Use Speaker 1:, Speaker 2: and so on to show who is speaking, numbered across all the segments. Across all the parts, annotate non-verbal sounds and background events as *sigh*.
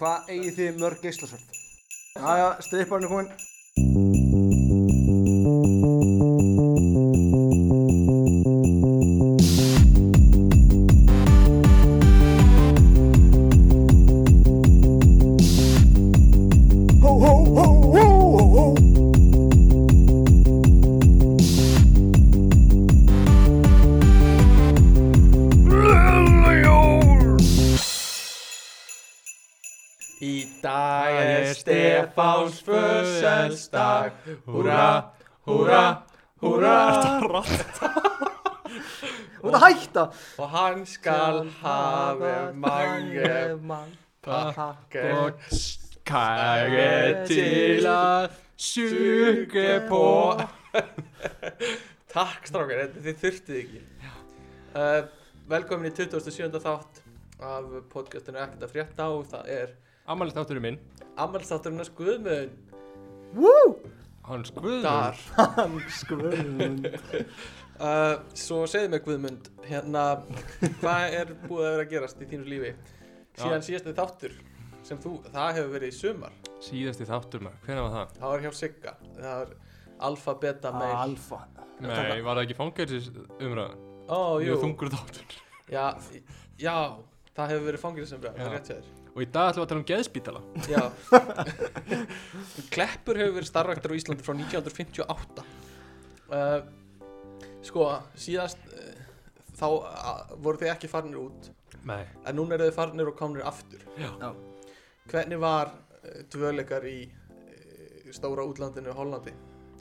Speaker 1: Hvað eigið þið mörg geislasörf? Jæja, stripparinn er komin. Hó, hó, hó, hó, hó, hó.
Speaker 2: Í dag er Stefáns Fösselsdag Húra, húra, húra *laughs*
Speaker 1: Þú ert að hætta.
Speaker 2: Og hann skal hafa mange pakker Kage til að suge på Takk strákar, þetta- þið þurftið ekki uh, Velkomin í 27. þátt af podcastinu Ekkert að frétta og það er
Speaker 3: Amalist átturinn minn
Speaker 2: Amalstátturinn að skuðmöðun
Speaker 3: Hans Guðmund
Speaker 2: Dar
Speaker 1: Skröðum.
Speaker 2: Uh, svo segðu mér Guðmund, hérna, hvað er búið að vera að gerast í þínu lífi? Síðan síðasti þáttur sem þú, það hefur verið í sumar,
Speaker 3: Síðasti þáttur maður, hvernig var það?
Speaker 2: það var hjá Sigga, það var alfa, beta, meil.
Speaker 1: Alfa.
Speaker 3: Nei, var það ekki fangelsis umræðan?
Speaker 2: Ó, jú,
Speaker 3: Mjög þungur þáttur
Speaker 2: já, í- já, það hefur verið fangir sem það
Speaker 3: Já.
Speaker 2: er rétt hjá þér.
Speaker 3: Og í dag ætlum við að tala um geðspítala
Speaker 2: Já, Kleppur hefur verið starfæktur á Íslandi frá 1958. Uh, sko, síðast, uh, þá uh, voru þið ekki farnir út.
Speaker 3: Nei
Speaker 2: En núna eru þið farnir og komnir aftur.
Speaker 3: Já.
Speaker 1: Já.
Speaker 2: Hvernig var eh, dvöl ykkar í eh, stóra útlandinu Hollandi?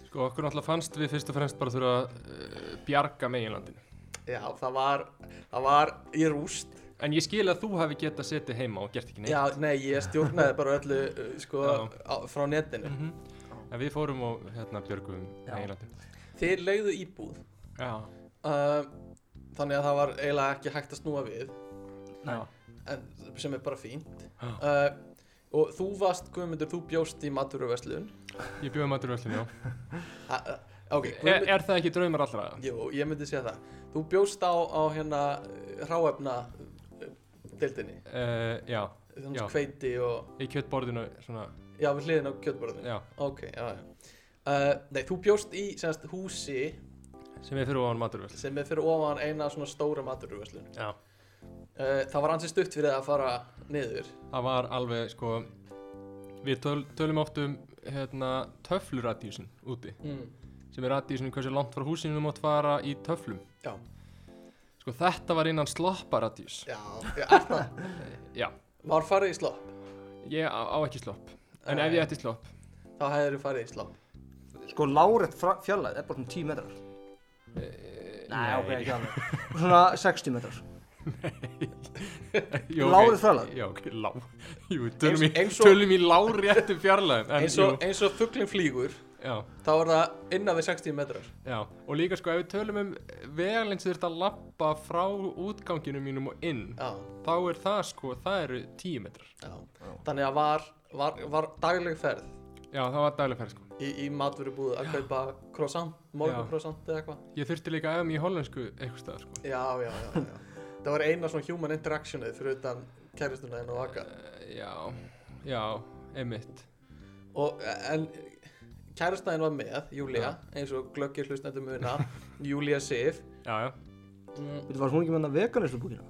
Speaker 3: Sko, okkur náttúrulega fannst við fyrst og fremst bara þurfa að uh, bjarga meginlandinu
Speaker 2: Já, það var, það var í rúst.
Speaker 3: En ég skil að þú hafi getað setið heima og gert ekki neitt
Speaker 2: Já, nei, ég stjórnaði bara öllu eh, sko,
Speaker 3: Já.
Speaker 2: á, frá netinu.
Speaker 3: Mhm. En við fórum og hérna björgum
Speaker 1: Já.
Speaker 3: meginlandinu
Speaker 2: Þeir leiðu íbúð.
Speaker 3: Já
Speaker 2: Uh, þannig að það var eiginlega ekki hægt að snúa við,
Speaker 1: Nei.
Speaker 2: en, sem er bara fínt.
Speaker 3: Já.
Speaker 2: Uh, og þú varst, Guðmundur, þú bjóst í maturverslun.
Speaker 3: Ég bjóði matur öllum, já
Speaker 2: Uh, ok,
Speaker 3: er, er það ekki draumar allra?
Speaker 2: Jú, ég myndi segja það. Þú bjóst á, á hérna eh, hráefna eh, deildinni,
Speaker 3: Uh, já,
Speaker 2: þannig
Speaker 3: Já.
Speaker 2: að kveiti og,
Speaker 3: í kjöttborðinu svona
Speaker 2: já, við hliðin á kjötborðinu.
Speaker 3: Já,
Speaker 2: Ok, já, já. Uh, nei, þú bjóst í semast húsi
Speaker 3: sem við fyrir ofan maturvöld
Speaker 2: sem er fyrir ofan eina svona stóra maturvöslun.
Speaker 3: Já
Speaker 2: Uh, það var ansið stutt fyrir það að fara niður.
Speaker 3: það var alveg sko við töl, tölum oft um hérna, töfluradíusin úti
Speaker 2: Mm.
Speaker 3: sem er radíusin hversu langt frá húsinu þú mátt fara í töflum
Speaker 2: Já,
Speaker 3: sko þetta var innan slopparadíus
Speaker 2: já, já, er það.
Speaker 3: já,
Speaker 2: Var farið í slopp?
Speaker 3: ég á, á ekki slopp en ef ég ætti *laughs* slopp
Speaker 2: Þá hefur þið farið í slopp.
Speaker 1: Sko, lárétt fra- fjarlægð er bara svona 10 metrar.
Speaker 3: e,
Speaker 1: Nei, ok, ekki alveg. Svona 60 metrar.
Speaker 3: Jú, ok.
Speaker 1: lárétt fjarlægð.
Speaker 3: já, ok, lá jú, tölum,
Speaker 2: Eins- eins
Speaker 3: í,
Speaker 2: og-
Speaker 3: tölum í láréttu fjarlæðum en,
Speaker 2: Eins og,
Speaker 3: jú,
Speaker 2: eins og fugglinn flýgur,
Speaker 3: já,
Speaker 2: þá er það innan við 60 metrar.
Speaker 3: já, og líka sko ef við tölum um vegalinn sem þurft að lappa frá útganginu mínum og inn
Speaker 2: Já,
Speaker 3: þá er það sko, það eru 10 metrar
Speaker 2: já. Þannig að var, var, var dagleg ferð.
Speaker 3: já, það var daglegferð sko
Speaker 2: í, í matvörubúð að kaupa croissant, morguncroissant eða eitthvað
Speaker 3: Ég þurfti líka að æfa mig í hollensku eitthvað stað, sko.
Speaker 2: já, já, já, já *laughs* það var eina svona human interactionið fyrir utan kæristuna þinn og vaka
Speaker 3: Eh, Já, já, emitt.
Speaker 2: og en kæristuna þinn var með, Júlia eins og glöggir hlustnendur muna Júlia Sif
Speaker 3: Já, já.
Speaker 2: mm,
Speaker 1: Þú var hún ekki með hana veganislu búkina?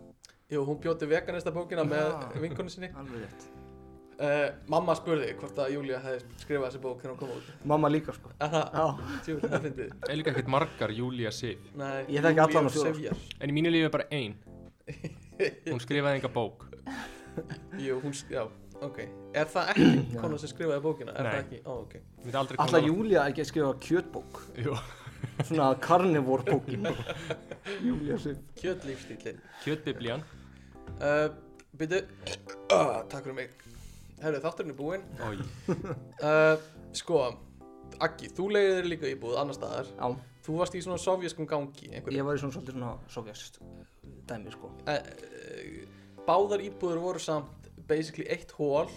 Speaker 2: jú, hún bjóti veganista bókina
Speaker 1: Já.
Speaker 2: með vinkonu sinni
Speaker 1: Alveg rétt.
Speaker 2: uh, mamma spurði hvort að Júlia hefði skrifað þessi bók þegar hún kom út
Speaker 1: Mamma líka, sko.
Speaker 2: en það,
Speaker 1: Já.
Speaker 2: tjú, það fyndið
Speaker 3: Er líka ekkert margar Júlia Sif.
Speaker 2: Nei,
Speaker 1: Ég þekki allan á
Speaker 2: Júlíu
Speaker 1: sögur.
Speaker 2: Sifjar.
Speaker 3: En í mínu lífi er bara *laughs* ein. Hún skrifaði enga bók.
Speaker 2: Jú, hún, sk- já, ok er það ekki konan sem skrifaði bókina? er það
Speaker 3: Nei.
Speaker 2: ekki, ó, ok
Speaker 3: Ég myndi aldrei
Speaker 1: Alla Júlia er ekki að skrifa kjötbók.
Speaker 3: Jú.
Speaker 1: Svona carnivore bókin. Júlia sig.
Speaker 2: kjötlífstílin
Speaker 3: Kjötbiblían.
Speaker 2: uh, Byrju uh, Takk fyrir mig Herru, þátturinn er búinn
Speaker 3: Ói.
Speaker 2: uh, Sko, Aggi, þú leiðir þér líka íbúð annar staðar
Speaker 1: Já,
Speaker 2: Þú varst í svona sovjaskum gangi einhverju.
Speaker 1: ég var í svona svolítið svona sovjast dæmi, sko.
Speaker 2: uh, Báðar íbúður voru samt basically eitt hól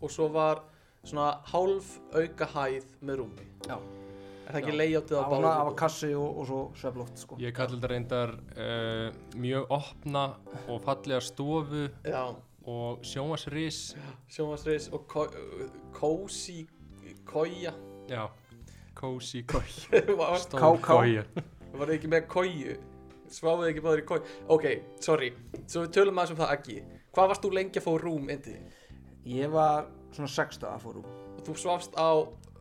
Speaker 2: og svo var svona hálf auka hæð með rúmi
Speaker 1: Já.
Speaker 2: Er það ekki
Speaker 3: Já.
Speaker 2: leiðjáttið á
Speaker 1: Það var
Speaker 2: báðar
Speaker 1: svona, það var
Speaker 2: íbúðum?
Speaker 1: kassi og, og svo sveflótt, sko.
Speaker 3: eh, Ég kalli þetta reyndar uh, mjög opna og fallega stofu
Speaker 2: Já,
Speaker 3: og sjómas ris
Speaker 2: sjónvarsreis og ko- uh, kósi kója *laughs*
Speaker 3: já, kósi kói
Speaker 2: var
Speaker 3: stór
Speaker 1: Káká.
Speaker 3: koja.
Speaker 2: þið ekki með kóju sváðuð ekki báður í kóju ok, sorry, svo við tölum aðeins um það Aggi hvað varst þú lengi að fá rúm indi
Speaker 4: Ég var svona sexta að fórum.
Speaker 2: og þú svafst á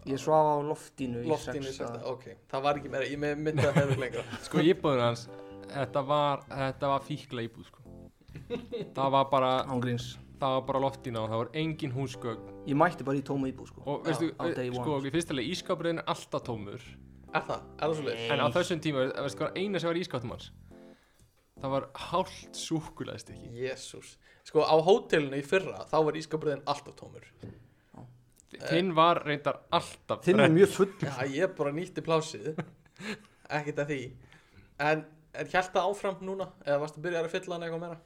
Speaker 4: Ég svaf á loftinu í
Speaker 2: loftinu
Speaker 4: sex
Speaker 2: sérsta.
Speaker 4: daga.
Speaker 2: ok, það var ekki meira, ég með myndi að hefðu
Speaker 4: *laughs*
Speaker 2: lengra
Speaker 3: sko íbúður hans þetta var, þetta var fíkla íbúð sko. það var bara
Speaker 4: Án gríns.
Speaker 3: það var bara loftina og það var engin húsgögn
Speaker 4: Ég mætti bara í tóma íbúð sko.
Speaker 3: og veistu,
Speaker 4: á day
Speaker 3: sko,
Speaker 4: one.
Speaker 3: í fyrsta leið ískapurinn er alltaf tómur
Speaker 2: er það, er það svo
Speaker 3: en á þessum tíma, veistu hvað var eina sem var ískaptum hans það var hálft súkulæðist ekki
Speaker 2: Jésús Sko á hótelinu í fyrra þá var ískabriðin alltaf
Speaker 4: *laughs*
Speaker 2: tómur
Speaker 4: Eh.
Speaker 3: þinn var reyndar alltaf
Speaker 1: Þinn er mjög full
Speaker 2: Já, ég bara nýtti plásið Ekkert að því En, en held það áfram núna? Eða varstu að byrja að fylla hann eitthvað meira?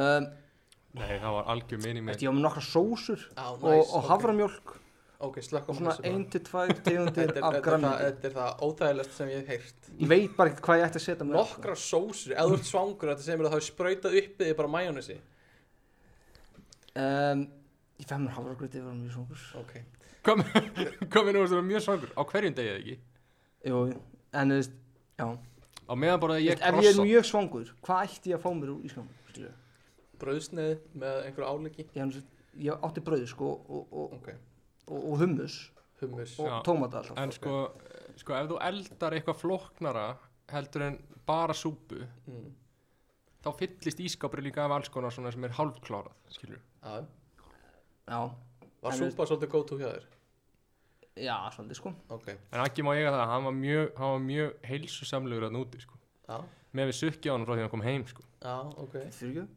Speaker 4: Um,
Speaker 3: nei, það var algjör minni
Speaker 4: eftir ég var með nokkra sósur
Speaker 2: Á,
Speaker 4: og, og haframjólk
Speaker 2: Ok,
Speaker 4: og
Speaker 2: slökkum
Speaker 4: svona ein til tvær tegundir
Speaker 2: *laughs* Þetta er-
Speaker 4: af
Speaker 2: þetta er það-
Speaker 4: grænmeti.
Speaker 2: þetta er það óþægilegst sem ég hef heyrt
Speaker 4: Ég veit bara ekkert hvað ég ætti að setja með.
Speaker 2: Nokkra sósur, ef þú ert svangur Þetta segir mér að það hafi sprautað uppið því bara majónesi
Speaker 4: Um, ég fæði mér hafragröti yfir hann mjög svongur.
Speaker 2: Ok,
Speaker 3: komið nú að það var mjög svangur á hverjum degið ekki
Speaker 4: Jú, jú. en þú veist, já.
Speaker 3: á meðan bara
Speaker 4: Þú
Speaker 3: ég
Speaker 4: veist, ef ég er
Speaker 3: krossa
Speaker 4: mjög svangur, hvað ætti ég að fá mér úr ískamur?
Speaker 2: brauðsneið með einhverju álíki
Speaker 4: Ég, hann- ég átti brauð sko og, og,
Speaker 2: Ok,
Speaker 4: og, og hummus
Speaker 2: hummus
Speaker 4: og
Speaker 3: Já.
Speaker 4: tómata alltaf.
Speaker 3: en sko, sko, ef þú eldar eitthvað flóknara heldur en bara súpu
Speaker 2: mm.
Speaker 3: þá fyllist ískapur líka af alls konar svona sem er hálfklárað skilur
Speaker 2: Já.
Speaker 4: Já,
Speaker 2: Var
Speaker 4: En þú-
Speaker 2: súpa svolítið góð tók hjá þér?
Speaker 4: já, svolítið sko.
Speaker 2: Ok,
Speaker 3: en ekki má eiga það, hann var mjög, hann var mjög heilsusamlegur að núti sko
Speaker 2: já,
Speaker 3: með við sukki á hann frá því hann kom heim sko
Speaker 2: já, ok
Speaker 4: Fyrir ekki?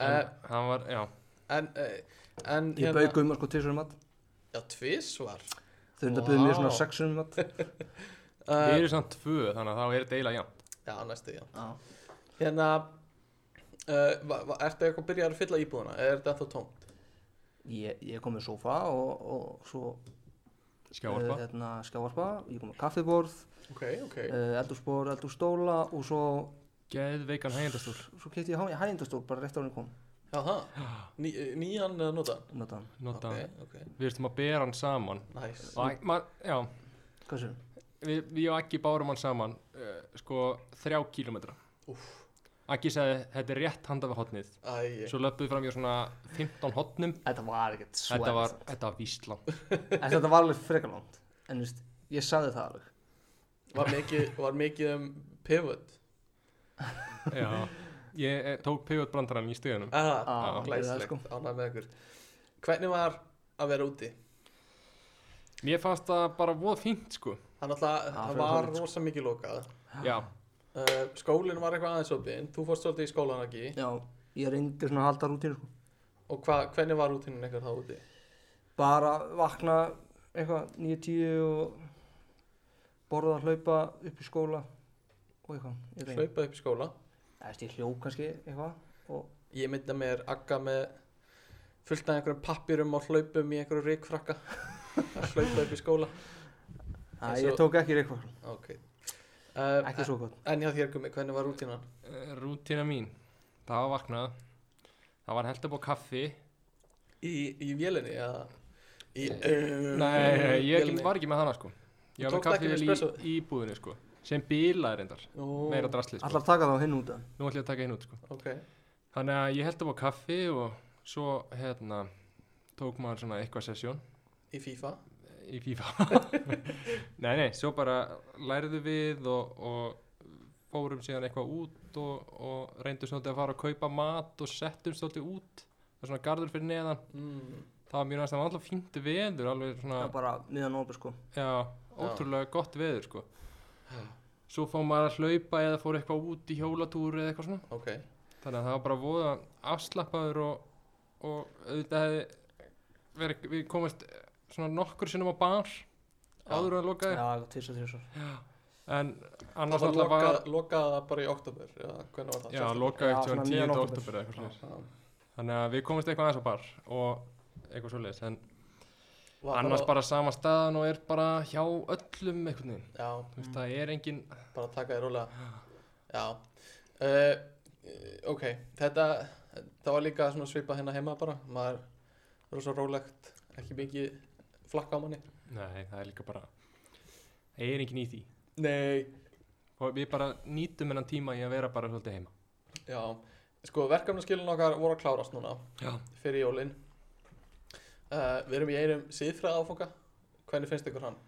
Speaker 2: uh,
Speaker 3: en, hann var, já,
Speaker 2: En, uh, en
Speaker 4: Ég bauð gumma sko tvisur í mat.
Speaker 2: Já, tvísvar
Speaker 4: Þau eru að bauð mér svona
Speaker 2: Vá.
Speaker 4: sexur í mat.
Speaker 3: við
Speaker 2: uh,
Speaker 3: erum samt tvö þannig að þá er þetta eiginlega jafn
Speaker 2: Já, næstu, já
Speaker 4: Já.
Speaker 2: Hérna uh, va, va, Ertu eitthvað byrjar að fylla íbúðuna? Eða er þetta ennþá tómt?
Speaker 4: Ég, ég kom með sófa og, og svo
Speaker 3: skjávarpa
Speaker 4: eh, hérna, skjávarpa, ég kom með kaffiborð,
Speaker 2: Ok, ok
Speaker 4: uh, eldúsborð, eldússtóla og svo,
Speaker 3: geðveikan hægindastúr
Speaker 4: svo keitt ég hægindastól bara rétt á hann kom. um
Speaker 2: Já, *gasps* það Ný, Nýjan eða notan?
Speaker 4: Notaðan.
Speaker 3: nota,
Speaker 2: Ok, ok,
Speaker 3: við erum að bera hann saman
Speaker 2: næs
Speaker 3: og Ag- ma- já,
Speaker 4: Hvað sér?
Speaker 3: við, við og Aggi bárum hann saman uh, sko þrjá kílómetra
Speaker 2: Úff.
Speaker 3: Aggi sagði þetta er rétt handa við hotnið
Speaker 2: Æ,
Speaker 3: svo löpuðu fram í svona 15 hotnum
Speaker 4: Þetta var ekkert svo
Speaker 3: þetta var,
Speaker 4: erfitt.
Speaker 3: þetta var vísland
Speaker 4: En Þetta var alveg frekar langt. En þú veist, ég sagði það alveg.
Speaker 2: var mikið, var mikið um pivot
Speaker 3: já, ég eh, tók pivotbrandarann í stöðunum
Speaker 2: Aha,
Speaker 4: Ah, það er sko.
Speaker 2: glæslegt, ánægð með ykkur Hvernig var að vera úti?
Speaker 3: mér fannst það bara voð fínt sko
Speaker 2: Það náttúrulega,
Speaker 4: Ah,
Speaker 2: það
Speaker 4: fyrir
Speaker 2: var
Speaker 4: þorrið, sko.
Speaker 2: rosa mikið lokað
Speaker 3: já,
Speaker 2: uh, Skólinn var eitthvað aðeins opinn Þú fórst svolítið í skólan ekki
Speaker 4: Já, ég reyndi svona að halda rútínu sko.
Speaker 2: Og hva, hvernig var rútinin eitthvað þá úti?
Speaker 4: Bara vakna eitthvað 9-10 og borða hlaupa upp í skóla og eitthvað. Ég reyndi.
Speaker 2: Hlaupa upp í skóla
Speaker 4: Það veist, ég hljóf kannski eitthvað og
Speaker 2: Ég mynda mér agga með fullt af einhverjum pappirum og hlaupum í einhverju
Speaker 4: *laughs*
Speaker 2: rikfrakka að hlaupa upp í skóla
Speaker 4: Æ,
Speaker 2: svo-
Speaker 4: ég tók ekki reikvað.
Speaker 2: ok uh,
Speaker 4: Ekki svo gott.
Speaker 2: en já þér gummi, hvernig var rútínan?
Speaker 3: eh, rútína mín það var vaknað það var held upp á kaffi
Speaker 2: í, í vélinni eða í eh,
Speaker 3: nei, Eh, ég var ekki með hana sko
Speaker 2: Þú
Speaker 3: ég var með
Speaker 2: tókst ekki
Speaker 3: kaffið í,
Speaker 2: espresso?
Speaker 3: í búðinni sko sem bílaði reyndar, meira
Speaker 2: meira
Speaker 3: drasli sko.
Speaker 4: Allar taka þá hinn út af.
Speaker 3: nú ætlum ég að taka einu út sko
Speaker 2: ok,
Speaker 3: Þannig að ég held upp á kaffi og svo hérna tók maður svona eitthvað sessjón
Speaker 2: í FIFA
Speaker 3: í FIFA. *laughs* nei, nei, svo bara læriðu við og, og fórum síðan eitthvað út og, og reyndum svolítið að fara að kaupa mat og settum svolítið út. Það er svona garður fyrir neðan.
Speaker 2: mm.
Speaker 3: Það var mjög næst, það var alltaf fínt veður, alveg svona,
Speaker 4: Það bara miðan opið sko.
Speaker 3: já, ótrúlega gott veður sko. Svo fór maður að hlaupa eða fór eitthvað út í hjólatúr eða eitthvað svona.
Speaker 2: ok,
Speaker 3: Þannig að það var bara voða afslappaður og, og auðvitað hefði verið, við komast eh, svona nokkur sinnum á bar áður en það
Speaker 4: Já,
Speaker 3: lokaði
Speaker 4: tvis og þrjus og.
Speaker 3: en
Speaker 2: það
Speaker 3: annars
Speaker 2: var
Speaker 3: alltaf var
Speaker 2: lokað lokaði það bara í oktober eða hvernig var það?
Speaker 3: já,
Speaker 2: September?
Speaker 3: lokaði
Speaker 4: Já,
Speaker 3: eftir
Speaker 4: svona
Speaker 3: 10.
Speaker 4: miðjan október.
Speaker 3: oktober eða eitthvað svoleiðis.
Speaker 2: Já.
Speaker 3: þannig að við komast eitthvað aðeins á bar og eitthvað svoleiðis en
Speaker 2: Var
Speaker 3: annars
Speaker 2: bara,
Speaker 3: bara sama staðan og er bara hjá öllum einhvern veginn
Speaker 2: já,
Speaker 3: Þú veist, það er engin
Speaker 2: bara taka þér rólega já uh, eh, ok, þetta það var líka svona svipað hérna heima bara maður rosa rólegt ekki mikið flakka á manni
Speaker 3: Nei, það er líka bara Það er engin í því
Speaker 2: nei,
Speaker 3: Og við bara nýtum hennan tíma í að vera bara svolítið heima
Speaker 2: já sko verkefnaskilin okkar voru að klárast núna
Speaker 3: Já
Speaker 2: fyrir jólin uh, við erum í einum síðfræða áfanga hvernig finnst ykkur hann?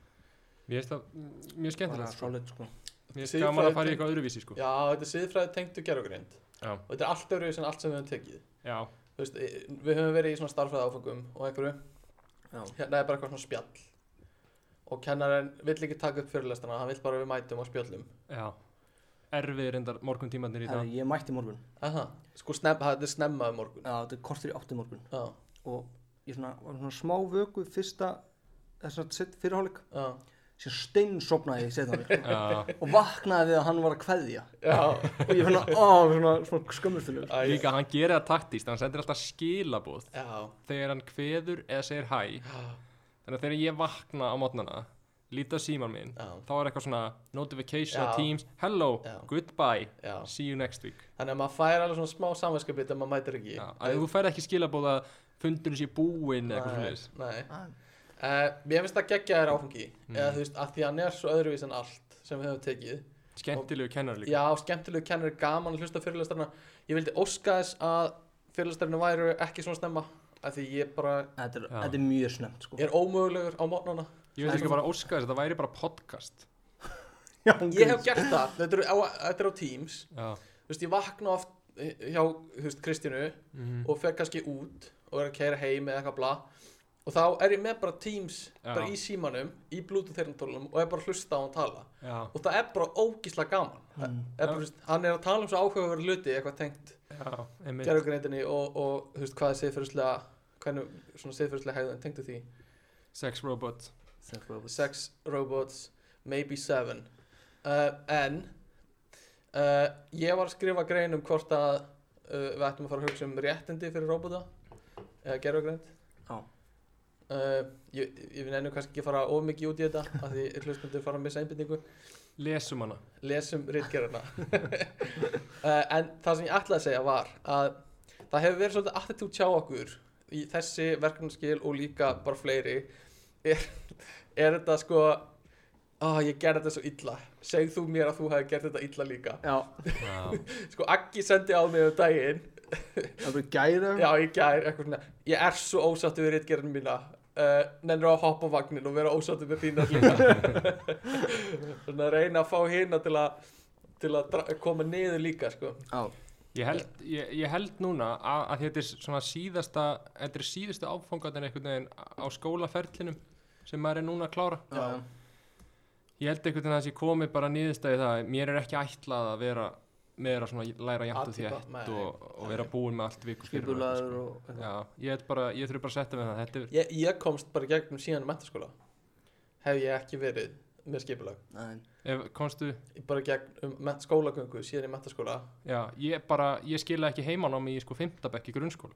Speaker 3: Mér finnst það mm, mjög
Speaker 4: bara
Speaker 3: skemmtilegt sko.
Speaker 4: solid sko
Speaker 3: Mér finnst
Speaker 2: Siðfræði
Speaker 3: gaman að fara í
Speaker 2: tengt-
Speaker 3: eitthvað öðruvísi sko.
Speaker 2: já, þetta er síðfræði tengdu gerðugrind
Speaker 3: Já.
Speaker 2: og þetta er allt öðru sem allt sem við höfum tekið
Speaker 3: Já.
Speaker 2: Þú veist, eh, við höfum verið í svona starfræða áfangum og einhverju
Speaker 4: já,
Speaker 2: hérna er bara eitthvað svona spjall og kennarinn vill ekki taka upp fyrirlestana hann vill bara að við mætum og spjallum
Speaker 3: Já. Erfið reyndar morgun tímanir í dag
Speaker 4: Herri, ég mætti í morgun
Speaker 2: Aha. sko snem, það- þetta er snemma um morgun
Speaker 4: já, þetta er kortur í átti morgun
Speaker 2: já,
Speaker 4: og ég svona, var svona smá vöku í fyrsta þess að sitt fyrirháleik
Speaker 2: já,
Speaker 4: sem steinsopnaði í setnáleik
Speaker 3: Já.
Speaker 4: og vaknaði við að hann var að kveðja
Speaker 3: *laughs*
Speaker 2: já.
Speaker 4: og ég finna, ó, svona, svona skömmustulegur
Speaker 2: Æ,
Speaker 3: Líka hann gerir það taktíst Hann sendir alltaf skilaboð
Speaker 2: já.
Speaker 3: Þegar hann kveður eða segir hæ Þannig að þegar ég vakna á mótnana Líti á síman minn
Speaker 2: Já.
Speaker 3: Þá er eitthvað svona notification á
Speaker 2: Já.
Speaker 3: Teams Hello,
Speaker 2: Já.
Speaker 3: goodbye,
Speaker 2: Já.
Speaker 3: see you next week
Speaker 2: þannig að maður fær alveg svona smá samverskapið þegar maður mætir ekki
Speaker 3: Já. Að þú fær ekki skilaboð að fundurinn sé búinn eða eitthvað svoleiðis
Speaker 2: nei, nei. Uh, mér finnst það geggja þér áfangi
Speaker 3: Mm.
Speaker 2: eða þú veist, að því hann er svo öðruvís en allt sem við höfum tekið
Speaker 3: Skemmtilegu kennar líka
Speaker 2: Já, skemmtilegu kennari, gaman að hlusta á fyrirlestarna Ég vildi óska þess að fyrirlestarna væru ekki svona snemma að Því ég bara,
Speaker 4: þetta er,
Speaker 3: Já.
Speaker 4: þetta er mjög snemmt sko
Speaker 2: ég er ómögulegur á mótnana
Speaker 3: Ég veit ekki bara óska þess að það væri bara podcast
Speaker 4: já,
Speaker 2: Ég hef gert það, þetta er á, þetta er á Teams
Speaker 3: Já,
Speaker 2: Þú veist, ég vakna oft eh, hjá, þú veist, Kristínu
Speaker 3: Mm.
Speaker 2: Og fer kannski út og er að kæra heim eða eitthvað bla Og þá er ég með bara Teams,
Speaker 3: Já.
Speaker 2: bara í símanum, í Bluetooth herntólunum Og er bara að hlusta á hann tala
Speaker 3: já,
Speaker 2: Og það er bara ógísla gaman mm. er bara, þú veist, Hann er að tala um svo áhugaverð hluti, eitthvað tengt
Speaker 3: já, einmitt
Speaker 2: gerðugreindinni og, og þú veist hvað er siðferðislega hvernig svona siðferðislega hegðun tengdu því
Speaker 3: Sex Robot
Speaker 2: sex, robots, maybe seven uh, en uh, ég var að skrifa grein um hvort að uh, við ættum að fara að hugsa um réttindi fyrir robota eða gerðugreind
Speaker 4: Já.
Speaker 2: Uh, ég, ég finn ennu kannski ekki að fara of mikið út í þetta af því hlustundur fara að missa einbindingu
Speaker 3: Lesum hana
Speaker 2: lesum *laughs* rittgerðina uh, en það sem ég ætlaði að segja var að það hefur verið svolítið attitút hjá okkur í þessi verkefnaskil og líka bara fleiri er, er þetta sko að ég gerði þetta svo illa segð þú mér að þú hefði gert þetta illa líka
Speaker 4: já,
Speaker 3: Já,
Speaker 2: sko Aggi sendi á mig um daginn
Speaker 4: það er bara gæra
Speaker 2: já ég gær eitthvað svona ég er svo ósattu við rittgerðinu mína uh, nennir á að hoppa á vagnin og vera ósattu með þína líka *laughs* svona reyna að fá hina til að til að dra- koma niður líka sko
Speaker 4: já,
Speaker 3: Ég held, ég, ég held núna að, að þetta er svona síðasta, þetta er síðustu áfangat en einhvern veginn á skólaferlinum sem maður er núna að klára.
Speaker 4: já.
Speaker 3: Ég held einhvern veginn að ég komi bara niðurstæði það, að mér er ekki ætlað að vera með að svona læra jæmt og
Speaker 2: Atypa,
Speaker 3: þétt
Speaker 2: nei,
Speaker 3: og, og vera búin með allt vikur
Speaker 4: skipulaður og
Speaker 3: Já, ég held bara, ég þurfi bara að setja með það, þetta er,
Speaker 2: ég, ég komst bara í gegnum síðan mentaskóla hef ég ekki verið með skipulag
Speaker 4: Nei,
Speaker 3: ef, komstu,
Speaker 2: ég bara gegnum ment- skólagöngu síðan í mentaskóla
Speaker 3: já, ég bara, ég skila ekki heimanám í sko fimmtabekk í grunnskóla.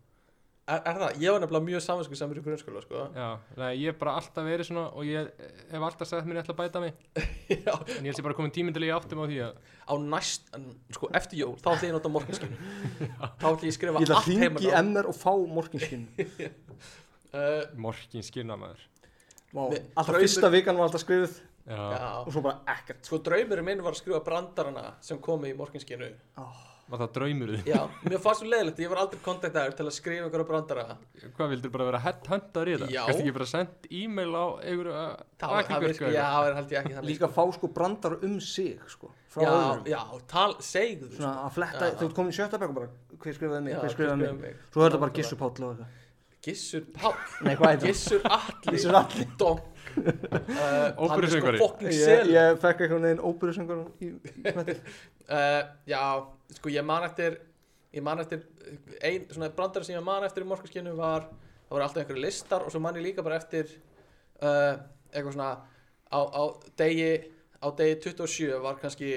Speaker 2: er, er það, ég var nefnilega mjög saminsku samir í grunnskóla sko *laughs*
Speaker 3: Já, nei, ég hef bara alltaf verið svona og ég hef alltaf sagt mér ég ætla að bæta mig
Speaker 2: Já,
Speaker 3: en ég held ég bara komin tíminn til að ég áttum á því að
Speaker 2: á næst, en, sko eftir jól þá ætla ég að nota morgunskinu
Speaker 4: *laughs*
Speaker 2: þá ætla ég að skrifa
Speaker 4: ég ætla að
Speaker 2: allt
Speaker 4: hringi í
Speaker 2: heima
Speaker 4: MR og fá
Speaker 2: *laughs*
Speaker 4: morginskinn
Speaker 2: uh,
Speaker 3: morgin skinna maður
Speaker 2: Nei,
Speaker 4: alltaf
Speaker 2: draumur-
Speaker 4: fyrsta vikan var alltaf skrifuð
Speaker 3: Já,
Speaker 2: já,
Speaker 4: og svo bara ekkert
Speaker 2: sko draumurinn minn var að skrifa brandarana sem komi í morgunskinu
Speaker 3: var það draumur þið?
Speaker 2: já, *laughs* mér fannst svo leiðilegt, ég var aldrei kontaktaður til að skrifa einhverja brandara
Speaker 3: Hvað vildur bara vera headhunter í það?
Speaker 2: Já.
Speaker 3: Gæstu ekki bara sendt e-mail á einhverju uh,
Speaker 2: það var, það
Speaker 3: aðkjöfjörku?
Speaker 2: virka, já, það er held ég ekki þannig
Speaker 4: sko. líka fá sko brandar um sig sko, frá
Speaker 2: já,
Speaker 4: öðrum
Speaker 2: já, tal, segðu þú
Speaker 4: svona að fletta,
Speaker 2: Já.
Speaker 4: þú ert komin í sjötta bekk og bara hver skrifaði mig,
Speaker 2: Já,
Speaker 4: hver
Speaker 2: hver
Speaker 4: skrifaði
Speaker 2: skrifaði
Speaker 4: mig.
Speaker 2: mig?
Speaker 4: svo er þetta bara
Speaker 2: Nákvæmlega.
Speaker 4: Gissur Páll og eitthvað
Speaker 2: Gissur Páll
Speaker 4: Nei, hvað heitir hann?
Speaker 2: Gissur Atli
Speaker 4: Gissur Atli.
Speaker 2: Donk uh,
Speaker 3: Óperusöngvari.
Speaker 2: fokking
Speaker 4: ég,
Speaker 2: sel
Speaker 4: ég fekk eitthvað neginn óbyrjusengur í þetta
Speaker 2: uh, Já, sko ég man eftir Ég man eftir Ein svona brandar sem ég man eftir í morgunskinu var Það voru alltaf einhverju listar Og svo man ég líka bara eftir uh, Eitthvað svona Á, á degi Á degi 27 var kannski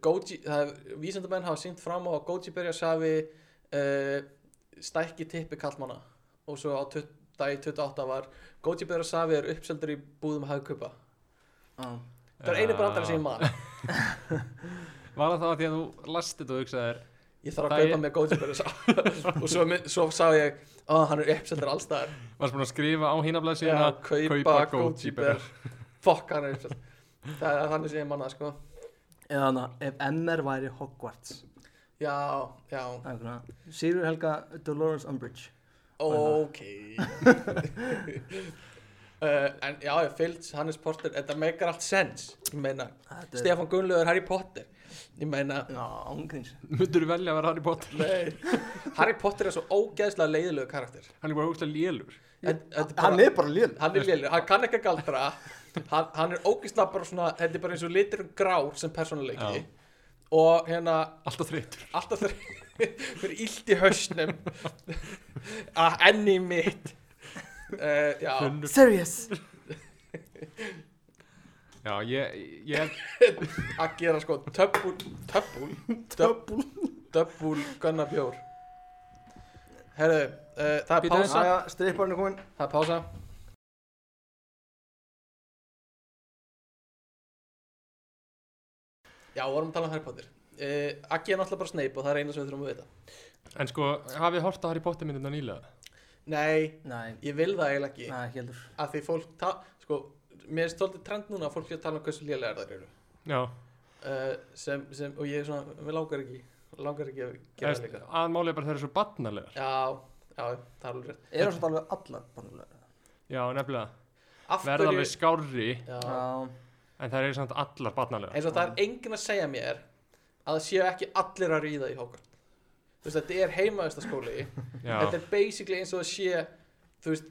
Speaker 2: Goji það- Vísindamenn hafa sínt fram á að Goji-berja safi uh, Stækki tippi kallmanna Og svo á 20, dagi 28 var Goji-berja safi er uppseldur í búðum hagkaupa Það er einu brandar sem ég man
Speaker 3: Var það þá að því að þú lastið og hugsaðir
Speaker 2: ég þarf að
Speaker 3: Það
Speaker 2: kaupa
Speaker 3: er-
Speaker 2: mér góðsjöfberi og svo, mi- svo sá ég að hann er uppseldur allstaðar
Speaker 3: Varst búin að skrifa á hínablaðsíðuna
Speaker 2: Já, kaupa
Speaker 3: kaupa Goji Bear. *laughs*
Speaker 2: góðsjöfber fokk hann er uppseldur það er þannig sem ég manna sko
Speaker 4: Eða hana, ef MR væri Hogwarts
Speaker 2: já, já,
Speaker 4: Það er svona, Sigurður Helga Dolores Umbridge
Speaker 2: ok *laughs* uh, en já, ég fylgst Hannes Porter, þetta meikar allt sens ég meina,
Speaker 4: Þetta er-
Speaker 2: Stefán Gunnlaugur Harry Potter ég meina
Speaker 4: Já, ángríns
Speaker 3: Myndirðu velja að vera Harry Potter?
Speaker 2: Nei. Harry Potter er svo ógeðslega leiðilegu karakter
Speaker 3: Hann er bara ógæslega lélur
Speaker 2: en, en,
Speaker 1: Hann er bara lél
Speaker 2: hann er lélegur, hann kann ekki að galdra hann, hann er ógeðslega bara svona þetta er bara eins og litur grár sem persónuleiki
Speaker 3: Já.
Speaker 2: og hérna
Speaker 3: Alltaf þreytur
Speaker 2: alltaf þegar *laughs* fyrir illt í hausnum *laughs* að enni mitt uh, já,
Speaker 3: Þunnur.
Speaker 4: Serious
Speaker 3: Já, ég, ég,
Speaker 2: að gera sko többúl többúl többúl többúl gunna bjór herru, uh, það er
Speaker 3: Bíddu aðeins.
Speaker 2: pása
Speaker 1: Æja, stripparinn er komin
Speaker 2: það er pása já, vorum að tala um Harry Potter uh, Aggi er náttúrulega bara Snape og það er eina sem við þurfum að vita
Speaker 3: en sko, hafið hort á Harry Potter myndina nýlega?
Speaker 2: nei,
Speaker 4: Nei,
Speaker 2: ég vil það eiginlega ekki
Speaker 4: nei, heldur
Speaker 2: að því fólk, ta- sko mér er stoltið trend núna að fólk sé að tala um hversu lélega þær eru
Speaker 3: Já,
Speaker 2: uh, sem, sem, og ég er svona, mér langar ekki langar ekki að gera það
Speaker 3: Efst,
Speaker 2: líka
Speaker 3: aðmálið er bara þeir eru svo barnalegar
Speaker 2: já, já, það er alveg rétt
Speaker 4: Er það svolítið alveg allar bannulega?
Speaker 3: Já, nefnilega,
Speaker 2: Af
Speaker 3: verða
Speaker 2: hverju-
Speaker 3: alveg skárri
Speaker 2: já,
Speaker 4: Já,
Speaker 3: en þær eru samt allar barnalegar
Speaker 2: eins og það er enginn að segja mér að það séu ekki allir að ríða í Hogwarts þú veist þetta er heimaðasta skóli þetta
Speaker 3: Já,
Speaker 2: er basically eins og það sé þú veist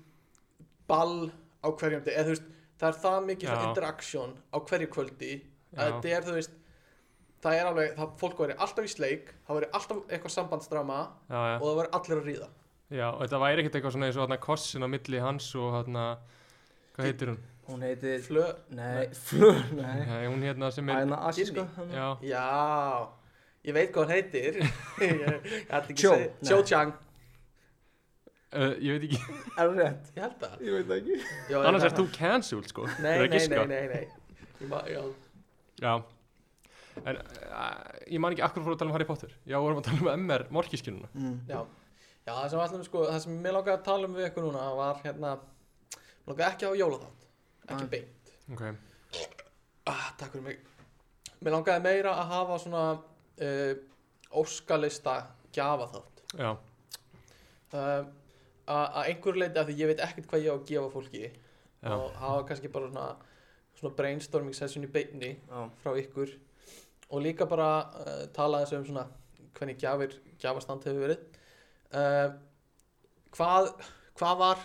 Speaker 2: ball á hverjum degi eða þú veist það er það mikið svona
Speaker 3: Já.
Speaker 2: interaction á hverju kvöldi að
Speaker 3: já,
Speaker 2: þetta er þú veist það er alveg það fólk væri alltaf í sleik það væri alltaf eitthvað sambandsdrama
Speaker 3: já, já.
Speaker 2: og það væri allir að ríða
Speaker 3: Já, og þetta væri ekkert eitthvað svona eins og hann kossin á milli hans og hann hvað heitir hún?
Speaker 4: hún heitir
Speaker 2: flö
Speaker 4: Nei, flur, nei
Speaker 3: Nei, hún hérna sem er
Speaker 4: Æna Asi, sko
Speaker 2: Ginny.
Speaker 4: hana.
Speaker 3: Já,
Speaker 2: já ég veit hvað hann heitir *laughs* ég, ég ætti ekki
Speaker 4: Cho.
Speaker 2: að segja
Speaker 4: Nei.
Speaker 2: Cho Chang
Speaker 3: uh, ég veit ekki
Speaker 4: Er það rétt?
Speaker 2: ég held það
Speaker 4: Ég veit ekki
Speaker 2: Já, ég-
Speaker 3: annars er þú cancelled sko
Speaker 2: Nei,
Speaker 3: Þú er að
Speaker 2: nei,
Speaker 3: giska.
Speaker 2: nei, nei, nei Ég ma- já.
Speaker 3: Já En uh, ég man ekki akkur fór að tala um Harry Potter Já, vorum að tala um MR morkískinuna
Speaker 4: Mm.
Speaker 2: Já. já, það sem við ætlum sko Það sem mér langaði að tala um við ykkur núna var hérna Mér langaði ekki á jólaþátt
Speaker 4: Nei.
Speaker 2: Ekki beint
Speaker 3: Ok,
Speaker 2: ah, Takk fyrir mig Mér langaði meira að hafa svona uh, Óskalista gjafaþátt
Speaker 3: já,
Speaker 2: uh, Að að einhverju leiti af því ég veit ekkert hvað ég á að gefa fólki
Speaker 3: já
Speaker 2: Og hafa kannski bara svona Svona brainstorming session í beinni
Speaker 4: Já,
Speaker 2: frá ykkur og líka bara uh, tala þessu um svona hvernig gjafir, gjafastand hefur verið uh, hvað, hvað var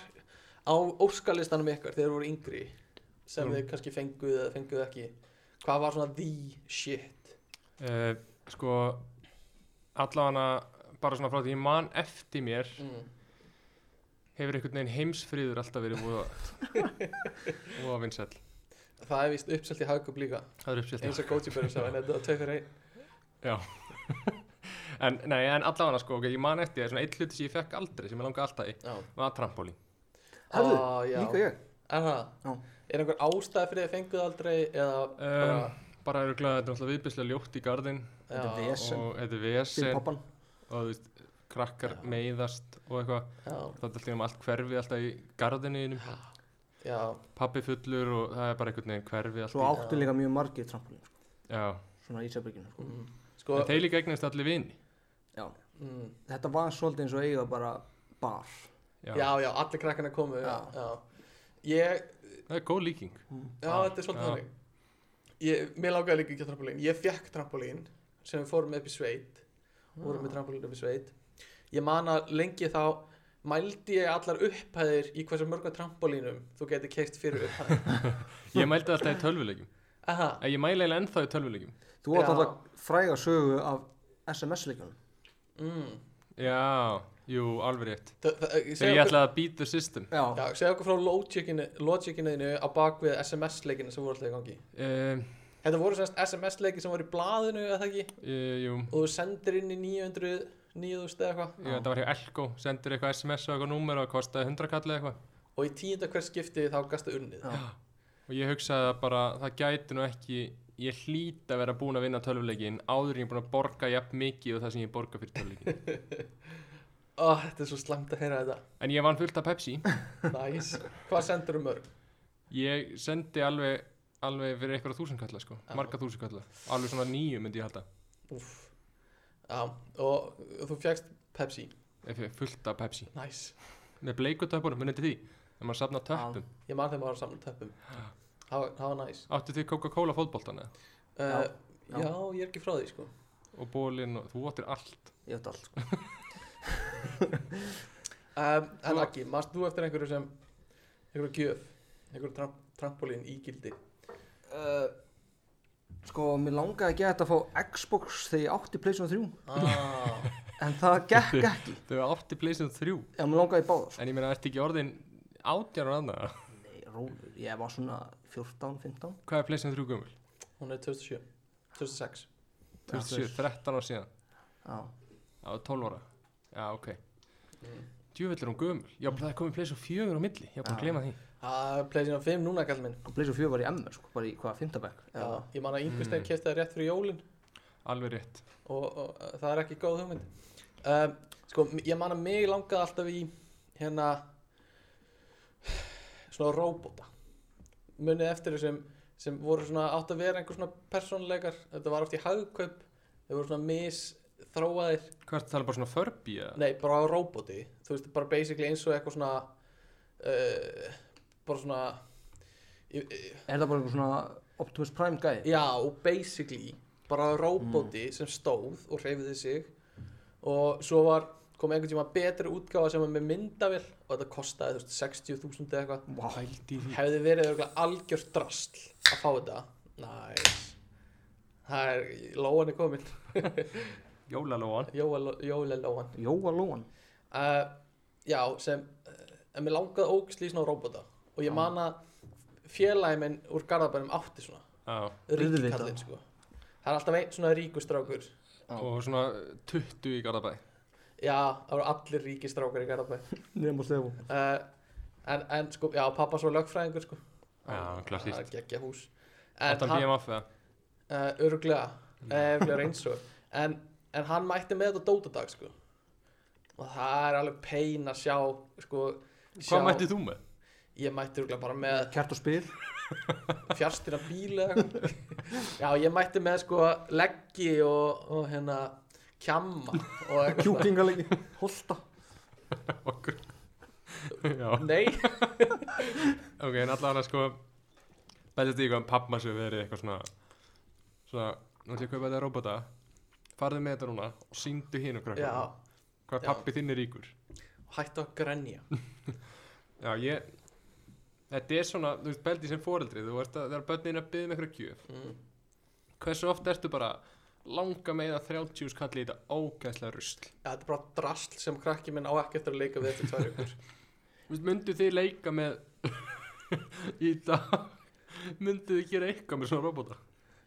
Speaker 2: á óskalistanum ykkar þegar þið voru yngri sem
Speaker 3: Mm.
Speaker 2: þið kannski fenguð eða fenguð ekki hvað var svona the shit
Speaker 3: uh, Sko allavega bara svona frá því ég man eftir mér
Speaker 2: mm.
Speaker 3: hefur einhvern veginn heimsfriður alltaf verið múða múða vinsæll
Speaker 2: það er vist uppselt í hagkup líka
Speaker 3: það er uppsett
Speaker 2: eins og Koji Berg sagði en þetta var tvei fyrir einn
Speaker 3: en, nei, en allavega sko, ok, ég man eftir það er svona einn hluti sem ég fekk aldrei sem ég langaði alltaf í
Speaker 2: Já.
Speaker 3: var trampolín
Speaker 4: Herðu,
Speaker 2: Ah, já.
Speaker 4: líka ég
Speaker 2: er það?
Speaker 4: Já.
Speaker 2: er einhver ástæð fyrir þið fenguð aldrei eða bara
Speaker 3: um, bara eru glæðið, þetta er náttúrulega viðbjörslega ljótt í gardinn
Speaker 4: Þetta er
Speaker 2: Já,
Speaker 4: vesen
Speaker 3: og þetta er
Speaker 4: Fyrir
Speaker 3: vesen og
Speaker 4: pappan
Speaker 3: þú veist, krakkar
Speaker 2: Já.
Speaker 3: meiðast og eitthvað,
Speaker 2: já,
Speaker 3: það er alltaf um allt hverfi alltaf í gardinu innum
Speaker 2: já,
Speaker 3: pappi fullur og það er bara einhvern veginn hverfi alltaf
Speaker 4: Svo
Speaker 3: í-
Speaker 4: áttu líka mjög margir trampolín sko,
Speaker 3: já,
Speaker 4: Svona í Ísabrygginu sko.
Speaker 2: mm. sko
Speaker 3: en þeir líka eignast allir vini
Speaker 4: Já
Speaker 2: mm.
Speaker 4: Þetta var svolítið eins og eiga bara bar
Speaker 3: já,
Speaker 2: já, já, allir krakkana komu já.
Speaker 4: Já.
Speaker 2: Já. ég,
Speaker 3: það er góð líking
Speaker 2: já,
Speaker 3: Já,
Speaker 2: þetta er svolítið
Speaker 3: já.
Speaker 2: þannig ég, mér lágaði líka ekki á trampolín ég fekk trampolín sem við fórum með upp í sveit vorum með trampolín upp í sveit ég man að lengi þá mældi ég allar upphæðir í hversu mörgum trampolínum þú geti keikt fyrir upphæðir
Speaker 3: ég mældi alltaf í tölvuleikjum
Speaker 2: aha,
Speaker 3: Eh, ég mæli eiginlega ennþá í tölvuleikjum
Speaker 4: Þú átt
Speaker 2: Já.
Speaker 4: alltaf fræga sögu af SMS-leikjunum
Speaker 2: mm.
Speaker 3: já, jú, alveg rétt
Speaker 2: Þa- þa- ég
Speaker 3: þegar ég
Speaker 2: segja okkur
Speaker 3: ætlaði að beat the system
Speaker 4: Já,
Speaker 2: Já, segja okkur frá logicinu, logicinu þínu á bakvið SMS-leikinu sem voru alltaf í gangi.
Speaker 3: um,
Speaker 2: Þetta voru semst SMS-leiki sem voru í blaðinu, eða það ekki?
Speaker 3: Uh, jú,
Speaker 2: Og þú sendir inn í 900, 9000 eða eitthvað.
Speaker 3: ég, þetta var hjá Elko, sendir eitthvað SMS og eitthvað númer og kostaði 100 kall eða eitthvað
Speaker 2: og í tíunda hver skipti þá gastu unnið
Speaker 4: Já.
Speaker 3: og ég hugsaði að bara það gæti nú ekki ég hlýt að vera búin að vinna tölvuleikin áður en ég er búin að borga jafn mikið og það sem ég borga fyrir
Speaker 2: *laughs*
Speaker 3: tölvuleikin
Speaker 2: Ó, þetta er svo slæmt að heyra þetta
Speaker 3: en ég vann fullt af Pepsi
Speaker 2: Næs Hvað sendur um mörg?
Speaker 3: ég sendi alveg, alveg fyrir einhverja þúsundkalla sko,
Speaker 2: Já.
Speaker 3: marga þúsundkalla alveg svona nýju myndi ég halda
Speaker 2: Úf Já, og þú fjækst Pepsi
Speaker 3: Ef ég- fullt af Pepsi
Speaker 2: Næs
Speaker 3: með bleikutöpunum, munið til því þegar maður safna töppum,
Speaker 2: Ég man þegar maður var saman töpum Það það var næs
Speaker 3: áttu þið Coca-Cola
Speaker 2: uh,
Speaker 3: fótboltana
Speaker 4: já.
Speaker 2: já. ég er ekki frá því sko
Speaker 3: og bólin og þú áttir allt
Speaker 4: Ég veit allt sko.
Speaker 2: um, En
Speaker 3: Þú-
Speaker 2: ekki, maður þú eftir einhverju sem einhverju gjöf einhverju tramp, trampolín ígildi
Speaker 4: Uh, sko, mér langaði ekki að þetta að fá Xbox þegar ég átti Playstation 3
Speaker 2: ah,
Speaker 4: En það gekk ekki
Speaker 3: þau átti pleysið þrjú
Speaker 4: Já, mér langaði í báðar sko.
Speaker 3: en ég meina, ertu ekki orðin átjar og annað
Speaker 4: Nei, rólur, ég var svona 14, 15
Speaker 3: hvað er pleysið þrjú gömul?
Speaker 2: Hún er 2007 2006
Speaker 4: Já,
Speaker 3: 27, 13 ára síðan
Speaker 4: Já,
Speaker 3: á 12 ára, já ok
Speaker 2: Mm.
Speaker 3: djúvill er hún gömul, já það er komið pleysið fjögur á milli, ég er búin
Speaker 4: Já.
Speaker 3: að gleyma því
Speaker 2: Það er Ah, Playstation 5 núna kall minn
Speaker 4: og Playstation 4 var í MR sko, bara í hvaða 5. bekk
Speaker 2: já,
Speaker 4: eða-
Speaker 2: Ég man að yngvist
Speaker 3: Mm.
Speaker 2: þegar kefti það rétt fyrir jólin
Speaker 3: alveg rétt,
Speaker 2: og, og uh, það er ekki góð hugmynd um, sko, m- ég man að mig langaði alltaf í hérna svona róbóta munið eftir þessum sem voru svona átt að vera einhver svona persónleikar þetta var oft í hagkaup þeir voru svona mis þróaðir
Speaker 3: hvað er það um, bara svona förbi eða?
Speaker 2: nei, bara á róbóti þú veist, bara basically eins og eitthvað svona uh, bara svona ég- ég-
Speaker 4: Er það bara einhver svona Optimus Prime gæði?
Speaker 2: Já, og basically bara roboti sem stóð og hreyfiði sig og svo var, kom einhvern tíma betri útgáfa sem var með myndavill og þetta kostaði þú veist, 60.000 eða eitthvað
Speaker 4: Vá,
Speaker 3: Pældi í því.
Speaker 2: hefði verið örugglega algjört drastl að fá þetta Næs Það er, lóan er komin
Speaker 3: Jólalóan
Speaker 2: Jóel- Jóle lóan
Speaker 4: Jóa Lóan
Speaker 2: uh, Já, sem uh, en mér langaði ógislega í svona robota og ég man að félagi minn úr Garðabænum átti svona
Speaker 3: Já,
Speaker 4: Auðvitað.
Speaker 2: ríkikallin sko Það er alltaf einn svona ríkustrákur
Speaker 4: Já.
Speaker 3: og svona 20 í Garðabæ
Speaker 2: Já, það voru allir ríkistrákar í Garðabæ
Speaker 4: Nefn og Stefó
Speaker 2: uh, en, en sko, já, pappa svo lögfræðingur sko
Speaker 3: Já, klassískt.
Speaker 2: Það er geggja hús En
Speaker 3: Áttan
Speaker 2: hann,
Speaker 3: BMF eða?
Speaker 2: uh, öruglega Öruglega eins og en, en hann mætti með þetta á dótadag sko Og það er alveg pein að sjá sko sjá-
Speaker 3: Hvað mættið þú með? *laughs*
Speaker 2: Ég mætti öruglega bara með
Speaker 4: Kjart og spil
Speaker 2: fjárstýra bíl eða eitthvað Já, ég mætti með sko leggji og, og hérna kjamma og eitthvað
Speaker 4: Kjúklingalegi Holta
Speaker 3: Okkur *laughs* Já,
Speaker 2: Nei,
Speaker 3: ok, en allavega sko Bæðið því hvað um pappma sem verið eitthvað svona Svona, nú ætlum ég að kaupa þetta robota Farðu með þetta núna og sýndu hinn okkur
Speaker 2: já,
Speaker 3: Hvað
Speaker 2: já.
Speaker 3: pappi þinn er ríkur
Speaker 2: hættu að grenja
Speaker 3: Já, ég Þetta er svona, þú veist, bældið sem foreldri Þú veist að þegar börnin er að byggja með eitthvað gjöf
Speaker 2: mm.
Speaker 3: Hversu oft ertu bara langa með að 30 skalli í þetta ógæðslega rusl
Speaker 2: Ja, þetta er bara drasl sem krakki minn á ekki eftir að leika við eftir tvær ykkur.
Speaker 3: Þú veist, myndu þið leika með *laughs* í dag myndu þið gera eitthvað með svona robota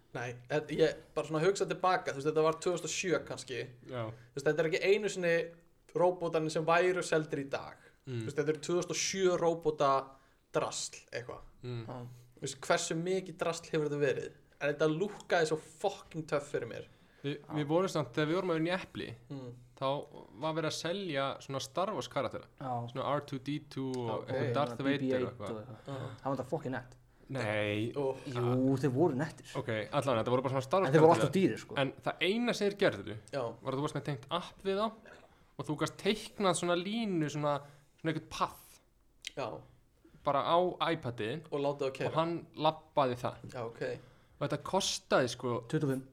Speaker 2: Nei, þetta- ég bara svona hugsa tilbaka, þú veist, þetta var 2007 kannski.
Speaker 3: já,
Speaker 2: Þú veist, þetta er ekki einu sinni róbótarnir sem væru seldir í dag. Þú
Speaker 3: mm.
Speaker 2: veist, þetta er 2007 róbóta drasl eitthvað.
Speaker 3: Mm.
Speaker 2: Þú veist, hversu mikið drasl hefur þetta verið? En þetta lúkkaði svo fucking töff fyrir mér.
Speaker 3: Vi, við vorum samt, þegar við vorum að vinna í Eppli
Speaker 2: Mm.
Speaker 3: þá var verið að selja svona Star Wars karaktera
Speaker 4: Já
Speaker 3: svona R2-D2 og
Speaker 2: Ok.
Speaker 3: eitthvað Darth Vader og eitthvað
Speaker 2: Uh.
Speaker 4: Það var þetta fokkin nett
Speaker 3: nei,
Speaker 2: Og,
Speaker 4: Jú, þeir voru nettir
Speaker 3: ok, allan þetta voru bara svona Star
Speaker 4: En
Speaker 3: Wars
Speaker 4: þeir voru alltaf dýrir sko
Speaker 3: en það eina sem þeir gerðu
Speaker 2: já,
Speaker 3: var að þú varst með tengt app við þá og þú gast teiknað svona línu svona, svona eitthvað path
Speaker 2: já,
Speaker 3: bara á iPadin
Speaker 2: og láta það
Speaker 3: og
Speaker 2: kæra.
Speaker 3: hann labbaði það
Speaker 2: Já, ok.
Speaker 3: og þetta kostaði sko
Speaker 4: 25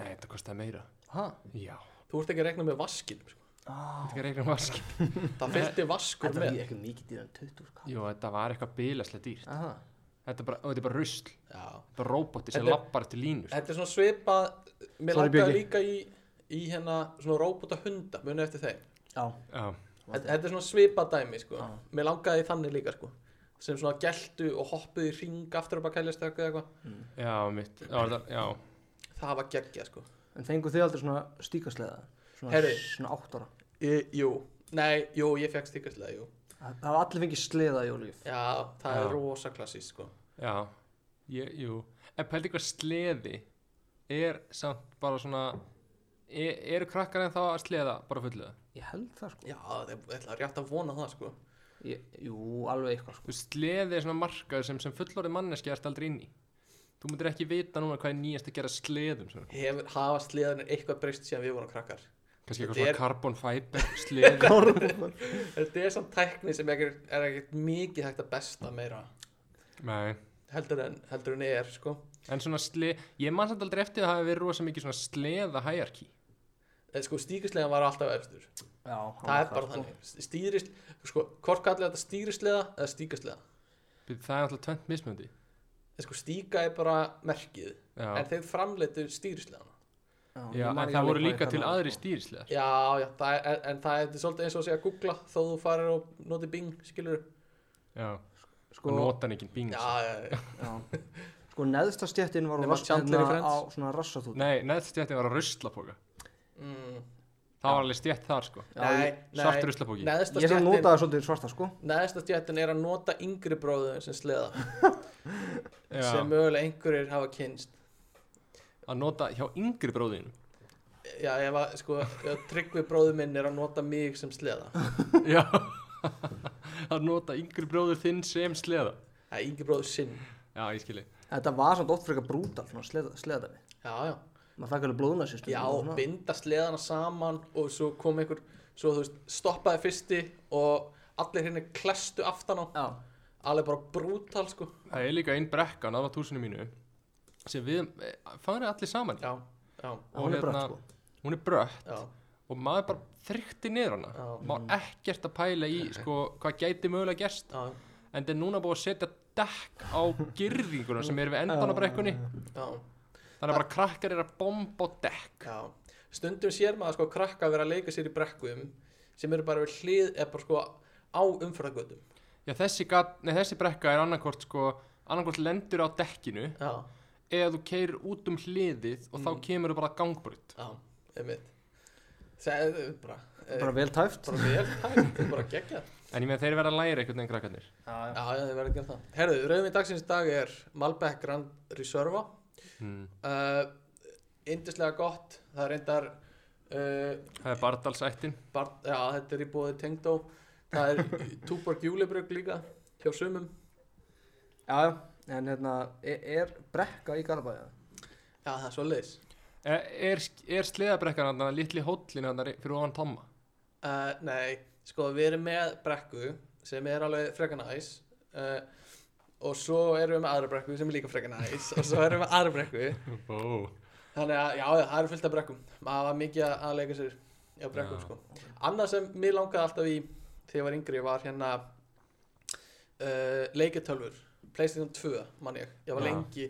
Speaker 3: Nei, þetta kostaði meira
Speaker 4: Hæ?
Speaker 3: Já
Speaker 2: Þú ert ekki að rekna með vaskinum, sko.
Speaker 3: Þetta er eitthvað vask
Speaker 2: Það fylgdi vaskur
Speaker 4: Ah, Þetta
Speaker 2: með.
Speaker 4: er ekki mikið dýrar en 20 sko
Speaker 3: Jú, þetta var eitthvað bilaslega dýrt
Speaker 4: Aha
Speaker 3: Þetta er bara, og þetta er bara rusl Þetta
Speaker 2: Já.
Speaker 3: er bara róbóti sem
Speaker 2: Þetta er-
Speaker 3: lappar eftir línu sko.
Speaker 2: Þetta er svona svipað Mér
Speaker 4: Sorry,
Speaker 2: langaði
Speaker 4: Bjöggi.
Speaker 2: líka í, í hérna svona róbóta hunda, munið eftir þeim
Speaker 4: Já
Speaker 3: Já,
Speaker 2: Þetta þetta er svona svipað dæmi sko
Speaker 4: Já.
Speaker 2: Mér langaði í þannig líka sko sem svona geltu og hoppuðu í ring aftur upp að kæljast eða eitthvað
Speaker 3: já, mitt Já, þetta, já
Speaker 2: Það var geggja sko
Speaker 4: En fengu þið aldrei svona stíkasleða Svona,
Speaker 2: Heyrðu.
Speaker 4: svona 8 ára
Speaker 2: e, Jú, nei, jú, ég fekk stíkastlega, jú
Speaker 4: Það það hafa allir fengið sleða í ólíf
Speaker 2: Já, það
Speaker 3: Já.
Speaker 2: er rosa klassís sko
Speaker 3: Já Ég, jú, en pældi hvað sleði er samt bara svona er, eru krakkar en þá að sleða bara fullu
Speaker 4: Ég held það sko
Speaker 2: Já, það er ætla rétt að vona það sko
Speaker 4: ég, Jú, alveg eitthvað sko
Speaker 3: Þú veist, sleði er svona markaður sem, sem fullorðið manneski ert aldrei inn í Þú myndir ekki vita núna hvað er nýjast að gera sleðum svona.
Speaker 2: Hefur, hafa sleðanir eitthvað breyst síðan við vorum krakkar
Speaker 3: Kannski eitthvað
Speaker 2: Þetta
Speaker 3: svona
Speaker 2: er-
Speaker 3: carbon fiber sleði *laughs*
Speaker 2: Þetta er samt tækni sem er ekkert- er ekkert mikið hægt að besta meira
Speaker 3: Nei
Speaker 2: heldur en, heldur en er sko
Speaker 3: En svona sleð, ég mann samt aldrei eftir að það hafi verið rosa mikið svona sleða hæjarki
Speaker 2: en sko stíkisleðan var alltaf efstur
Speaker 4: Já,
Speaker 2: það er bara þannig stýrist, sko, hvort kallir þetta stýrisleða eða stíkasleða
Speaker 3: Það er alltaf tvent mismöndi
Speaker 2: en sko stíka er bara merkið
Speaker 3: Já,
Speaker 2: en þeir framleitu stýrisleðan
Speaker 3: já en það voru líka til
Speaker 4: um,
Speaker 3: aðri
Speaker 4: sko.
Speaker 3: stýrisleðar
Speaker 2: já, já, það er, en, en það er svolítið eins og að segja að googla þó þú farir og noti bing, skilur
Speaker 3: Já,
Speaker 4: Sko,
Speaker 3: og notan ekki bing
Speaker 2: já, já, já,
Speaker 4: já. sko neðsta stjettin var hérna,
Speaker 2: Nema Chandler í Friends.
Speaker 4: á svona rassatút
Speaker 3: Nei, neðst stjætti var að ruslapoka
Speaker 2: mm,
Speaker 3: Það var alveg stjætt þar sko
Speaker 2: nei, nei
Speaker 3: Svartur ruslapóki.
Speaker 2: neðsta
Speaker 4: Ég sem
Speaker 2: stjættin
Speaker 4: notaði svolítið svarta sko
Speaker 2: neðsta stjættin er að nota yngri bróður sem sleða,
Speaker 3: Já.
Speaker 2: sem mögulega einhverjir hafa kynst
Speaker 3: Að nota hjá yngri bróðinu
Speaker 2: já, ef að, sko, ef tryggvi bróður minn er að nota mig sem sleða
Speaker 3: *laughs* Já *laughs* Að nota yngri bróður þinn sem sleða
Speaker 2: það er yngri bróður sinn
Speaker 3: Já, ég skilji
Speaker 4: Þetta var samt oft frekar brútal svona sleða, sleða við
Speaker 2: já, já
Speaker 4: Maður fæk alveg blóðuna sér
Speaker 2: Já, binda sleðana saman og svo kom einhver, svo þú veist, stoppaði fyrsti og allir hérna klestu aftan á,
Speaker 4: Já,
Speaker 2: alveg bara brútal sko.
Speaker 3: Það er líka einn brekkan af túsinu mínu sem við fangur allir saman í.
Speaker 2: Já, já,
Speaker 3: Og
Speaker 4: hún er brött
Speaker 3: hérna-
Speaker 4: sko
Speaker 3: Hún er brött
Speaker 2: já, og
Speaker 3: og maður bara þrykti niður hana
Speaker 2: Já.
Speaker 3: Má ekkert að pæla í sko, hvað gæti mögulega gerst
Speaker 2: já,
Speaker 3: en þetta er núna búið að setja dekk á girðinguna sem er við endan á brekkunni
Speaker 2: já,
Speaker 3: þannig að bara krakkar er að bomba á dekk
Speaker 2: já. Stundum sér maður sko krakka vera að leika sér í brekkum sem eru bara við hlið, eða bara sko á umfyrðagötum.
Speaker 3: Já, þessi, gat, nei, þessi brekka er annarkvort sko, annarkvort lendur á dekkinu
Speaker 2: Já,
Speaker 3: eða þú keirir út um hliðið og þá kemur þú bara gangbrutt.
Speaker 2: já, einmitt. Það er bara, eh,
Speaker 4: Bara vel tæft
Speaker 2: bara vel hægt, það er bara geggjað.
Speaker 3: En ég meina þeir verða að læra einhvern veginn krakkarnir.
Speaker 2: Já, já, þið verður að gera það. Herðu, rauðmið dagsins í dag er Malbec Grand Reserva.
Speaker 3: Mm.
Speaker 2: uh, Indislega gott Það er reyndar uh,
Speaker 3: Það er bardalsættin.
Speaker 2: bar, Já, þetta er í bóði Tengdó Það er Túborg Júlibrug líka Hjá sumum
Speaker 4: Já, já, en hérna er, er brekka í Garabæja
Speaker 2: Já, það er svo leiðis
Speaker 3: Er, E, er, er sleðabrekkan hann að litli hóllin hann fyrir ofan tomma?
Speaker 2: uh, Nei, sko við erum með brekku Sem er alveg frekar næs uh, Og svo erum við með aðra brekku Sem er líka frekar næs Og svo erum við með aðra brekku
Speaker 3: Ó.
Speaker 2: Þannig að, já, já, það eru fullt af brekkum Maður var mikið að- að leika sér á brekkum,
Speaker 3: Já.
Speaker 2: sko Annað sem mér langaði alltaf í þegar ég var yngri var hérna uh, leiketölfur Playstation 2, man ég, ég var
Speaker 3: Já.
Speaker 2: lengi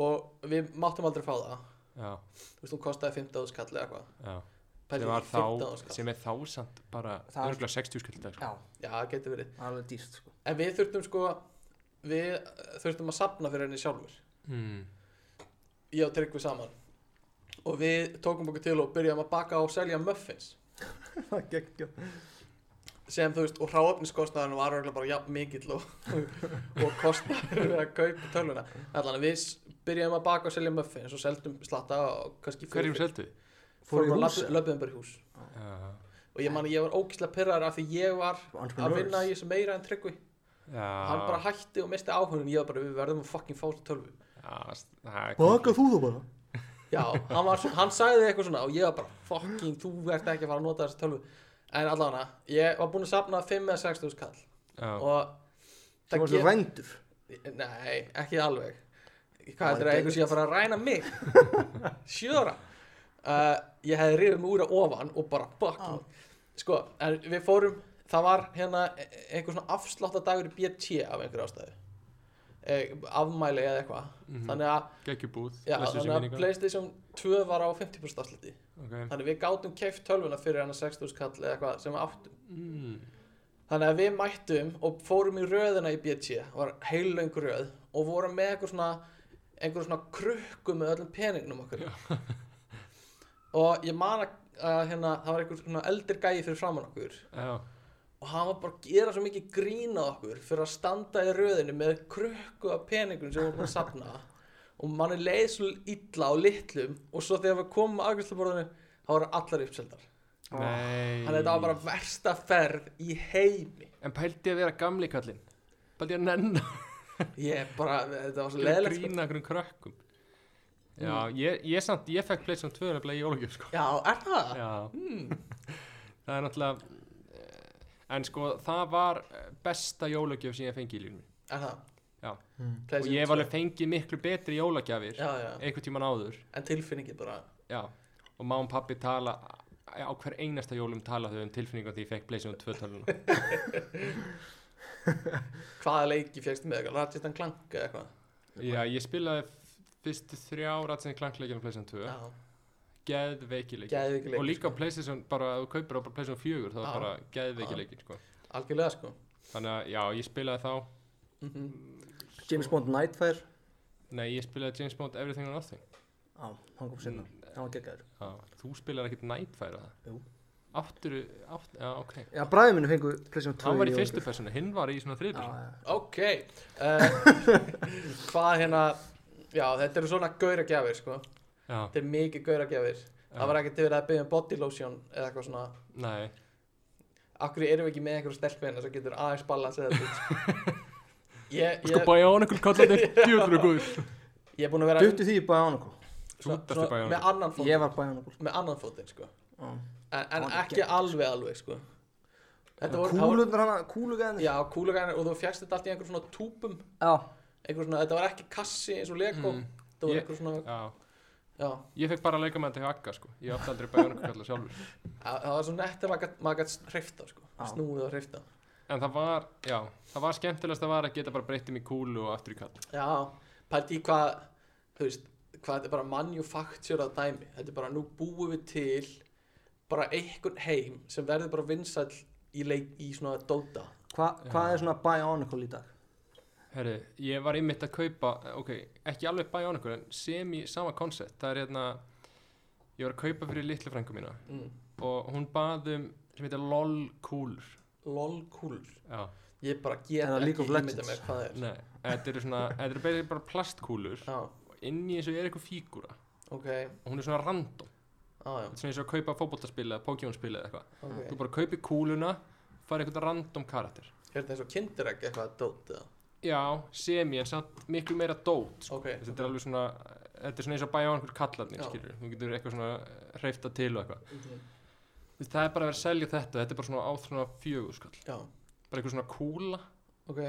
Speaker 2: og við máttum aldrei fá það
Speaker 3: Já,
Speaker 2: Þú veist, hún kostaði 15 skall eða eitthvað
Speaker 3: já.
Speaker 2: Pældi
Speaker 3: Sem, var
Speaker 2: í
Speaker 3: þá,
Speaker 2: 15.000 skall.
Speaker 3: sem er þá samt bara
Speaker 4: Það er-
Speaker 3: örgulega 60 skall í dag. sko.
Speaker 4: Já,
Speaker 2: Já, það getur verið
Speaker 4: alveg dýrt
Speaker 2: *laughs*
Speaker 4: sko
Speaker 2: En við þurftum sko við eh, þurftum að sapna fyrir henni sjálfur
Speaker 3: Mm.
Speaker 2: ég og Tryggvi saman og við tókum okkur til og byrjum að baka og selja muffins
Speaker 4: Það gekkja
Speaker 2: sem þú veist, og hráöfniskostnaðurinn var örugglega bara jafn mikill og, og kostnaðurinn við að kaupa tölvuna allan að við s- byrjuðum að baka og selja muffins og seldum slatta og kannski
Speaker 3: Hverjum seldu?
Speaker 4: Fóru í
Speaker 2: fórum
Speaker 4: hús?
Speaker 2: að löpum bara í hús
Speaker 3: Já,
Speaker 2: og ég man að ég var ógislega pyrrar af því ég var að vinna í þessu meira en tryggvi
Speaker 3: já.
Speaker 2: hann
Speaker 3: Ah.
Speaker 2: bara hætti og misti áhugnum ég var bara, við verðum að fucking fá þessu tölvu
Speaker 3: Já, s- það er
Speaker 4: Baka þú það bara
Speaker 2: já, hann, var, svo- hann sagði eitthvað svona og ég var bara, fucking, þú ert ekki að fara að nota þessu tölvu en allan að ég var búin að sapna 5 eða 6 þús kall
Speaker 3: Já.
Speaker 2: og
Speaker 4: Það var svo
Speaker 2: gef-
Speaker 4: rændur
Speaker 2: Nei, ekki alveg
Speaker 4: Það
Speaker 2: Hvað þetta er
Speaker 4: var
Speaker 2: eitthvað sé að fara að ræna
Speaker 3: *laughs*
Speaker 2: mig Sjöra uh, Ég hefði rifið mig úr að ofan og bara bakking Sko, en við fórum Það var hérna e- e- einhver svona afsláttadagur í BT af einhverju ástæðu e, Afmæli eða eitthvað
Speaker 3: Mhm.
Speaker 2: Þannig að,
Speaker 3: geggjubúð.
Speaker 2: já,
Speaker 3: blessuð sé
Speaker 2: þannig að
Speaker 3: minning hans.
Speaker 2: Playstation 2 var á 50% afsluti
Speaker 3: Ok.
Speaker 2: Þannig við gátum keift tölvuna fyrir hennar 6000 kall eða eitthvað sem við áttum
Speaker 3: Mm.
Speaker 2: Þannig að við mættum og fórum í röðina í BT, var heilöng röð og vorum með einhver svona, einhver svona krukku með öllum peningnum okkur. Og ég man að, að hérna, það var einhver svona eldir gæi fyrir framann okkur
Speaker 3: Já,
Speaker 2: og hann var bara að gera svo mikið grín að okkur fyrir að standa í röðinu með krukku af peningum sem hún var að safna og manni leið svo illa á litlum og svo þegar við komum að afgjörsluborðinu þá voru allar uppseldar
Speaker 3: Nei
Speaker 2: þannig að þetta var bara versta ferð í heimi
Speaker 3: En pældi að vera gamli kallinn Pældi að nenn
Speaker 2: ég bara, þetta var svo
Speaker 3: að
Speaker 2: leðilegt
Speaker 3: grína einhverjum krökkum Já, ég, ég samt, ég fekk Playstation 2 nefnilega í jólagjöf sko
Speaker 2: já, er það?
Speaker 3: Já,
Speaker 2: Hmm.
Speaker 3: *laughs* það er náttúrulega eh, En sko, það var eh, besta jólagjöf sem ég fengi í lífum
Speaker 2: er það?
Speaker 3: Já.
Speaker 1: Mm.
Speaker 3: Og
Speaker 2: PlayStation
Speaker 3: ég hef
Speaker 2: 2.
Speaker 3: alveg fengið miklu betri jólagjafir
Speaker 2: já, já.
Speaker 3: einhvern tíman áður
Speaker 2: en tilfinningið bara
Speaker 3: Já, og má og pappi tala á hver einasta jólum tala þau um tilfinningum því ég fekk Playstation 2
Speaker 2: *laughs*
Speaker 3: töluna
Speaker 2: hvaða leiki fjækst með eitthvað, Ratchet and Clank eða eitthvað
Speaker 3: Já, ég spilaði f- fyrstu þrjá rætsinni klangleikinu Playstation 2
Speaker 2: já,
Speaker 3: geðveikileik
Speaker 2: Geðveikir leikir,
Speaker 3: og líka
Speaker 2: sko.
Speaker 3: Playstation, bara ef þú kaupir á bara Playstation 4 þá er
Speaker 2: Já.
Speaker 3: bara
Speaker 2: Já.
Speaker 3: geðveikileikir sko.
Speaker 2: algjörlega sko
Speaker 3: þannig að já, ég spilaði þá
Speaker 2: mm
Speaker 4: James Bond Nightfire
Speaker 3: nei, ég spilaði James Bond Everything or Nothing
Speaker 4: á, hann kom sinna,
Speaker 2: Mm.
Speaker 4: hann var geggjæður
Speaker 3: já, þú spilaði ekkert Nightfire að það
Speaker 4: Jú.
Speaker 3: áttur, átt, já, ok
Speaker 4: já, bræði minni fengu Playstation 2
Speaker 3: hann var í
Speaker 4: jólagjöf.
Speaker 3: fyrstu personu, hinn var í svona
Speaker 4: Já,
Speaker 3: þriðbjörn
Speaker 4: já.
Speaker 2: ok uh, hvað hérna já, þetta eru svona gauðra gjafir sko
Speaker 3: já,
Speaker 2: þetta er mikið gauðra gjafir það var ekkert verið að byggja um body lotion eða eitthvað svona
Speaker 3: nei,
Speaker 2: akkur erum við ekki með einhverju stelpina sem getur aðeins balansið þetta út ég,
Speaker 3: sko
Speaker 2: ég,
Speaker 3: Bionicle
Speaker 2: *laughs*
Speaker 3: kallandir djúður og guð
Speaker 2: ég er búin að vera
Speaker 4: duttu því í Bionicle
Speaker 3: þú
Speaker 2: svona-
Speaker 3: dætti
Speaker 2: svona
Speaker 3: Bionicle.
Speaker 2: með annan fótinn
Speaker 4: ég var Bionicle
Speaker 2: með annan fótinn sko
Speaker 4: Já.
Speaker 2: en, en
Speaker 4: Það var
Speaker 2: ekki
Speaker 4: geggjað,
Speaker 2: alveg alveg sko þetta voru það voru-
Speaker 4: kúlunar hana, kúlugæðinir
Speaker 2: já kúlugæðinir og þú fjækst þetta allt í einhver svona túpum
Speaker 4: já,
Speaker 2: einhver svona þetta var ekki kassi eins og lego
Speaker 3: Mm.
Speaker 2: þetta var
Speaker 3: Ég-
Speaker 2: einhver svona
Speaker 3: já,
Speaker 2: já
Speaker 3: ég fekk bara að leika með þetta hjá Akka sko ég átti aldrei Bionicle kallar sjálfur
Speaker 2: það það var svo nett að maður gat- maður gætt hrifta sko
Speaker 4: Já.
Speaker 2: snúið og hrifta
Speaker 3: en það var, já, það var skemmtilegast að var að geta bara breytið mig í kúlu og aftur í kall
Speaker 2: já pælt í hvað þú veist hvað þetta er bara manufakturað dæmi þetta er bara nú búum við til bara einhvern heim sem verður bara vinsall í leik í svona dóta
Speaker 4: Hva, hvað
Speaker 3: Já.
Speaker 4: er svona Bionicle í dag?
Speaker 3: Herri, ég var einmitt að kaupa, ok, ekki alveg Bionicle, en sem í sama koncept, það er hérna, ég var að kaupa fyrir litlu frængu mína
Speaker 2: mm.
Speaker 3: og hún bað um, sem heitir LOL Cooler.
Speaker 2: lol cool
Speaker 3: Já.
Speaker 2: ég bara get
Speaker 4: Er það League
Speaker 2: ekki
Speaker 4: of
Speaker 2: ímynda
Speaker 4: Legends?
Speaker 2: mér
Speaker 4: *laughs*
Speaker 2: hvað það er
Speaker 3: Nei, þetta eru svona, þetta eru basically bara plastkúlur
Speaker 2: já
Speaker 3: og inn í þessu er eitthvað fígúra
Speaker 2: ok
Speaker 3: og hún er svona random,
Speaker 2: já já
Speaker 3: þetta er svona eins og að kaupa fótboltaspil eða Pokémon-spil eða eitthvað.
Speaker 2: ok
Speaker 3: Þú bara kaupir kúluna, farið eitthvað random karakter.
Speaker 2: Er þetta eins og kinderegg eitthvað dót eða?
Speaker 3: Já, semi, en samt miklu meira dót, sko.
Speaker 2: Ok,
Speaker 3: Þetta er alveg svona, þetta er svona eins og Bionicle kallarnir,
Speaker 2: Já.
Speaker 3: skilur. Þú getur eitthvað svona hreifta til og eitthvað. Þú veist, Það er bara að vera að selja þetta, þetta er bara svona áþruna fjögurskall
Speaker 2: já,
Speaker 3: Bara einhver svona kúla
Speaker 2: ok,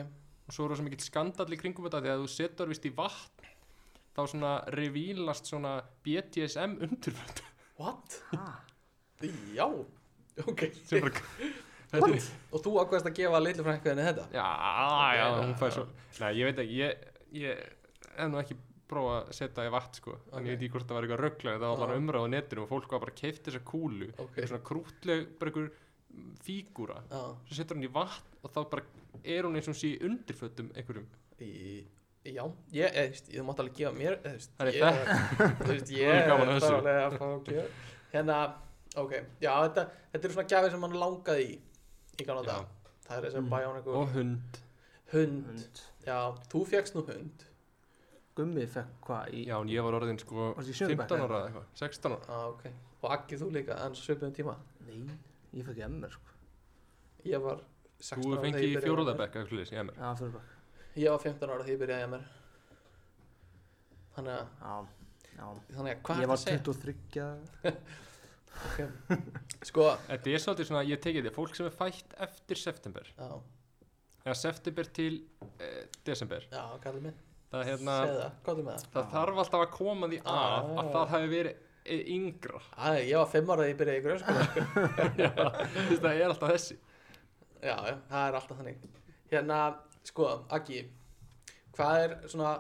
Speaker 3: og svo er það mikill skandall í kringum þetta því að þú setur vist í vatn þá svona revílast svona BDSM undirföld
Speaker 2: what?
Speaker 4: Ha?
Speaker 2: Já, ok,
Speaker 3: sem bara Þetta er-
Speaker 2: *laughs* og þú ákveðast að gefa litlu frænkuðinni þetta?
Speaker 3: Já, já, hún fær svo Nei, ég veit ekki, ég, ég hef nú ekki prófað að setja í vatn sko en ég veit
Speaker 2: Ok.
Speaker 3: ekki hvort það var eitthvað rögglega það var bara
Speaker 2: Já.
Speaker 3: umræð á netinu og fólk var bara keift þessa kúlu
Speaker 2: Ok,
Speaker 3: okay. svona krútleg, bara einhver fígúra
Speaker 2: já,
Speaker 3: svo setur hún í vatn og þá bara er hún eins og hún sé í undirföldum einhverjum
Speaker 2: í, já, ég, eða, þú veist, þú mátt alveg gefa mér, eða, þú veist,
Speaker 3: Það er
Speaker 2: ég, þú
Speaker 3: *laughs*
Speaker 2: veist,
Speaker 3: Þú
Speaker 2: ég,
Speaker 3: er gaman að þessu.
Speaker 2: alveg að fá að gefa, hérna, ok, já, þetta, þetta eru svona gjafir sem mann langaði í, í gamla
Speaker 3: Já.
Speaker 2: dag, það er þessi
Speaker 4: Mm.
Speaker 2: bæjóniku,
Speaker 3: og hund
Speaker 2: hund,
Speaker 4: Hund.
Speaker 2: já, þú fegst nú hund,
Speaker 4: gummi fekk hvað í
Speaker 3: Já, en ég var orðin sko
Speaker 4: Varstu í
Speaker 3: 15
Speaker 4: sjöunda bekk,
Speaker 3: ára eða eitthvað, 16 ára
Speaker 2: já, Ah, ok, og Aggi þú líka, en svipum tíma,
Speaker 4: nei, ég fekk emmer sko
Speaker 2: ég var 16
Speaker 3: Þú
Speaker 2: ára þegar
Speaker 3: fengi
Speaker 2: ég byrjaði á
Speaker 3: í
Speaker 2: mér.
Speaker 3: fjóruðabekk eitthvað leys, ég er mér
Speaker 4: já, fyrir bara
Speaker 2: Ég var 15 ára þegar ég byrjaði að mér Þannig að,
Speaker 4: já, já
Speaker 2: þannig að hvað
Speaker 4: ég
Speaker 2: er
Speaker 4: var
Speaker 2: það að
Speaker 4: 23
Speaker 2: segja? Sko,
Speaker 3: Þetta er svolítið svona, ég tekið þetta, fólk sem er fætt eftir september
Speaker 2: já,
Speaker 3: eða september til e, desember
Speaker 2: já, kallið mig
Speaker 3: það, er hérna,
Speaker 2: Segðu það, hvað er með það?
Speaker 3: það þarf alltaf að koma því að
Speaker 2: Ah.
Speaker 3: að það hafi verið e, yngra
Speaker 2: Æ, ég var 5 ára þegar ég byrjaði
Speaker 4: *laughs*
Speaker 2: í grunnskóla sko.
Speaker 3: *laughs* Já, *laughs* þú veist, það er alltaf þessi
Speaker 2: Já, já, það er alltaf þannig Hérna, sko, Aggi Hvað er svona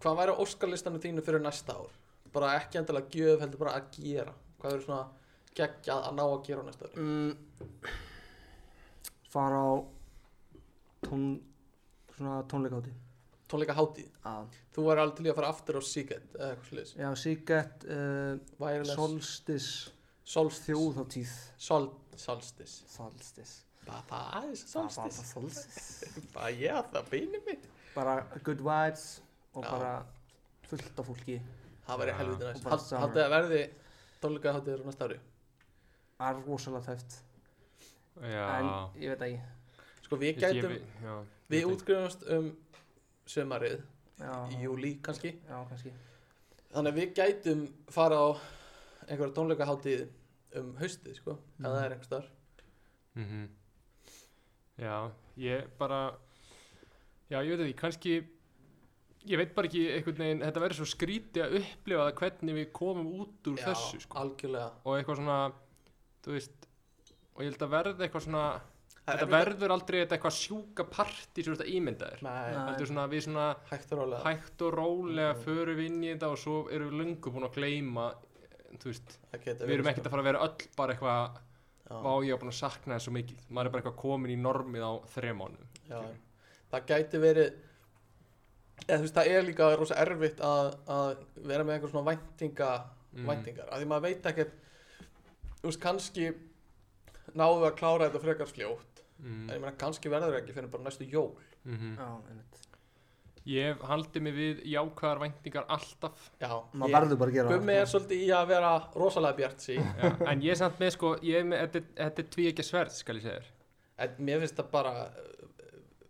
Speaker 2: Hvað væri á óskarlistanum þínu fyrir næsta ár? Bara ekki endilega gjöf, heldur bara að gera Hvað eru svona geggjað að ná að gera á næsta ári?
Speaker 4: mm, fara á tón, svona tónleikáti
Speaker 2: Tónleika hátíð
Speaker 4: að,
Speaker 2: Þú væri alveg til í að fara aftur á Seagate eða eitthvað sliðis
Speaker 4: já, Sigget uh,
Speaker 2: Wireless
Speaker 4: Solstis
Speaker 2: Solstis
Speaker 4: þjóðhátíð
Speaker 2: Sol, Solstis
Speaker 4: Solstis
Speaker 2: Bara aðeins að
Speaker 4: Það var
Speaker 2: solstis.
Speaker 4: bara solstis.
Speaker 2: Bara ég að það beinir mitt.
Speaker 4: Bara good vibes og
Speaker 2: Já.
Speaker 4: bara fullt af fólki.
Speaker 2: Það væri
Speaker 3: Já.
Speaker 2: helviti
Speaker 4: Og
Speaker 2: næst.
Speaker 4: bara
Speaker 2: Hald-
Speaker 4: summer.
Speaker 2: Haldið að verði tólika hátíður á næsta ári.
Speaker 4: Það er rosalega tæft. En
Speaker 3: Já,
Speaker 4: ég veit ekki.
Speaker 2: Sko við
Speaker 3: Ég- ég
Speaker 2: gætum,
Speaker 3: vei- já, ég
Speaker 2: við
Speaker 3: veit
Speaker 2: útgrifumst um sömarið, í
Speaker 4: Já,
Speaker 2: júli kannski.
Speaker 4: já kannski.
Speaker 2: Þannig að við gætum fara á einhverja tónleika um haustið, sko. Ef það er einhvers þar.
Speaker 3: Mhm. Já, ég bara Já, ég veit ekki, kannski Ég veit bara ekki einhvern veginn Þetta verður svo skrítið að upplifa það hvernig við komum út úr þessu sko.
Speaker 2: algjörlega.
Speaker 3: Og eitthvað svona Þú veist Og ég held að verða eitthvað svona
Speaker 2: Það er
Speaker 3: Þetta
Speaker 2: erfitt
Speaker 3: verður aldrei þetta eitthvað sjúka partí sem þú veist að ímynda þér
Speaker 2: að- Nei,
Speaker 4: Nei.
Speaker 3: Þetta er svona, við svona
Speaker 2: hægt og rólega.
Speaker 3: hægt og rólega
Speaker 2: Mm.
Speaker 3: förum við inn í þetta og svo erum við löngu búin að gleyma Þú veist,
Speaker 2: Það geta
Speaker 3: við erum
Speaker 2: verið,
Speaker 3: ekkert
Speaker 2: sko.
Speaker 3: að fara að vera öll bara eitthvað
Speaker 2: Já.
Speaker 3: Vá, ég var búin að sakna það svo mikið. Maður er bara eitthvað komin í normið á þrejum mánu.
Speaker 2: Já, það gæti verið eða þú veist, það er líka rosa erfitt að, að vera með einhver svona væntinga
Speaker 3: Mhm.
Speaker 2: væntingar, af því maður veit ekkert þú veist, kannski náðu að klára þetta frekar fljótt en ég
Speaker 3: Mm.
Speaker 2: meina, kannski verður ekki fyrir bara næstu jól
Speaker 3: Mm.
Speaker 4: Já, einmitt.
Speaker 3: Ég hef haldið mig við jákvæðar væntingar alltaf.
Speaker 2: Já,
Speaker 4: Maður
Speaker 2: ég,
Speaker 4: verður bara að gera það, sko.
Speaker 2: Gummi er svolítið í að vera rosalega bjart sí,
Speaker 3: Já. En ég er samt með, sko, ég er með, þetta, er- þetta er tví ekki sverð, skal ég segja þér.
Speaker 2: en mér finnst það bara uh,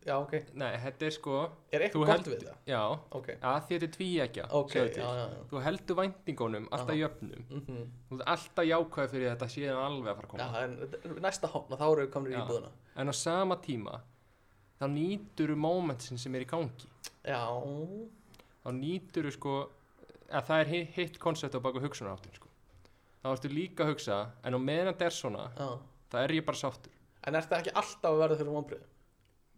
Speaker 2: já, ok,
Speaker 3: Nei, þetta er sko,
Speaker 2: er
Speaker 3: Þú
Speaker 2: eitthvað gott
Speaker 3: heldur-
Speaker 2: við það?
Speaker 3: já,
Speaker 2: Ok,
Speaker 3: að því þetta er tví ekki.
Speaker 2: ok, já, já, já
Speaker 3: Þú heldur væntingunum alltaf
Speaker 2: Aha.
Speaker 3: jöfnum.
Speaker 2: Mm -hmm.
Speaker 3: Þú ert alltaf jákvæð fyrir þetta séðan alveg að fara að
Speaker 2: Já,
Speaker 3: koma.
Speaker 2: en næsta hopna, þá eru við komin í
Speaker 3: Já.
Speaker 2: íbúðuna
Speaker 3: En á sama tíma, þá nýtur þú momentin sem er í gangi.
Speaker 2: Já,
Speaker 3: þá nýtur þú sko að það er hi- hitt koncept á baku hugsunarháttin sko. þá ertu líka að hugsa en á meðan þetta er svona,
Speaker 2: já
Speaker 3: það er ég bara sáttur
Speaker 2: En ert það ekki alltaf að verða fyrir vonbröðum?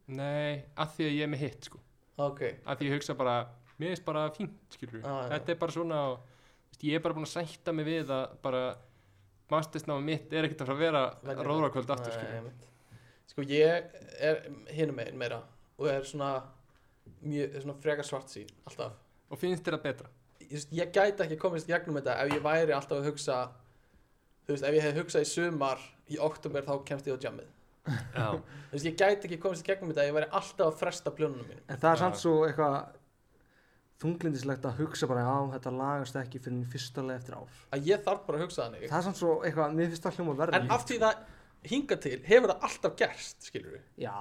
Speaker 3: nei, að því að ég er með hitt sko.
Speaker 2: Ok,
Speaker 3: að því ég hugsa bara, mér finnst bara fínt skilur,
Speaker 2: Já, já.
Speaker 3: þetta er bara svona og, veist, ég er bara búin að sætta mig við að bara mastersnáma mitt er ekkert að fara að vera róðrakvöld aftur
Speaker 2: Nei,
Speaker 3: skilur.
Speaker 2: einmitt. Sko ég er hinum megin meira og er svona, mjög, er svona frekar svart sín alltaf
Speaker 3: og finnst þér það betra
Speaker 2: Ég, veist, ég gæti ekki komist gegnum þetta ef ég væri alltaf að hugsa Þú veist, ef ég hef hugsað í sumar, í oktober þá kemst ég á jammið
Speaker 3: já,
Speaker 2: Þú veist, ég gæti ekki komist gegnum þetta ef ég væri alltaf að fresta pljónunum mínum
Speaker 4: En það er
Speaker 3: Já.
Speaker 4: samt svo eitthvað þunglindislegt að hugsa bara já, þetta lagast ekki fyrir fyrstulega eftir ár.
Speaker 2: Að ég þarf bara að hugsa þannig
Speaker 4: Það er samt svo eitthvað, mér finnst það hljóma verður.
Speaker 2: En af því það hinga til, hefur það alltaf gerst, skilur við
Speaker 4: Já,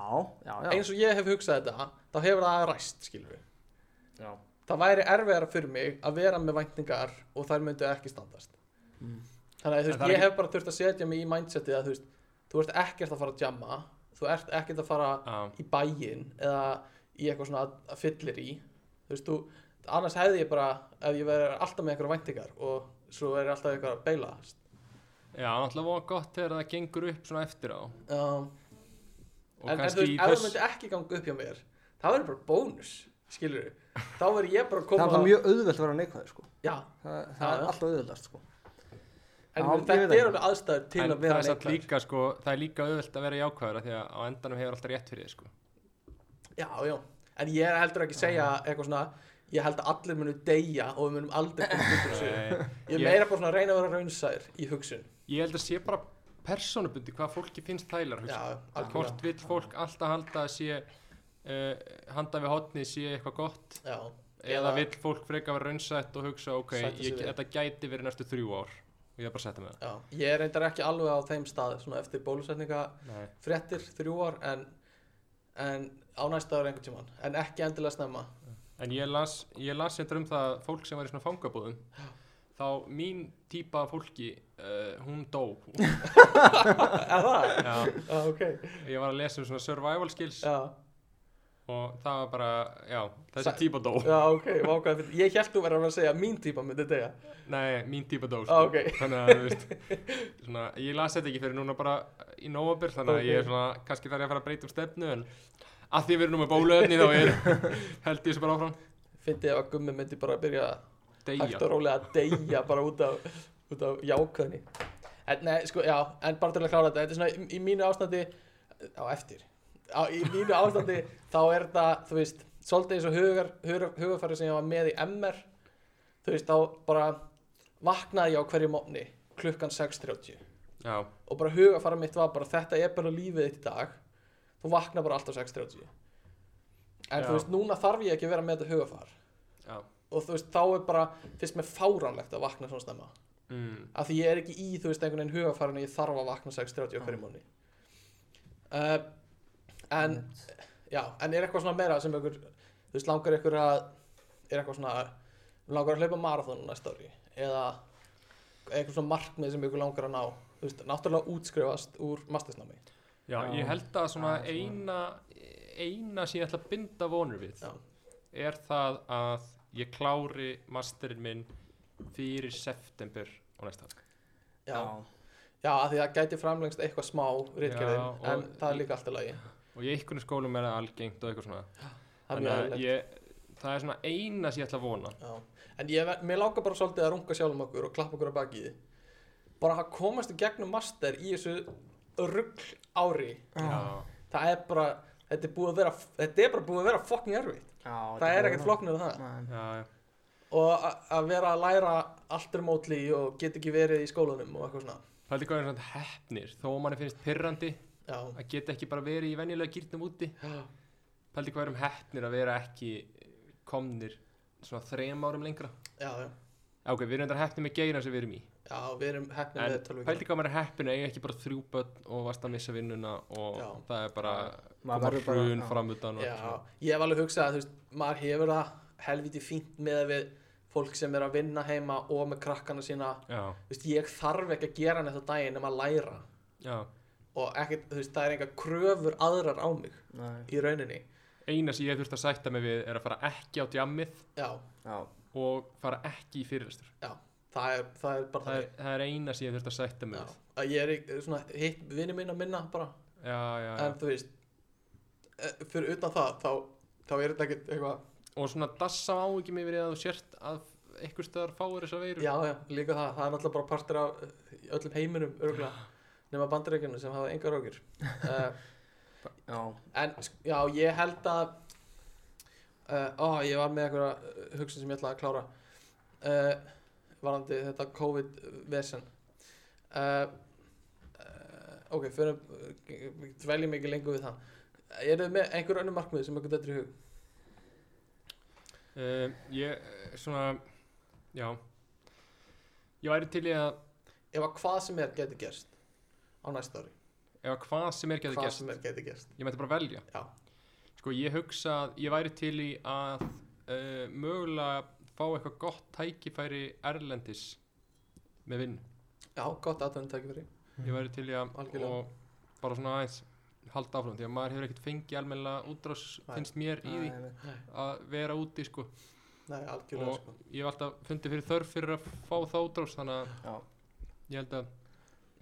Speaker 4: já, já.
Speaker 2: Eins og ég hef hugsað þetta, þá hefur það ræst, skilur við
Speaker 4: Já.
Speaker 2: það væri erfiðara fyrir mig að vera með væntingar og þær myndu ekki standast
Speaker 4: Mm.
Speaker 2: þannig að þú
Speaker 3: En
Speaker 2: veist,
Speaker 3: það er
Speaker 2: ég
Speaker 3: ekki-
Speaker 2: hef bara þurft að setja mig í mindsetið að þú veist, þú ert ekkert að fara að jamma þú ert ekkert að fara
Speaker 3: já,
Speaker 2: í bæinn eða í eitthvað svona að- að fyllir í þú veist, þú, annars hefði ég bara ef ég verið alltaf með einhverja væntingar og svo verið alltaf eitthvað að beila
Speaker 3: já alltaf var gott þegar það gengur upp svona eftir á
Speaker 2: um,
Speaker 3: og
Speaker 2: en, en þú
Speaker 3: kannski
Speaker 2: veist, ef
Speaker 3: í
Speaker 2: það
Speaker 3: þess
Speaker 2: myndi ekki ganga upp hjá mér það verið bara bónus, skilur þá verið ég bara að
Speaker 4: Það
Speaker 2: koma
Speaker 4: er það mjög auðvelt að vera neikvæður sko.
Speaker 2: já,
Speaker 4: Það,
Speaker 2: Já,
Speaker 4: það er
Speaker 2: já.
Speaker 4: alltaf auðveldast sko.
Speaker 2: en
Speaker 4: Já,
Speaker 2: já,
Speaker 4: ég veit
Speaker 2: þetta
Speaker 4: ekki.
Speaker 2: er alveg aðstæður til
Speaker 3: en
Speaker 2: að vera
Speaker 3: það er satt
Speaker 2: neikvæður.
Speaker 3: líka sko, það er líka auðvöld að vera jákvæður af því að á endanum hefur alltaf rétt fyrir þið sko.
Speaker 2: Já, já, en ég er heldur ekki að segja eitthvað svona Ég held að allir munum deyja og við munum aldrei koma út úr þessu Ég er
Speaker 3: Ég-
Speaker 2: meira bara svona að reyna að vera raunsær í hugsun
Speaker 3: ég held að sé bara persónubundi hvað fólki finnst þælar
Speaker 2: Já, algjörlega
Speaker 3: hvort vill fólk alltaf halda að sé uh, handa við hotni sé eitthvað gott
Speaker 2: Já,
Speaker 3: eða
Speaker 2: Eða-
Speaker 3: vill fólk freka vera raunsætt og hugsa ok,
Speaker 2: Sætta sig
Speaker 3: ég,
Speaker 2: við.
Speaker 3: þetta gæti verið næstu þrjú ár og ég er bara að setja með
Speaker 2: já Ég er reyndar ekki alveg á þeim stað svona eftir bólusetninga
Speaker 3: það Nei.
Speaker 2: fréttir þrjú ár en, en á næsta ára einhvern tímann en ekki endilega snemma
Speaker 3: en ég las, ég las eitthvað um það að fólk sem var í svona fangabúðum þá mín típa af fólki uh, hún dó
Speaker 2: Er það?
Speaker 3: Já,
Speaker 2: Já, ok
Speaker 3: ég var að lesa um svona survival skills
Speaker 2: Já,
Speaker 3: og það var bara, já, þessi
Speaker 2: Sa-
Speaker 3: típa dó
Speaker 2: já ok, vákaði fyrir Ég held þú verið að vera að segja að mín típa myndi deyja
Speaker 3: Nei, mín típa dó sko.
Speaker 2: Ah, ok.
Speaker 3: Þannig að, þú veist
Speaker 2: *laughs*
Speaker 3: svona, Ég las þetta ekki fyrir núna bara í nóvabir Þannig að
Speaker 2: Ok.
Speaker 3: ég er svona, kannski þarf ég að fara að breyta um stefnu En að því við erum nú með bóluefni Þá
Speaker 2: *laughs*
Speaker 3: er, held ég þessu bara áfram
Speaker 2: Fyndi ef að gummi myndi bara að byrja að hægt
Speaker 3: Deyja
Speaker 2: og rólega að deyja bara út af, út af jákvæðni en, nei, sko, já, en bara til að klára þetta þetta er svona í, í mínu ástandi á eftir á, í mínu ástandi þá er það, þú veist, svolítið eins og hugar, hugar, hugarfæri sem ég var með í MR þú veist, þá bara vaknaði ég á hverju mótni klukkan 6.30
Speaker 3: já,
Speaker 2: og bara hugafara mitt var bara þetta er bara lífið þitt í dag þú vakna bara alltaf 6.30 en
Speaker 3: Já.
Speaker 2: þú veist, núna þarf ég ekki að vera með þetta hugafar
Speaker 3: já
Speaker 2: og þú veist, þá er bara, finnst mér fáránlegt að vakna svona stemma
Speaker 3: mm,
Speaker 2: af því ég er ekki í, þú veist, einhvern veginn hugafarinu ég þarf að vakna 6.30 á hverjum móni uh, en já, en er eitthvað svona meira sem ykkur, þú veist, langar ykkur að er eitthvað svona, langar að hlaupa marathon næsta ári, eða eitthvað svona markmið sem ykkur langar að ná þú veist, náttúrulega útskrifast úr mastersnámi
Speaker 3: já,
Speaker 4: Já.
Speaker 3: ég held að svona
Speaker 4: Já, svona-
Speaker 3: eina eina sem ég ætla að binda vonur við
Speaker 2: Já.
Speaker 3: er það að ég klári masterinn minn fyrir september á næsta ári.
Speaker 2: já, já, af því það gæti framlengst eitthvað smá
Speaker 3: Já,
Speaker 2: rítgerðin,
Speaker 3: og-
Speaker 2: en það er líka alltaf lagi
Speaker 3: og í einhvern skólum er það algengt og eitthvað svona
Speaker 2: það er mjög
Speaker 3: að
Speaker 2: aðeinslegt
Speaker 3: ég, það er svona eina sem ég ætla að vona
Speaker 2: Já, en ég, mér langar bara svolítið að runga sjálfum okkur og klappa okkur á bakið bara að komast í gegnum master í þessu rugl ári
Speaker 3: já,
Speaker 2: það er bara, þetta er búið að vera þetta er bara búið að vera fokkin erfitt það er ekkert flokknir en það
Speaker 4: flokk
Speaker 3: já, já,
Speaker 2: og a- að vera að læra allt er mótli og get ekki verið í skólanum og eitthvað svona
Speaker 3: það er líka einhvern svona hefnir þó að manni finnst pyrrandi
Speaker 2: já,
Speaker 3: að geta ekki bara verið í venjulega gýrnum úti pældi hvað erum hefnir að vera ekki komnir svona þrem árum lengra
Speaker 2: já, já,
Speaker 3: Já, ok, við erum þetta hefnir með geiran sem við erum í
Speaker 2: já við erum hefnir
Speaker 3: en
Speaker 2: með tölvíkina
Speaker 3: pældi hvað maður er hefnir að eiga ekki bara þrjú börn og vast að missa vinnuna og
Speaker 2: Já.
Speaker 3: það er bara
Speaker 4: Maður
Speaker 3: koma
Speaker 4: verður bara-
Speaker 3: hrun
Speaker 4: já.
Speaker 3: fram utan og
Speaker 2: Já, ég hef alveg hugsað að þú veist, maður hefur það helviti fínt með við fólk sem er að vinna heima og með krakkana sína
Speaker 3: já,
Speaker 2: þú veist, ég þarf ekki að gera neitt á daginn nema að læra
Speaker 3: já.
Speaker 2: og ekkert, þú veist, það er enga kröfur aðrar á mig í rauninni
Speaker 3: eina sem ég hef þurft að sætta mig við er að fara ekki á djammið
Speaker 2: já,
Speaker 3: og fara ekki í fyrirlestur
Speaker 2: já, það er, það er bara
Speaker 3: það er,
Speaker 2: þannig
Speaker 3: það er eina sem ég hef þurft að sætta mig
Speaker 2: já, að ég er í- svona hitt vinni mín að minna bara,
Speaker 3: við já, já, já.
Speaker 2: en þú veist eh, fyrir utan það, þá, þá er þetta ekkert eitthvað,
Speaker 3: og svona dassa á ekki mig verið að þú sért að einhver stöðar fáir þessa veiru
Speaker 2: já, já, líka það það er náttúrulega bara partur af eh, í öllum heiminum örgulega, nema bandaríkjunum sem hafa engar
Speaker 3: *laughs*
Speaker 2: okkur uh, En sk- já, ég held að uh, Ó, ég var með einhverja uh, hugsun sem ég ætlaði að klára uh, Varandi þetta COVID-vesen uh, uh, Ok, fyrir uh, Dveljum ekki lengur við það Er þið með einhver önnur markmið sem ykkur dættur í hug?
Speaker 3: um, ég eh, svona já ég væri til í að
Speaker 2: Ef að hvað sem er geti gerst á næsta ári
Speaker 3: ef að hvað sem er getur
Speaker 2: Hvað
Speaker 3: gerst
Speaker 2: sem er geti gerst
Speaker 3: ég mætti bara velja
Speaker 2: Já,
Speaker 3: sko ég hugsa að ég væri til í að uh, mögulega fá eitthvað gott tækifæri erlendis með vinn
Speaker 2: já gott aðtönd takk fyrir
Speaker 3: ég væri til í að
Speaker 2: Mhm. Algjörlega.
Speaker 3: og bara svona aðeins halda áfram því að maður hefur ekkert fengið almennilega útrás
Speaker 2: Nei.
Speaker 3: finnst mér í því
Speaker 2: Nei,
Speaker 3: að vera úti sko
Speaker 2: nei algjörlega
Speaker 3: og
Speaker 2: sko
Speaker 3: ég hef alltaf fundið fyrir þörf fyrir að fá þá útrás þannig að
Speaker 4: Já.
Speaker 3: ég held að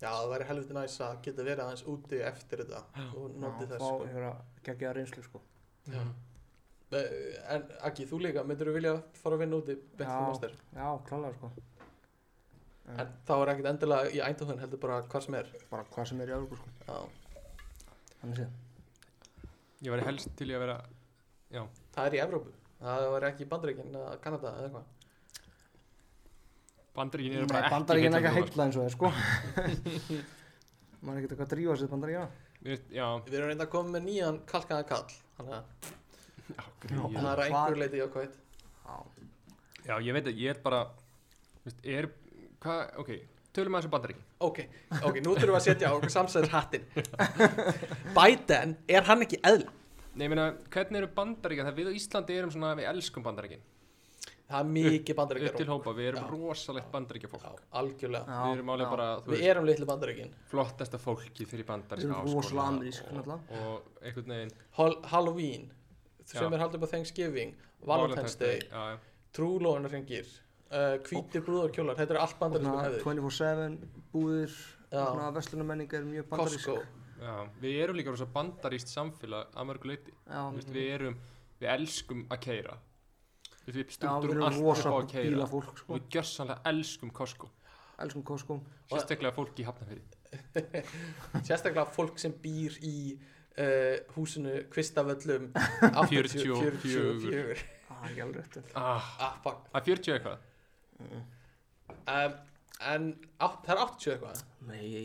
Speaker 2: Já, það væri helviti næs að geta verið aðeins úti eftir þetta og notið þess sko.
Speaker 4: geggja reynslu sko
Speaker 2: Já. Eh, En Akki, þú líka, myndur þú vilja fara að vinna úti beint
Speaker 4: Já.
Speaker 2: frá master?
Speaker 4: já, klálega sko
Speaker 2: En þá er ekkert endilega í ændóðun heldur bara hvað sem er.
Speaker 4: bara hvað sem er í Európa sko
Speaker 2: Já.
Speaker 4: þannig séð
Speaker 3: ég væri helst til í að vera
Speaker 2: Það er í Evrópu. Það var ekki í Bandaríkinn eða Kanada eða eitthvað.
Speaker 3: bandaríkin eru bara
Speaker 4: Nei,
Speaker 3: ekki
Speaker 4: bandaríkina ekki að
Speaker 3: heillandi útrás.
Speaker 4: heilla eins og það sko
Speaker 3: *laughs*
Speaker 4: maður er ekkert eitthvað að drífa sér bandaríkina
Speaker 3: Mér finnst- já,
Speaker 2: Við erum reynda að koma með nýjan kalkaða kall. Þannig að
Speaker 3: já, grín.
Speaker 2: það er að
Speaker 4: Hvað?
Speaker 2: einhverju leiti jákvæmt.
Speaker 4: já,
Speaker 3: já ég veit að ég er bara þú veist, er hvað ok tölum aðeins um bandaríkin
Speaker 2: Ok, ok, nú þurfum við að setja á okkur samsæðis hattin. *laughs* Biden, er hann ekki eðl?
Speaker 3: nei ég meina hvernig eru bandaríkin það við á Íslandi erum svona við elskum bandaríkin
Speaker 2: Það er mikið
Speaker 3: upp til
Speaker 2: bandaríkjar.
Speaker 3: hópa við erum
Speaker 2: Já.
Speaker 3: rosalegt bandaríkjafólk
Speaker 2: Já, algjörlega.
Speaker 3: við erum alveg bara þú
Speaker 2: Við
Speaker 3: veist,
Speaker 2: erum litlu bandaríkinn.
Speaker 3: flottasta fólki fyrir bandaríska
Speaker 4: Við erum
Speaker 3: háskóla
Speaker 4: rosalega amerísk,
Speaker 3: og,
Speaker 4: náttúrulega.
Speaker 3: og einhvern veginn
Speaker 2: Hol- Halloween,
Speaker 3: Já.
Speaker 2: sem er haldið upp á Thanksgiving, Valentine's Day,
Speaker 3: já, já.
Speaker 2: trúlóðunarhringir uh, hvíti brúðarkjólar, þetta eru allt bandarísku
Speaker 4: svona
Speaker 2: hefðir
Speaker 4: 24-7 búðir
Speaker 2: Já.
Speaker 4: svona verslunumenning er mjög bandarísk
Speaker 2: Costco,
Speaker 3: Já, við erum líka rosa bandaríst samfélag að mörgu leyti
Speaker 4: já,
Speaker 3: mm. við erum, við elskum að keira við
Speaker 4: já við
Speaker 3: stundum
Speaker 4: erum
Speaker 3: allt upp
Speaker 4: rosa
Speaker 3: á að keira og
Speaker 4: bílafólk sko
Speaker 3: við gjörsanlega elskum Costco
Speaker 4: elskum Costco
Speaker 3: sérstaklega fólki í Hafnarfyrði
Speaker 2: sérstaklega fólk sem býr í uh, húsinu Kvistavöllum
Speaker 3: 44.
Speaker 2: 44
Speaker 4: ah, ekki alveg rétt
Speaker 3: ah,
Speaker 2: ah, fuck.
Speaker 3: að 40 eitthvað
Speaker 2: um, en á, það er 80 eitthvað
Speaker 4: nei,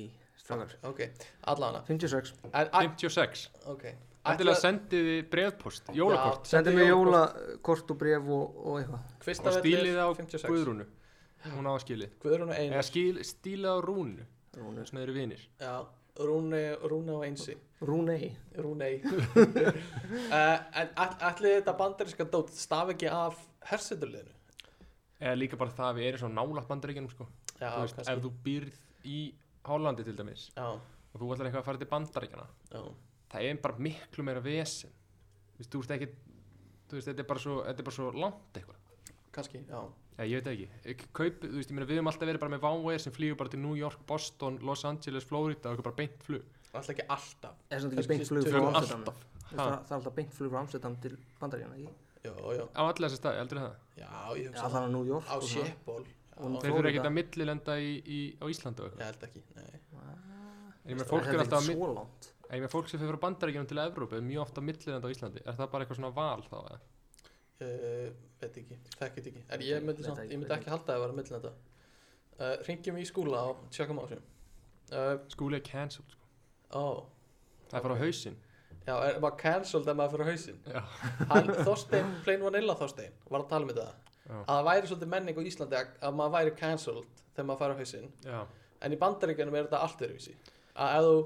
Speaker 1: Frábært.
Speaker 2: ok, allavega
Speaker 4: 56
Speaker 2: hana
Speaker 3: 56
Speaker 2: ok
Speaker 3: Ætlilega sendið þið brefpost, jólakort
Speaker 4: Sendi mig jólakort eh, og bref og, og eitthvað
Speaker 2: Kvist
Speaker 3: og stílið á
Speaker 2: 56.
Speaker 3: Guðrúnu hún á skilið
Speaker 2: Guðrún og
Speaker 3: eða
Speaker 2: Einar
Speaker 3: skil, stílið á Rúnu
Speaker 4: Rúnu.
Speaker 3: þess að þeir eru vinir
Speaker 2: já, Rúni, Rúna og Einsi
Speaker 4: Rúnei
Speaker 3: *laughs*
Speaker 2: Rúnei uh, En all, allir þetta bandarinska dót staf ekki af herseturliðinu
Speaker 3: eða líka bara það að við erum svo nála bandaríkjunum sko.
Speaker 2: Já,
Speaker 3: Þú veist, ef þú býrð í Hollandi til dæmis
Speaker 2: Já,
Speaker 3: og þú ætlar eitthvað að fara til bandaríkjana
Speaker 2: já,
Speaker 3: það er bara miklu meira vesen þú veist, þú veist ekki þú veist, þetta er bara svo, þetta er bara svo langt eitthvað
Speaker 2: kannski, já
Speaker 3: Já, ég veit það ekki. Ek- Kaup, þú veist, ég meina, við höfum alltaf verið bara með Váveir sem flýgur bara til New York, Boston, Los Angeles, Florida og eitthvað bara beint flug.
Speaker 2: Alltaf ekki alltaf
Speaker 4: Er samt
Speaker 2: Kannski
Speaker 4: ekki beint flug frá
Speaker 2: tuttugu.
Speaker 4: Amsterdam
Speaker 3: Alltaf.
Speaker 4: Það það er alltaf beint flug frá Amsterdam til bandaríkjana ekki?
Speaker 2: Já, já,
Speaker 3: Á alla þessi staði, heldur það?
Speaker 2: já, ég
Speaker 4: Já,
Speaker 2: hugsa
Speaker 4: það
Speaker 2: það
Speaker 4: er New York
Speaker 2: Á
Speaker 4: og svona.
Speaker 2: sépból
Speaker 4: Og-
Speaker 2: Já,
Speaker 3: Þeir þurfa
Speaker 4: Florida.
Speaker 3: ekkert að millilenda í, í, á Íslandi og
Speaker 2: ég
Speaker 3: eitthvað.
Speaker 2: held ekki, nei
Speaker 3: En ég meina,
Speaker 4: Það
Speaker 3: fólk er
Speaker 4: heldur
Speaker 3: alltaf að,
Speaker 4: ekki
Speaker 3: mi-
Speaker 4: Svo langt
Speaker 3: en ég meina, fólk sem fyrir frá bandaríkjunum til Evrópu er mjög ofta millilenda á Íslandi. Er það bara eitthvað svona val þá? eða?
Speaker 2: uh, Veit ekki, þekkit ekki En
Speaker 4: Veit
Speaker 2: ég
Speaker 4: ekki,
Speaker 2: myndi,
Speaker 4: veit
Speaker 2: samt,
Speaker 4: ekki,
Speaker 2: ég myndi
Speaker 4: veit
Speaker 2: ekki halda að vera millin þetta uh, Ringjum í skúla og tjökkum á þessu uh,
Speaker 3: Skúli er cancelled, sko.
Speaker 2: Ó,
Speaker 3: Það er bara á hausinn.
Speaker 2: já, er, var cancelled ef maður fyrir hausinn
Speaker 3: Já.
Speaker 2: hann, Þorstein, plain vanilla Þorstein var að tala um þetta
Speaker 3: Já.
Speaker 2: að það væri svolítið menning á Íslandi að, að maður væri cancelled þegar maður fær á hausinn
Speaker 3: Já.
Speaker 2: en í bandaríkjanum er þetta allt öðruvísi að ef þú,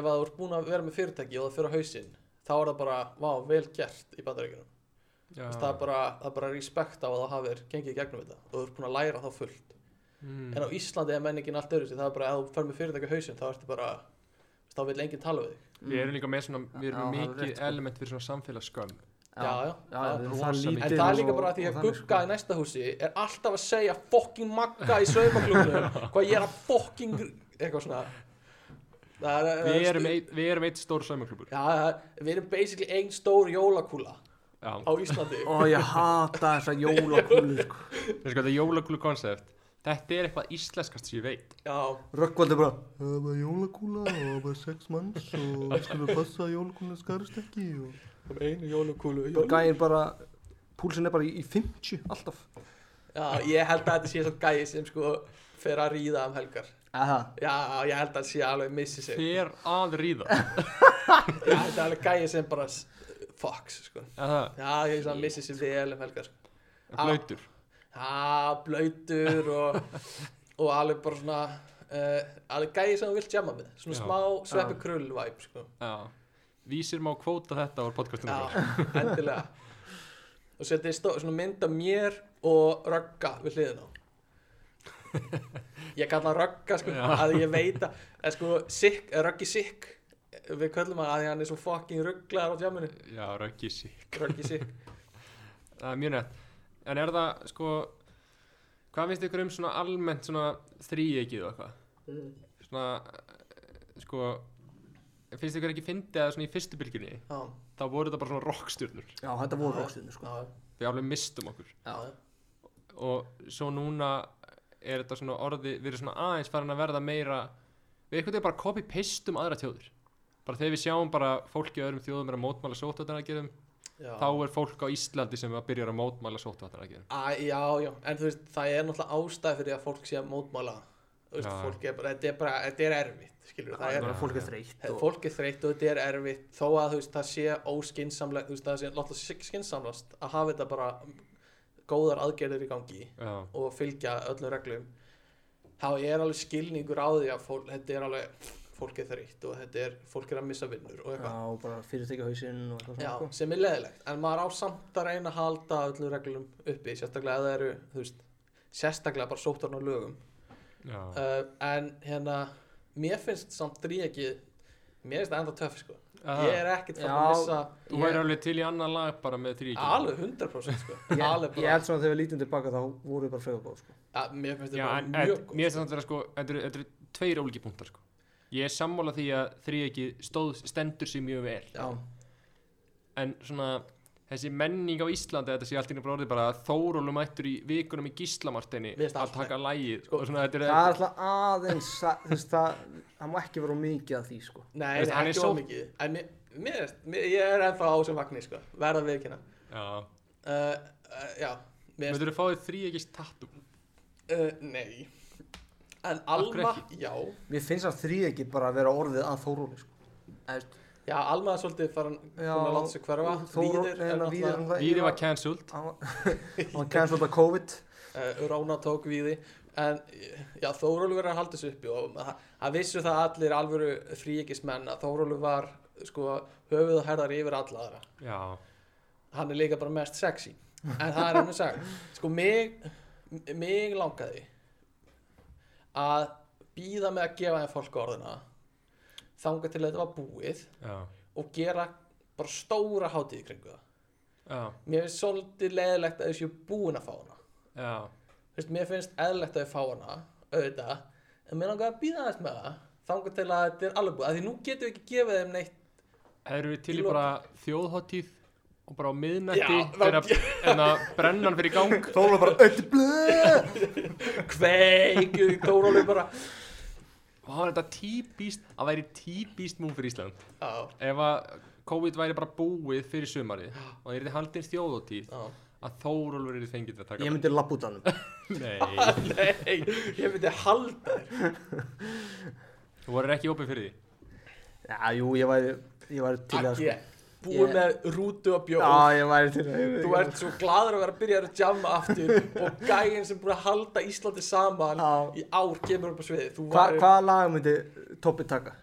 Speaker 2: ef að þú ert búin að vera með fyrirtæki og það fyrir á hausinn þá er það bara, vá, vel gert í bandaríkjanum
Speaker 3: Já.
Speaker 2: það er bara, það er bara respekt á að það hafir gengið í gegnum þetta og þú ert búin að læra þá fullt
Speaker 3: Mm.
Speaker 2: en á Íslandi er menningin allt öðruvísi það er bara, ef þú fer með fyrirtæki á hausinn þá ertu bara þá vil enginn tala við þig
Speaker 3: Við
Speaker 4: Mm.
Speaker 3: erum líka með svona, við erum
Speaker 4: Já, það
Speaker 3: með
Speaker 4: er
Speaker 3: mikið
Speaker 4: rétt, sko.
Speaker 3: element fyrir svona samfélagsskömm.
Speaker 2: já, já,
Speaker 4: Já,
Speaker 2: já.
Speaker 4: við erum
Speaker 3: rosa
Speaker 4: það
Speaker 3: mikið.
Speaker 4: lítið
Speaker 2: En það er
Speaker 4: og-
Speaker 2: líka bara því
Speaker 4: og
Speaker 2: að
Speaker 4: þannig,
Speaker 3: sko.
Speaker 2: Gugga í næsta húsi er alltaf að segja fokking magga í
Speaker 3: *laughs*
Speaker 2: saumaklúknum hvað ég er að fokking eitthvað svona það er, eh,
Speaker 3: Við erum eitt, við erum eitt stór saumaklubur.
Speaker 2: Já, það er- við erum basically einn stór jólakúla
Speaker 3: Já.
Speaker 2: á Íslandi
Speaker 4: Ó, ég hata þessa jólakúlu sko.
Speaker 3: Þetta er sko, þetta jólakúlu konsept Þetta er eitthvað íslenskast sem ég veit
Speaker 2: Já,
Speaker 4: Rökkvaldi bara
Speaker 5: sko- Það var bara jólakúla og það var bara sex manns
Speaker 2: *laughs*
Speaker 5: og við skulum passa að jólakúla skarist ekki og
Speaker 2: um einu jólakúlu
Speaker 4: bara Gæin bara Púlsin er bara í í 50 alltaf
Speaker 2: Já, ég held að þetta sé svo gæi sem sko fer að ríða um helgar
Speaker 4: Aha.
Speaker 2: Já, ég held að þetta sé alveg missi sig Já,
Speaker 3: Fer að ríða
Speaker 2: Eh. Þetta er alveg gæi sem bara s- fox, sko
Speaker 3: Það
Speaker 2: Já, ég held að hann missi sig vel um helgar sko.
Speaker 3: er blöytur
Speaker 2: Já, blöytur og, og alveg bara svona uh, alveg gæi sem þú vilt jamma með svona
Speaker 3: Já.
Speaker 2: smá sveppi krull væp sko.
Speaker 3: Já. Vísir má kvóta þetta á podcastinu
Speaker 2: Já,
Speaker 3: okkar.
Speaker 2: *laughs* endilega og setja í stó- svona mynd af mér og rögga við hliðin á ég kalla hann rögga sko,
Speaker 3: Já.
Speaker 2: að ég veit að eða sko, sikk, röggi sikk eh, við köllum hann að því hann er svo fucking rugglaðar á jamminu,
Speaker 3: Já, röggi sig
Speaker 2: röggi sikk
Speaker 3: Það er mjög nett En er það sko Hvað finnst ykkur um svona almennt svona þríegið og eitthvað?
Speaker 2: Mm.
Speaker 3: Svona eh, sko Finnst ykkur ekki fyndið að svona í fyrstu bylginni
Speaker 2: já,
Speaker 3: þá voru þetta bara svona rockstjörnur
Speaker 4: Já, þetta voru rokstinni sko.
Speaker 2: já,
Speaker 3: Við alveg mistum okkur
Speaker 2: já,
Speaker 3: og svo núna er þetta svona orði, við erum svona aðeins farin að verða meira við einhvern veginn bara copy-paste um aðra þjóðir bara þegar við sjáum bara fólki á öðrum þjóðum er að mótmæla sótvatnaraðgerðum
Speaker 2: já.
Speaker 3: þá er fólk á Íslandi sem að byrjar að mótmæla sótvatnaraðgerðum
Speaker 2: Æ, já, já, en þú veist, það er náttúrulega ástæð fyrir að fólk sé að mótmála þú veist,
Speaker 3: Já.
Speaker 2: fólk er bara, þetta er bara, þetta er erfitt skilur, það er,
Speaker 4: Bara Fólk er þreytt
Speaker 2: Hef,
Speaker 4: og-
Speaker 2: fólk er þreytt og þetta er erfitt þó að þú veist, það sé óskinsamlega þú veist, það sé náttúrulega skinsamlast að hafa þetta bara góðar aðgerðir í gangi
Speaker 3: já,
Speaker 2: og fylgja öllum reglum þá er alveg skilningur á því að fólk, þetta er alveg fólk er þreytt og þetta er, fólk er að missa vinnur og
Speaker 4: Já,
Speaker 2: eitthvað,
Speaker 4: og bara fyrirtækja hausinn og eitthvað
Speaker 2: já,
Speaker 4: svona sko.
Speaker 2: sem er leðilegt en maður á samt að reyna að halda öllum reglum uppi, sérstaklega að það eru þú veist, sérstaklega bara sóttarn á lögum
Speaker 3: já,
Speaker 2: uh, en hérna mér finnst samt dríegi mér finnst það enda töff sko
Speaker 3: Aha.
Speaker 2: ég er ekkert fann
Speaker 4: Já,
Speaker 2: að missa
Speaker 3: Ah, þú væri alveg til í annan lag bara með þríegið
Speaker 2: alveg 100% sko alveg
Speaker 4: Ég, ég
Speaker 2: bara,
Speaker 4: held svona að þegar við lítum tilbaka þá voru við bara frekar góð sko.
Speaker 2: að, mér finnst
Speaker 3: já,
Speaker 2: þetta
Speaker 3: en,
Speaker 2: bara
Speaker 3: en,
Speaker 2: mjög góð
Speaker 3: mér finnst þetta vera sko þetta eru- þetta eru tveir ólíki punktar sko ég er sammála því að þríegið stóð stendur sér mjög vel
Speaker 2: já,
Speaker 3: en svona þessi menning á Íslandi þetta sé allt í náttúrulega orðið bara að Þórólu mættur í vikunum í Gíslamartinni
Speaker 2: Mér finnst
Speaker 3: að
Speaker 2: allt
Speaker 3: taka lægið
Speaker 2: Sko,
Speaker 3: og svona þetta er
Speaker 4: Það er alltaf aðeins að- þú veist, það, það má ekki vera of mikið að því sko.
Speaker 2: nei,
Speaker 3: Veist,
Speaker 2: nei,
Speaker 3: hann er
Speaker 2: ekki
Speaker 3: svo-
Speaker 2: of mikið en mér, mér, finnst- mér, ég er ennþá á sem vagnir sko verða við ekki hérna
Speaker 3: Já,
Speaker 2: uh, uh, já, mér
Speaker 3: myndur þú fá þér þrý ekki tattum
Speaker 2: finnst uh, nei en
Speaker 3: Af hverju
Speaker 2: Alma, já
Speaker 1: Mér finnst það þrý ekki bara að vera orðið að Þóróli sko.
Speaker 2: já, Alma er svolítið farin búin að láta sig hverfa
Speaker 4: Þóróli,
Speaker 2: Víðir er náttúrulega
Speaker 3: Víri var cancelled
Speaker 4: kæm
Speaker 1: Hann kemst þetta COVID
Speaker 2: uh, Rána tók við því en eh, já, Þórólfur er að halda þessu uppi og það- það vissu það allir alvöru fríekismenn að Þórólfur var sko höfuð og herðar yfir alla aðra
Speaker 3: Já,
Speaker 2: hann er líka bara mest sexy en það er hann að sagt sko mig, m- mig langaði að býða með að gefa þeim fólk orðina þanga til þetta var búið
Speaker 3: já,
Speaker 2: og gera bara stóra hátíð í kringu það
Speaker 3: já,
Speaker 2: mér finnst svolítið leðilegt að þessu búin að fá hana
Speaker 3: já
Speaker 2: Þú veist, mér finnst eðlilegt að ég fá hana auðvitað, en mér langar að býða aðeins með það þangar til að þetta er alveg búið af því nú getum við ekki gefið þeim neitt
Speaker 3: Hefur við til
Speaker 2: Í
Speaker 3: í
Speaker 2: lok.
Speaker 3: bara þjóðháttíð og bara á miðnætti
Speaker 2: Já, þá-
Speaker 3: þegar að- en að brennan fyrir gang
Speaker 1: Þóróli bara öll blöð
Speaker 2: kveikju í Þórólu bara
Speaker 3: og það var þetta típist að væri típist mú fyrir Ísland
Speaker 2: á,
Speaker 3: ef að COVID væri bara búið fyrir sumarið og það er þetta haldin þjóðháttíð
Speaker 2: á.
Speaker 3: að Þórólfur er fengið að
Speaker 1: *laughs*
Speaker 3: taka
Speaker 1: Ég myndi lapp út af hann
Speaker 3: Nei,
Speaker 2: Ah, Nei, ég myndi halda þér
Speaker 3: þú voru ekki opið fyrir því
Speaker 1: Já, jú, ég væri, ég væri til að
Speaker 2: að
Speaker 1: sko.
Speaker 2: ég búið
Speaker 1: Ég-
Speaker 2: með rútu og bjóð
Speaker 1: Já, ég væri til að
Speaker 2: þú ert svo gladur að vera að byrja að jamma aftur og gæinn sem búið að halda Íslandi saman
Speaker 1: Já.
Speaker 2: í ár kemur upp á sviði þú
Speaker 1: Hva,
Speaker 2: væri-
Speaker 1: Hvaða lag myndi Toppi taka?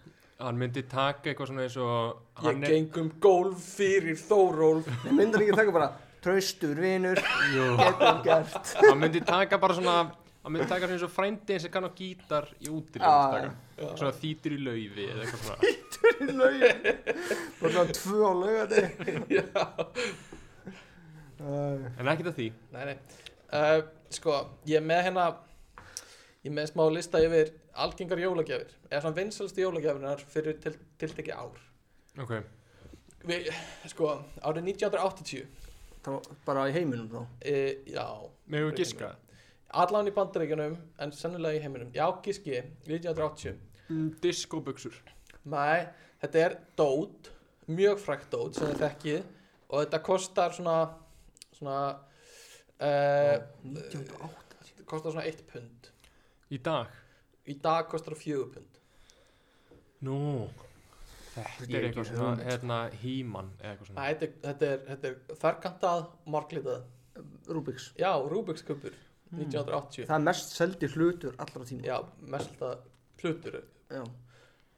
Speaker 3: Hann myndi taka eitthvað svona eins og
Speaker 2: ég
Speaker 3: hann
Speaker 2: geng um gólf fyrir Þórólf
Speaker 1: Nei, myndi hann ekki taka bara Traustur vinur,
Speaker 3: Jú.
Speaker 1: getur gert
Speaker 3: Hann myndi taka bara svona Hann myndi taka svona eins og frændi eins og kann á gítar í útir
Speaker 1: Já,
Speaker 3: Svona þýtir í laufi eða eitthvað svona
Speaker 1: Laugin Og svona tvö á laugandi
Speaker 2: *laughs*
Speaker 1: Já
Speaker 3: En ekkert að því
Speaker 2: Nei, nei. Uh, sko, ég er með hérna ég er með smá lista yfir algengar jólagjafir, eða svona vinsalstu jólagjafinar fyrir til, tiltekki ár
Speaker 3: Ok
Speaker 2: Við, sko, árið 1980
Speaker 1: Þá bara í heiminum þá
Speaker 2: e, já,
Speaker 3: Megum við giska
Speaker 2: allan í bandaríkjunum en sennilega í heiminum, já, giski 1980,
Speaker 3: mm, Diskobuxur
Speaker 2: nei, þetta er dót, mjög frækt dót sem þið þekkið og þetta kostar svona svona uh,
Speaker 1: 1908
Speaker 2: kostar svona 1 pund
Speaker 3: Í dag
Speaker 2: í dag kostar það 4 pund
Speaker 3: Nú Þetta
Speaker 1: Ég
Speaker 3: er
Speaker 1: hef
Speaker 3: eitthvað
Speaker 1: ekki
Speaker 3: svona
Speaker 1: hugmynd.
Speaker 3: hérna He-Man eða eitthvað svona
Speaker 2: Nei, þetta er, þetta er, þetta er þarkantað, marglitað.
Speaker 1: Rubik's
Speaker 2: Já, Rubik's kubur,
Speaker 4: Hmm.
Speaker 2: 1980.
Speaker 1: Það er mest seldi hlutur allra tíma
Speaker 2: Hmm. Já, mest að hlutur.
Speaker 1: Já.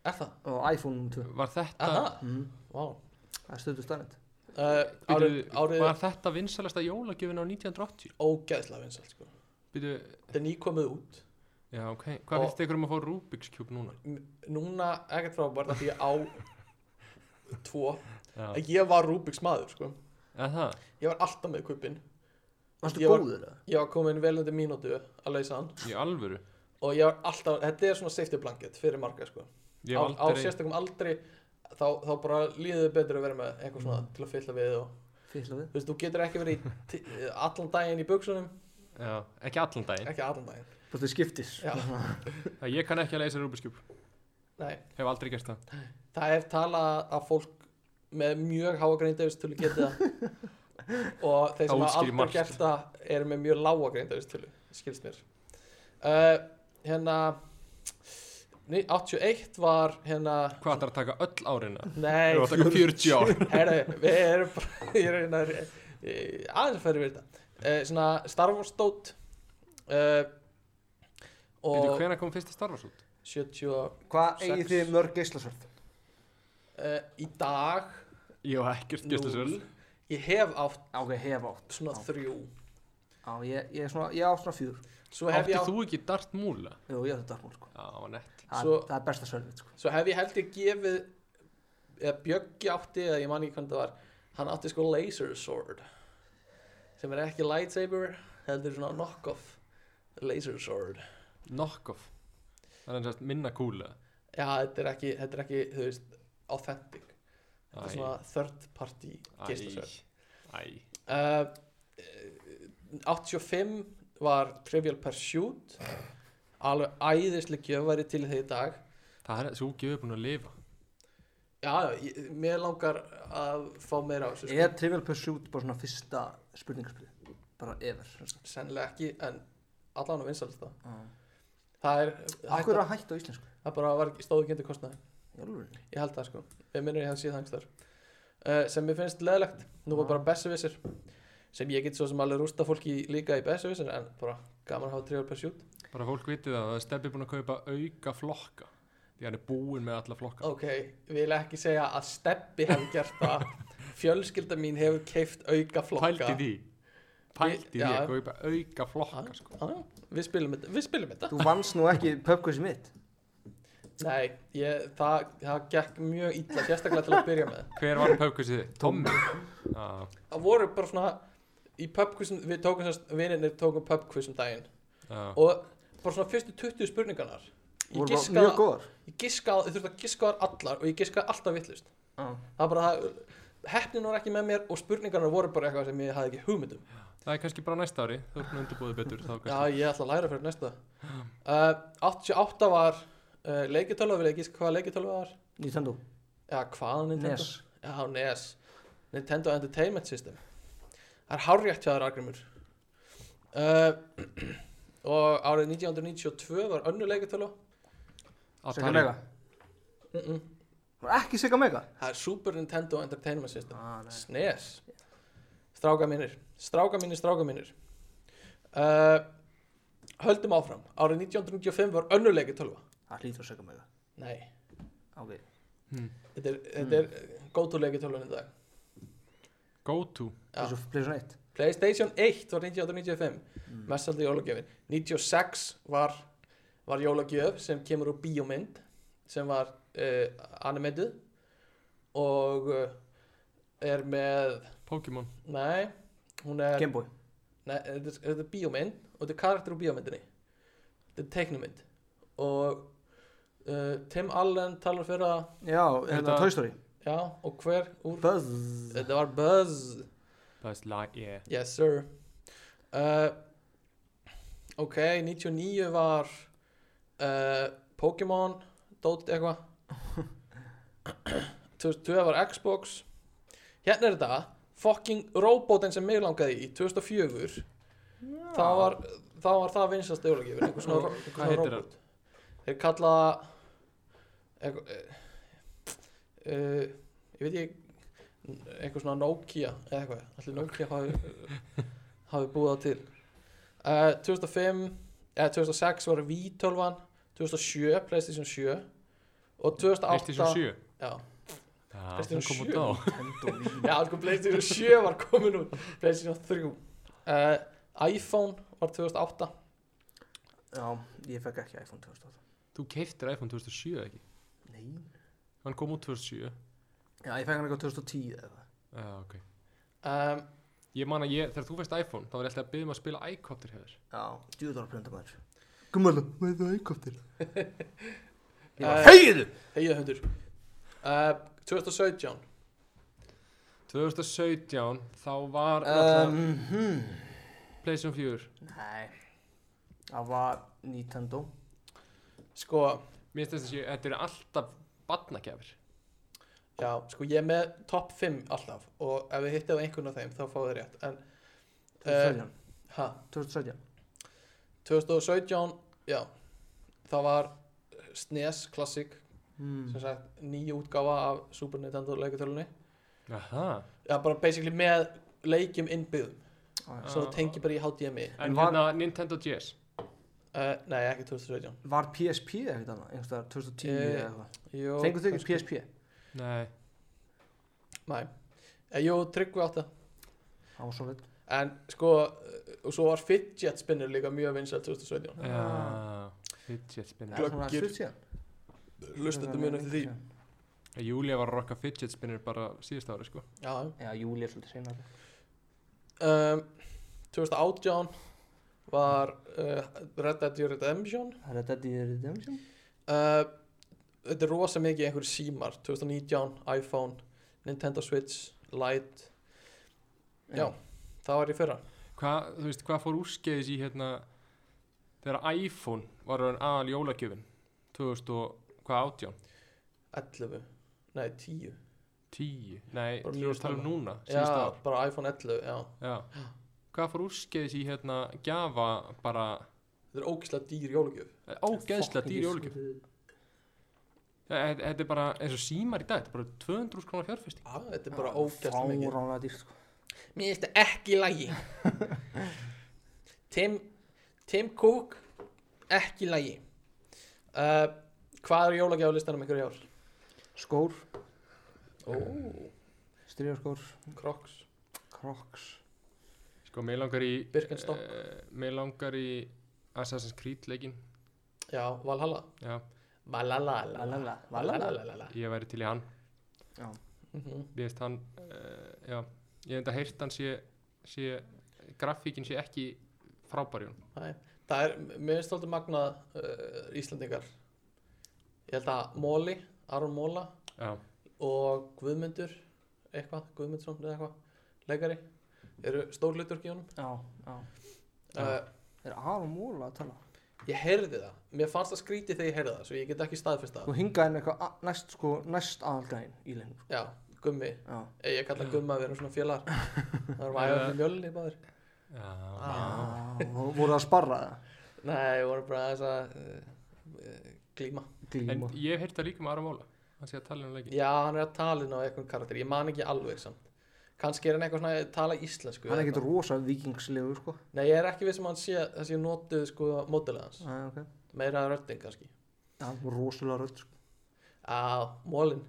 Speaker 2: Er það?
Speaker 1: Og iPhone 2
Speaker 3: Var þetta
Speaker 2: Er það?
Speaker 1: Mhm.
Speaker 2: Vá.
Speaker 1: Það er stöðu stærnit
Speaker 2: Uh, árið,
Speaker 3: byrju,
Speaker 2: árið
Speaker 3: Var þetta vinsalasta jólagjöfin á 1980
Speaker 2: ógeðslega vinsalt, sko.
Speaker 3: Byrju
Speaker 2: Þetta er nýkomið út.
Speaker 3: Já ok
Speaker 2: Og-
Speaker 3: Hvað finnst ykkur um að fá Rubik's Cube núna?
Speaker 2: M- Núna ekkert frábært af því ég á tvo.
Speaker 3: Já
Speaker 2: Ég var Rubik's maður, sko.
Speaker 3: Eða það
Speaker 2: Ég var alltaf með kubin.
Speaker 1: Varstu
Speaker 2: Ég var-
Speaker 1: góður það?
Speaker 2: Ég var komin vel undir mínútu að leysa hann.
Speaker 3: Í alvöru
Speaker 2: Og ég var alltaf, þetta er svona safety blanket fyrir marga, sko.
Speaker 3: Ég
Speaker 2: á, á
Speaker 3: hef aldrei
Speaker 2: sérstakum aldrei þá, þá bara líður þið betur að vera með eitthvað svona
Speaker 3: Mm.
Speaker 2: til að fylla við og
Speaker 1: Fylla við
Speaker 2: þú veist, þú getur ekki verið í
Speaker 3: *laughs*
Speaker 2: ti- allan daginn í buksunum,
Speaker 3: Já Ekki allan daginn
Speaker 2: ekki allan daginn
Speaker 1: Bara til skiptis
Speaker 2: Já.
Speaker 1: *laughs*
Speaker 3: Já, Ég kann ekki að leysa Rubik's Cube
Speaker 2: Nei,
Speaker 3: Hef aldrei gert það
Speaker 2: það er talað að fólk með mjög háa greindavistölu geti það
Speaker 3: *laughs*
Speaker 2: og þeir sem
Speaker 3: Það
Speaker 2: hafa
Speaker 3: útskýrir
Speaker 2: aldrei
Speaker 3: margt.
Speaker 2: gert það eru með mjög lága greindavistölu skilst mér uh, hérna nei, 81 var hérna
Speaker 3: Hvað ætlar að taka öll árina?
Speaker 2: nei,
Speaker 3: Við varum að taka 40 ár
Speaker 2: Herru, við erum bara ég er einar, e, aðeins að færa við þetta uh, svona Star Wars dót uh,
Speaker 3: Býtu,
Speaker 2: og
Speaker 3: hvenær kom fyrsti Star Wars út?
Speaker 2: 70 og,
Speaker 1: Hvað
Speaker 2: Sex.
Speaker 1: eigið þið mörg geislasörð?
Speaker 2: uh, í dag
Speaker 3: Ég var ekkert
Speaker 2: núll. ég hef átt
Speaker 1: Ok, hef átt
Speaker 2: svona
Speaker 1: Já.
Speaker 2: þrjú
Speaker 1: Já, ég, ég, er svona, ég átt svona fjör
Speaker 2: svo hef,
Speaker 3: Átti
Speaker 2: ég átt,
Speaker 3: þú ekki Dart Múla?
Speaker 1: Jú, ég átti darmón sko
Speaker 3: Já, það var nett
Speaker 1: Það,
Speaker 2: Svo-
Speaker 1: það er besta sörðið sko
Speaker 2: svo hef ég held ég gefið eða Bjöggi átti eða ég man ekki hvernig það var hann átti sko laser sword sem er ekki lightsaber heldur svona knockoff laser sword
Speaker 3: Knockoff Það er eins og minna kúla
Speaker 2: já, þetta er ekki, þetta er ekki þú veist, authentic Þetta er svona third party geislasverð.
Speaker 3: Æ,
Speaker 2: Uh, eh, 85 var Trivial Pursuit. Alveg æðisleg gjöfari til því í dag.
Speaker 3: það er svo gefur búin að lifa
Speaker 2: Já, já, ég- mér langar að fá meira á þessu. Sko.
Speaker 1: Er Trivial Pursuit bara svona fyrsta spurningarspilið? Bara ever sem sagt.
Speaker 2: Sennilega ekki, en allan á vinsalista.
Speaker 1: Já.
Speaker 2: Það það er,
Speaker 4: Akkur er
Speaker 2: það
Speaker 4: að hætta á íslensku?
Speaker 2: það bara var, stóðu ekki undir kostnaði
Speaker 4: Í alvörunni?
Speaker 2: ég held það sko, ég minnur ég hef síðan þangstar uh, sem mér finnst leðlegt nú var bara Bessevisir sem ég get svo sem alveg rústa fólki í- líka í Bessevisir en bara gaman að hafa 3 per sjút
Speaker 3: bara fólk vitið það að Stebbi er búin að kaupa auka flokka því hann er búinn með alla flokka
Speaker 2: ok, vil ekki segja að Steppi hefði gert
Speaker 4: *laughs*
Speaker 2: það fjölskylda mín hefur keift auka flokka
Speaker 3: pælt í því pælt í því
Speaker 2: Já.
Speaker 3: að kaupa auka flokka sko.
Speaker 2: ah, við spilum þetta, við spilum þetta.
Speaker 4: Þú vannst nú ekki pubquiz mitt
Speaker 2: Nei, ég, það, það gekk mjög illa, sérstaklega til að byrja með
Speaker 3: hver var pöfkusið þið? Tommi ah,
Speaker 2: það voru bara svona í pubquizum, við tókum sérst, vininir tókum pubquiz um daginn
Speaker 3: ah.
Speaker 2: og bara svona fyrstu 20 spurningarnar ég
Speaker 4: Voru bara mjög
Speaker 2: giskaði,
Speaker 4: góðar
Speaker 2: ég giskaði, ég þurfti að giska þar allar og ég giskaði alltaf vittlust það var bara það, hefnin var ekki með mér og spurningarnar voru bara eitthvað sem ég hafði ekki um. hugmyndum
Speaker 3: það er kannski bara næsta ári þú erum undirbúið betur þá
Speaker 2: Já,
Speaker 3: kannski
Speaker 2: ég ætla að læra fyrir næsta uh, 88 var uh, leikjutölu, vil ég gíska hvað leikjutölu var
Speaker 4: Nintendo
Speaker 2: Já, hvaða
Speaker 1: E
Speaker 2: Nintendo?
Speaker 4: NES
Speaker 2: Já, NES Nintendo Entertainment System Það er hárjætt hjá þér, Argrimur uh, *clears throat* Og árið 1992 var önnu leikjutölu
Speaker 3: Atari.
Speaker 4: Sega Mega
Speaker 2: mm -mm.
Speaker 4: Var Ekki Sega Mega?
Speaker 2: Það er Super Nintendo Entertainment System
Speaker 4: Ah, nei
Speaker 2: SNES Stráka mínir, stráka mínir, stráka mínir uh, Höldum áfram Árið 1995 var önnu leikjutölu
Speaker 4: Það hlýtur að Sega Mega
Speaker 2: Nei
Speaker 4: Ok
Speaker 3: Hmm.
Speaker 2: Þetta er, þetta er góttúleiki tölvun í dag.
Speaker 3: go to
Speaker 2: Já.
Speaker 4: Þessu Playstation 1
Speaker 2: PlayStation 1 var 1995, mm.
Speaker 4: Mm.
Speaker 2: mestaldi jólagjöfin. 96 var, var jólagjöf sem kemur úr bíómynd sem var uh, animated og uh, er með,
Speaker 3: Pokémon
Speaker 2: nei, hún er,
Speaker 4: Gameboy
Speaker 2: nei, þetta er, þetta er bíómynd og þetta er karakter úr bíómyndinni. Þetta er teiknumynd og uh, Tim Allen talar fyrir það,
Speaker 4: Já, hérna
Speaker 3: Þetta-
Speaker 4: Toy Story
Speaker 2: já, og hver úr,
Speaker 4: Buzz
Speaker 2: þetta var Buzz.
Speaker 3: Buzz Lightyear
Speaker 2: Yes sir uh, Ok, 99 var uh, Pokémon Dótt
Speaker 3: *coughs*
Speaker 2: eitthvað 2002 var Xbox Hérna er þetta Fucking robotin sem mig langaði í 2004 Það var Það var það vinsast jólagjöfin Einhver svona, einhver
Speaker 3: Hvað
Speaker 2: svona
Speaker 3: heitir
Speaker 2: robot Þeir kalla eitthvað, uh, Ég veit ekki einhver svona Nokia eða eitthvað, allir Nokia hafi, hafi búið það til uh, 2005 eða 2006 var V12 2007, Playstation 7 og 2008
Speaker 3: PlayStation 7
Speaker 2: já,
Speaker 3: Já,
Speaker 2: PlayStation
Speaker 3: hún kom
Speaker 2: 7.
Speaker 3: út á
Speaker 4: Nintendo Wii
Speaker 2: já sko, Playstation 7 var komin út Playstation 3 uh, iPhone var 2008
Speaker 4: Já, ég fekk ekki iPhone 2008
Speaker 3: Þú keiftir iPhone 2007 ekki?
Speaker 4: Nei
Speaker 3: Hann kom út 2007
Speaker 4: Já, ég fekk hann eitthvað 2010 eða eitthvað.
Speaker 3: Já, ok
Speaker 2: um,
Speaker 3: Ég man að ég, þegar þú fæst iPhone þá var ég alltaf að byggja mig að spila iCopter hjá þér
Speaker 4: Já, djúðar að plönda maður
Speaker 5: Gummala, með þú eikoftir
Speaker 4: Ég var
Speaker 2: Eh.
Speaker 4: fegiðu
Speaker 2: heiða hundur uh, 2017
Speaker 3: 2017 þá var um,
Speaker 4: um, hmm.
Speaker 3: PlayStation 4
Speaker 4: Nei Það var Nintendo
Speaker 2: sko,
Speaker 3: Mér finnst þess að þetta eru alltaf batnagjafir
Speaker 2: já, sko ég er með top 5 alltaf og ef við hittið á einhvern af þeim þá fáið þið rétt en, Eh,
Speaker 4: 2017
Speaker 2: hæ
Speaker 4: 2017
Speaker 2: 2017, já það var SNES Classic sem
Speaker 4: mm.
Speaker 2: sagt nýju útgáfa af Super Nintendo leikutölunni
Speaker 3: Aha
Speaker 2: já, bara basically með leikjum innbyggðum
Speaker 4: ah,
Speaker 2: svo þú
Speaker 3: Já.
Speaker 2: tengir bara í HDMI
Speaker 3: En
Speaker 4: var-
Speaker 3: hérna Nintendo GS
Speaker 2: uh, nei, ekki 2017
Speaker 4: Var PSP eða eitthvað annað? Einhverstaðar 2010
Speaker 2: Eh,
Speaker 4: eða eitthvað
Speaker 2: Jú,
Speaker 4: Fengu þau ekki
Speaker 2: kannski-
Speaker 4: PSP?
Speaker 3: Nei
Speaker 2: nei, Eh, jú, tryggvi átt það
Speaker 4: Það var svo leitt
Speaker 2: en sko, eh, og svo var fidget spinner líka mjög vinsæl
Speaker 3: Ah.
Speaker 2: 2017
Speaker 3: Já Fidget spinner
Speaker 2: Glögg- Glöggir.
Speaker 4: Glöggir
Speaker 2: lustandi mjög eftir því
Speaker 3: Júlia var að rokka fidget spinner bara síðust ári sko
Speaker 2: já,
Speaker 4: Já, júli er svolítið seinar
Speaker 2: um, 2018 var uh, Red Dead Redemption
Speaker 4: Það er Dead Redemption
Speaker 2: Uh, þetta er rosa mikið einhverjir símar 2019, iPhone, Nintendo Switch Lite, já það var í fyrra
Speaker 3: Hvað, þú veist, hvað fór úrskeiðis í hérna Þegar iPhone var hann aðal jólagjöfin 2000 og, hvað, 18?
Speaker 2: 11, nei 10
Speaker 3: 10? Nei,
Speaker 2: Bara
Speaker 3: þú
Speaker 2: mjög
Speaker 3: veist tala um
Speaker 2: snemma.
Speaker 3: núna,
Speaker 2: já,
Speaker 3: síðust ár
Speaker 2: bara iPhone 11 já.
Speaker 3: Já. Hvað fór úrskeiðis í hérna gjafa bara
Speaker 2: þetta er ógislega dýr jólugjöf
Speaker 3: Ógeðslega dýr jólugjöf Þetta er bara eins og símar í dag Þetta er bara 200 krónar fjárfesting
Speaker 2: ah, þetta er bara ógislega mikið
Speaker 4: Fáránlega dýrt sko
Speaker 2: mér finnst þetta ekki í lagi *laughs* Tim Tim Cook ekki í lagi uh, hvað er jólugjöflistanum ykkur í ár?
Speaker 4: Skór,
Speaker 2: Ó,
Speaker 4: stríðarskór,
Speaker 2: Crocs
Speaker 4: crocs
Speaker 3: Sko, mér langar í
Speaker 2: Birkenstock.
Speaker 3: eh, Mér langar í Assassin's Creed leikin
Speaker 2: já, Valhalla
Speaker 3: Já,
Speaker 2: Valhalla
Speaker 4: Valhalla, Valhalla.
Speaker 2: Valhalla
Speaker 3: ég væri til í hann
Speaker 2: Mhm.
Speaker 3: Ég veist hann uh, Já, ég hef enda heyrt hann sé, sé Grafíkin sé ekki frábæri hún
Speaker 2: Nei, það er, mér finnst þáttu magna uh, Íslandingar ég held að Móli, Aron Móla
Speaker 3: Já,
Speaker 2: og Guðmundur eitthvað, Guðmundsson eða eitthvað leikari, eru stór hluturk í honum
Speaker 4: Já, já
Speaker 3: Já.
Speaker 2: uh,
Speaker 4: Er Aron Móla að tala?
Speaker 2: ég heyrði það, mér fannst það skrítið þegar ég heyrði það svo ég get ekki staðfest
Speaker 4: Sko
Speaker 2: það
Speaker 4: hingað inn eitthvað a- næst sko, næst aðaldaginn í leinu sko
Speaker 2: já, Gummi,
Speaker 4: Já,
Speaker 2: Eh, ég kalla Gumma við erum svona félagar *laughs* það erum aðeins með mjölni báðir
Speaker 3: já
Speaker 2: Ah.
Speaker 4: já voru það að sparra það?
Speaker 2: nei, við vorum bara þess að uh, glíma
Speaker 3: En
Speaker 4: Glíma
Speaker 3: ég hef heyrt það líka um Aram Óla Hann sé að tala um leikin
Speaker 2: já, hann er að tala inn á eitthvað karakter ég man ekki alveg samt kannski er hann eitthvað svona að tala íslensku
Speaker 4: Hann er
Speaker 2: eða
Speaker 4: ekkert
Speaker 2: eitthvað.
Speaker 4: rosa vikingslegu sko
Speaker 2: Nei, ég er ekki viss um að hann sé þess að ég notuð sko mótilega hans,
Speaker 4: Já, ok
Speaker 2: meira rödding kannski
Speaker 4: Já, rosalega rödd sko
Speaker 2: Á, mólin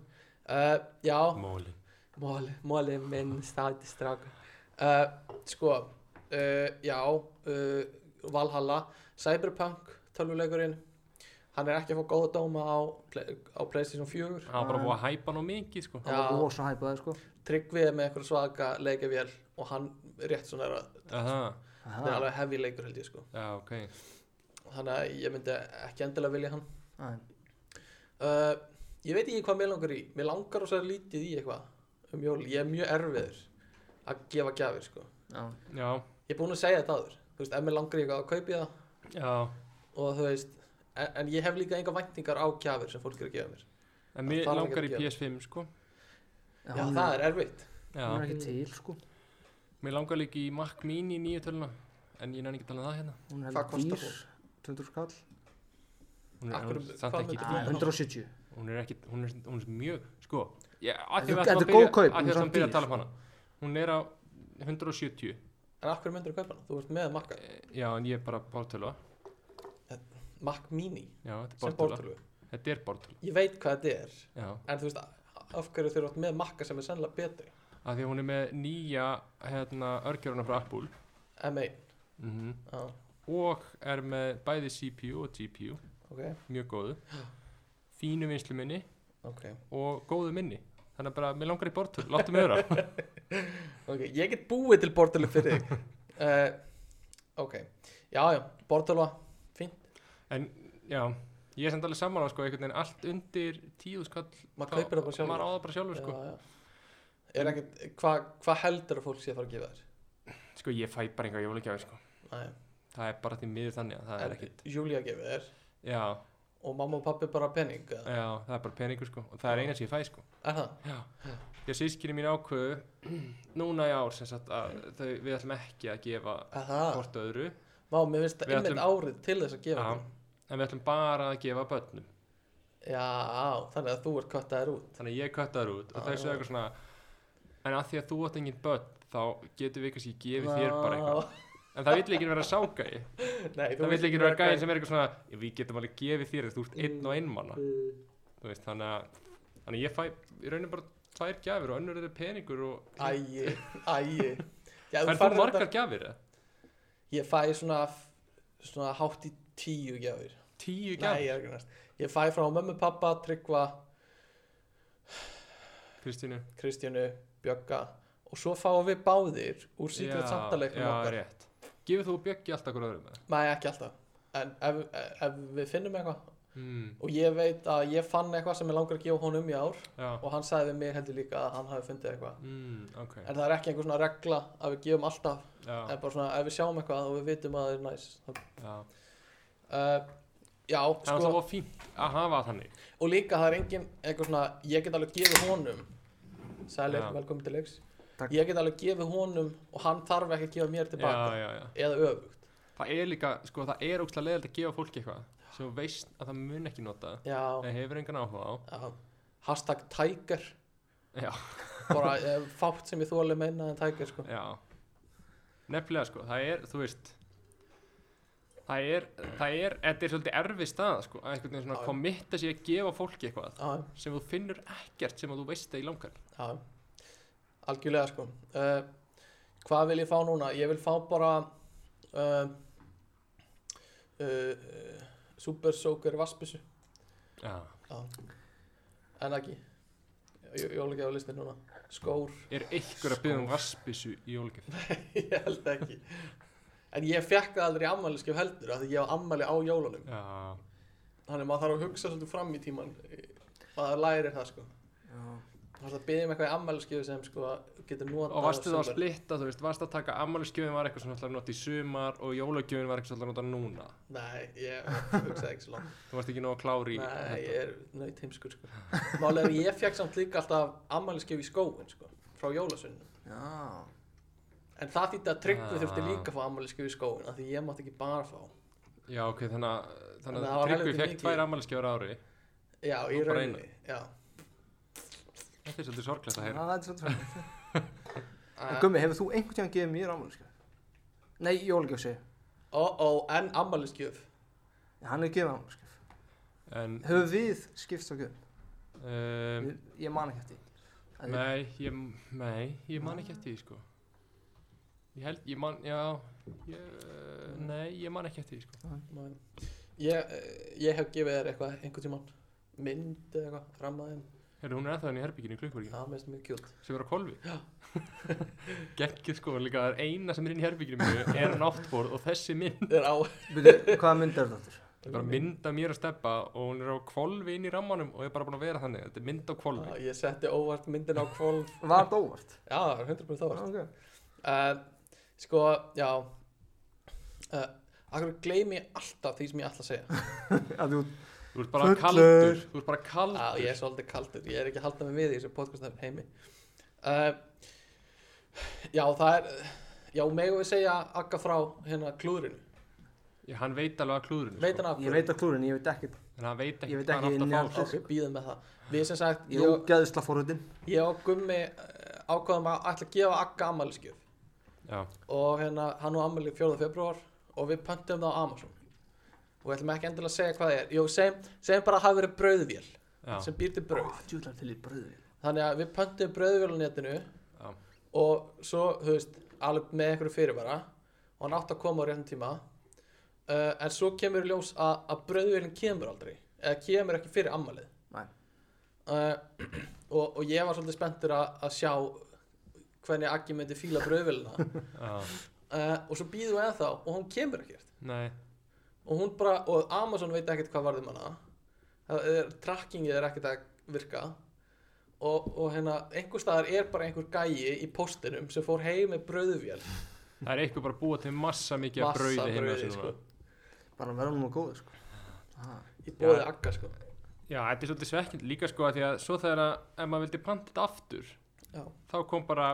Speaker 2: uh, Já,
Speaker 3: Móli
Speaker 2: móli, móli minn stæti stráka uh, Sko, uh, já uh, Valhalla Cyberpunk, tölvuleikurinn Hann er ekki að fá góða dóma á, Play- á Playstation 4
Speaker 3: Hann var bara búið að hæpa hann á mikið sko
Speaker 4: Hann var
Speaker 2: Já.
Speaker 4: rosa hæpaði sko
Speaker 2: Tryggvið er með eitthvað svaka leikavél og hann rétt svona er að
Speaker 3: Aha.
Speaker 2: það er
Speaker 4: Aha,
Speaker 2: alveg hefði leikur held ég sko
Speaker 3: Já, ok
Speaker 2: Þannig að ég myndi ekki endilega vilja hann
Speaker 4: aðeim
Speaker 2: Uh, ég veit ekki hvað mér langar í Mér langar og sér lítið í eitthvað um jól Ég er mjög erfiður að gefa gjafir sko.
Speaker 4: Já,
Speaker 3: Já,
Speaker 2: Ég er búinn að segja þetta aður Þú veist, ef mér langar í eitthvað að kaupi það
Speaker 3: já
Speaker 2: og þú veist, en, en ég hef líka enga væntingar á gjafir sem fólk er að gefa mér
Speaker 3: En mér
Speaker 2: Það þarf
Speaker 3: langar í
Speaker 2: ekki að
Speaker 3: PS5 sko
Speaker 2: Já, það er erfitt
Speaker 4: Hún er
Speaker 3: Já,
Speaker 4: ekki til sko
Speaker 3: mér langar líka í Mac Mini nýju töluna En ég næði ekki að tala um það hérna
Speaker 4: Hún er
Speaker 2: Hvað
Speaker 4: heldur
Speaker 2: kostar
Speaker 4: dýr 200 skall
Speaker 3: Hún er,
Speaker 2: Af hverju-
Speaker 3: hún, er samt
Speaker 2: hvað
Speaker 3: ekki,
Speaker 2: myndir-
Speaker 4: Nei, 170
Speaker 3: hún er ekki, hún er, hún er mjög Sko, ég,
Speaker 4: Þetta er-
Speaker 3: að því við ætlum
Speaker 4: þetta
Speaker 3: að
Speaker 4: er
Speaker 3: byrja
Speaker 4: góð kaup,
Speaker 3: Að
Speaker 4: hún er
Speaker 3: því við ætlum
Speaker 4: samt
Speaker 3: að byrja
Speaker 4: dýr,
Speaker 3: að tala um hana Hún er á 170
Speaker 2: En af hverju myndir að kaupa hana? Þú ert með Mac,
Speaker 3: Já, en ég er bara bortölu
Speaker 2: Mac Mini
Speaker 3: Já, þetta
Speaker 2: sem
Speaker 3: er bortölu
Speaker 2: bortölu
Speaker 3: Þetta er bortölu
Speaker 2: Ég veit hvað þetta er
Speaker 3: Já,
Speaker 2: En þú veist, af hverju þeir eru með Maca sem er sennilega betri
Speaker 3: að því að hún er með nýja hérna, örgjöruna frá Apple
Speaker 2: M1
Speaker 3: mm
Speaker 2: Já,
Speaker 3: og er með bæði CPU og GPU
Speaker 2: ok,
Speaker 3: mjög góðu fínu vinslu minni
Speaker 2: ok
Speaker 3: og góðu minni þannig að bara, mér langar í bortölu, láttu mig vera
Speaker 2: Ok, ég get búið til bortölu fyrir þig
Speaker 3: *laughs*
Speaker 2: uh, Ok, já, já, bortölu
Speaker 3: en já, ég er samt alveg sammála sko, einhvern veginn allt undir tíu skall
Speaker 2: Maður
Speaker 3: þá-
Speaker 2: kaupir það bara sjálfur.
Speaker 3: maður á það bara sjálfur sko.
Speaker 2: já, já. Er ekkert, hvað hva heldur að fólk sé að fara að gefa þér?
Speaker 3: sko, ég fæ bara einhver jólagjafir sko.
Speaker 2: Nei,
Speaker 3: það er bara því miður þannig að það er
Speaker 2: en
Speaker 3: ekkit
Speaker 2: Júlia gefið þér
Speaker 3: já,
Speaker 2: og mamma og pappi bara pening eða?
Speaker 3: já, það er bara peningur sko, og það er
Speaker 2: Já.
Speaker 3: eina sem ég fæ sko.
Speaker 2: Er það?
Speaker 3: já, ég sískinni mín ákveðu núna í ár sem sagt að þau, við ætlum ekki að gefa
Speaker 2: Er það?
Speaker 3: hvort öðru
Speaker 2: Vá, mér finnst það
Speaker 3: Við
Speaker 2: einmitt
Speaker 3: ætlum-
Speaker 2: árið til þess að gefa
Speaker 3: Já.
Speaker 2: þér
Speaker 3: en við ætlum bara að gefa börnum
Speaker 2: Já, á, þannig að þú ert kvartaðir út
Speaker 3: þannig að ég köttaður út og
Speaker 2: Já,
Speaker 3: þau
Speaker 2: já.
Speaker 3: sögðu eitthvað svona en að því að þú átt engin börn þá getum við kannski gefið þér bara eitthvað en það vill ekki vera ságæi
Speaker 2: *laughs* Nei,
Speaker 3: það vill ekki vera gæi sem er eitthvað svona við getum alveg gefið þér þú ert einn og einn
Speaker 2: Mm,
Speaker 3: manna þú veist þannig að þannig að ég fæ í raunin bara tvær gjafir og önnur eru peningur og
Speaker 2: Æi, æi
Speaker 3: *laughs*
Speaker 2: Já,
Speaker 3: það er
Speaker 2: færð
Speaker 3: þú margar
Speaker 2: þetta-
Speaker 3: gjafir eða?
Speaker 2: Ég fæ svona, svona hátt í tíu gjafir
Speaker 3: tíu
Speaker 2: Nei,
Speaker 3: gjafir
Speaker 2: ég er ekki næst Ég fæ frá mömmu, pappa, Tryggva,
Speaker 3: Kristínu
Speaker 2: Kristjánu, Bjögga og svo fáum við báðir úr Secret
Speaker 3: Já,
Speaker 2: Santa-leiknum
Speaker 3: já,
Speaker 2: okkar
Speaker 3: rétt gefið þú bjöggi alltaf hverju öðrum eða?
Speaker 2: Nei, ekki alltaf En ef, ef við finnum eitthvað
Speaker 3: mm,
Speaker 2: Og ég veit að ég fann eitthvað sem ég langar að gefa honum í ár
Speaker 3: já
Speaker 2: Og hann sagði við mig heldur líka að hann hafi fundið eitthvað
Speaker 3: mm, ok
Speaker 2: En það er ekki einhver svona regla að við gefum alltaf
Speaker 3: já,
Speaker 2: En bara svona ef við sjáum eitthvað og við vitum að það er næs þá-
Speaker 3: já
Speaker 2: uh, Já,
Speaker 3: það er
Speaker 2: sko
Speaker 3: alltaf fínt að hafa þannig
Speaker 2: Og líka það er engin eitthvað svona Ég get alveg gefið honum Sælir,
Speaker 3: Já.
Speaker 2: velkomin til leiks
Speaker 4: Takk.
Speaker 2: Ég get alveg gefið honum og hann þarf ekki að gefa mér tilbaka
Speaker 3: já, já, já
Speaker 2: Eða öfugt
Speaker 3: það er líka, sko, það er ógstlega leiðilegt að gefa fólki eitthvað sem þú veist að það mun ekki nota
Speaker 2: já,
Speaker 3: eða hefur engan áhuga á
Speaker 2: já. hashtag tiger
Speaker 3: Já.
Speaker 2: bara eh, fátt sem ég þóli meina en tiger sko
Speaker 3: já, nefnilega sko það er, þú veist það er, það er, þetta er svolítið erfið stað sko, að einhvern veginn
Speaker 2: Já,
Speaker 3: svona
Speaker 2: já.
Speaker 3: kommitta sér að gefa fólki eitthvað
Speaker 2: já,
Speaker 3: sem þú finnur ekkert sem að þú veist það í langar
Speaker 2: já algjörlega sko uh, hvað vil ég fá núna? ég vil fá bara uh, uh, uh, super soaker vassbissu
Speaker 3: já.
Speaker 2: en ekki jólugjafa listin núna skór,
Speaker 3: er einhver að byggja um vassbissu í jólgjöf
Speaker 2: *laughs* ég held ekki en ég fekk það aldrei í ammæliskef heldur af því ég var ammæli á jólunum
Speaker 3: já,
Speaker 2: þannig að maður þarf að hugsa svolítið fram í tíman maður lærir það sko það er að byggja um eitthvað í ammæliskeiðu sem sko getur notað
Speaker 3: og varstu
Speaker 2: á
Speaker 3: þá að
Speaker 2: sumar.
Speaker 3: splitta, þú veist, varstu að taka ammælisgjöfin var eitthvað sem ætlar að nota í sumar og jólagjöfin var eitthvað sem ætlar að nota núna
Speaker 2: nei, ég hugsaði ekki svo langt
Speaker 3: þú varst ekki nóg klári
Speaker 2: nei, ég er nöyt heimskur sko málega er að ég fekk samt líka alltaf ammæliskeiðu í skóin sko, frá jólasunum
Speaker 1: Já.
Speaker 2: en það þýtti að tryggvi
Speaker 3: Ah.
Speaker 2: þurfti líka að fá ammæliskeiðu í skóin af því ég mátt ekki bara fá
Speaker 3: Já, ok, þannig að,
Speaker 2: Þannig
Speaker 3: þannig
Speaker 2: að það
Speaker 3: að
Speaker 2: var
Speaker 3: Tryggvi
Speaker 2: helviti
Speaker 3: fekk
Speaker 2: mikið.
Speaker 3: tvær ammælisgjafar á ári
Speaker 2: já, í
Speaker 3: Og bara
Speaker 2: rauninni já.
Speaker 3: Þetta er svolítið sorglegt
Speaker 4: Já,
Speaker 3: að heyra
Speaker 4: það er svolítið frænt.
Speaker 2: Eh,
Speaker 4: Gummi, hefur þú einhvern tíðan gefið mér afmælisgjöf? Nei, jólgjöf segi.
Speaker 2: ó, ó, en ammæliskeiðu
Speaker 4: ég. Hann hefur gefið afmælisgjöf.
Speaker 3: En,
Speaker 4: Hefur við skipt á gjöfum?
Speaker 3: um,
Speaker 4: Ég- Ég man ekki eftir. því. Að við-
Speaker 3: nei, ég, nei, ég man ekki eftir því, sko Ég held, ég man, já, ég, nei, ég man ekki eftir því, sko
Speaker 2: Nei. Ég, eh, ég hef gefið þér eitthvað einhvern tímann mynd eða eitthvað rammaðin
Speaker 3: Hérna, hún er ennþá henni í herbygginu í klukkuríkinu,
Speaker 2: það finnst mjög *laughs* kjút
Speaker 3: sem er á kolvi *laughs* Gekkið, sko, líka það er eina sem er inn í herbygginu mínu er náttborð og þessi mynd
Speaker 2: er á
Speaker 4: Byrju, Hvaða mynd er þetta aftur?
Speaker 3: Það er bara mynd af mér að steppa og hún er á kolvi inn í rammanum og er bara búin að vera þannig, þetta er mynd á kolvi
Speaker 2: Já, ég setti óvart myndin á kvolf
Speaker 4: Var þetta óvart?
Speaker 2: já, það er 100% óvart
Speaker 4: Okay.
Speaker 2: uh, sko, já uh, akkur gleymi ég alltaf því sem ég ætla að segja
Speaker 4: Að þú
Speaker 3: Þú ert bara
Speaker 5: Fullur.
Speaker 3: kaldur, þú ert bara
Speaker 2: já,
Speaker 3: kaldur
Speaker 2: Ah, ég er svolítið kaldur, ég er ekki að halda mig við í þessu podcastum heimi uh, já, það er já, megum við segja akka frá hérna klúðrinu,
Speaker 3: Já, hann veit alveg að klúðurinn sko.
Speaker 2: veit hann af
Speaker 4: Ég veit að klúrin, ég veit ekkert
Speaker 3: En hann veit
Speaker 4: Ég
Speaker 3: ekki
Speaker 4: veit
Speaker 3: hvað
Speaker 4: ekki
Speaker 3: hann
Speaker 4: inni
Speaker 3: átt að fá
Speaker 4: alls.
Speaker 2: ok, býðum með það við sem sagt,
Speaker 4: Ég er ógæðisla forhundin
Speaker 2: ég og Gummi eh, ákvaðum að ætla að gefa Akka ammæliskjöf
Speaker 3: Já,
Speaker 2: og hérna hann á ammæli 4. februar og við pöntum það á Amazon og við ætlum ekki endilega að segja hvað það er Jú, segjum, segjum bara að hafa verið brauðvél
Speaker 3: já,
Speaker 2: sem býr til brauð
Speaker 4: Djúlar til í bröðu
Speaker 2: þannig að við pöntum brauðvél á netinu
Speaker 3: Já.
Speaker 2: og svo, þú veist, alveg með einhverju fyrirvara og hann átti að koma á réttum tíma uh, en svo kemur í ljós að, að brauðvélin kemur aldrei eða kemur ekki fyrir ammælið
Speaker 4: Nei.
Speaker 2: uh, *clears throat* og, og ég var svolítið spenntur að, að sjá hvernig Aggi myndi fíla brauðvélina
Speaker 3: *laughs* sko. já,
Speaker 2: uh, og svo býðum við ennþá og hún kemur ekkert
Speaker 3: nei,
Speaker 2: og hún bara, og Amazon veit ekkert hvað varðum hana það er, trackingið er ekkert að virka og, og hérna einhver staðar er bara einhver gæi í postinum sem fór heim með brauðvél
Speaker 3: það er eitthvað bara að búa til massa mikið af
Speaker 2: Massa
Speaker 3: brauði heima
Speaker 2: brauði,
Speaker 3: sem
Speaker 2: sko.
Speaker 3: núna.
Speaker 4: Bara verðum nú góður sko Ah,
Speaker 2: í bóði
Speaker 3: Já.
Speaker 2: Agga sko
Speaker 3: Já, þetta er svolítið svekkind líka sko af því að svo þegar að ef maður vildi panta þetta aftur
Speaker 2: Já.
Speaker 3: þá kom bara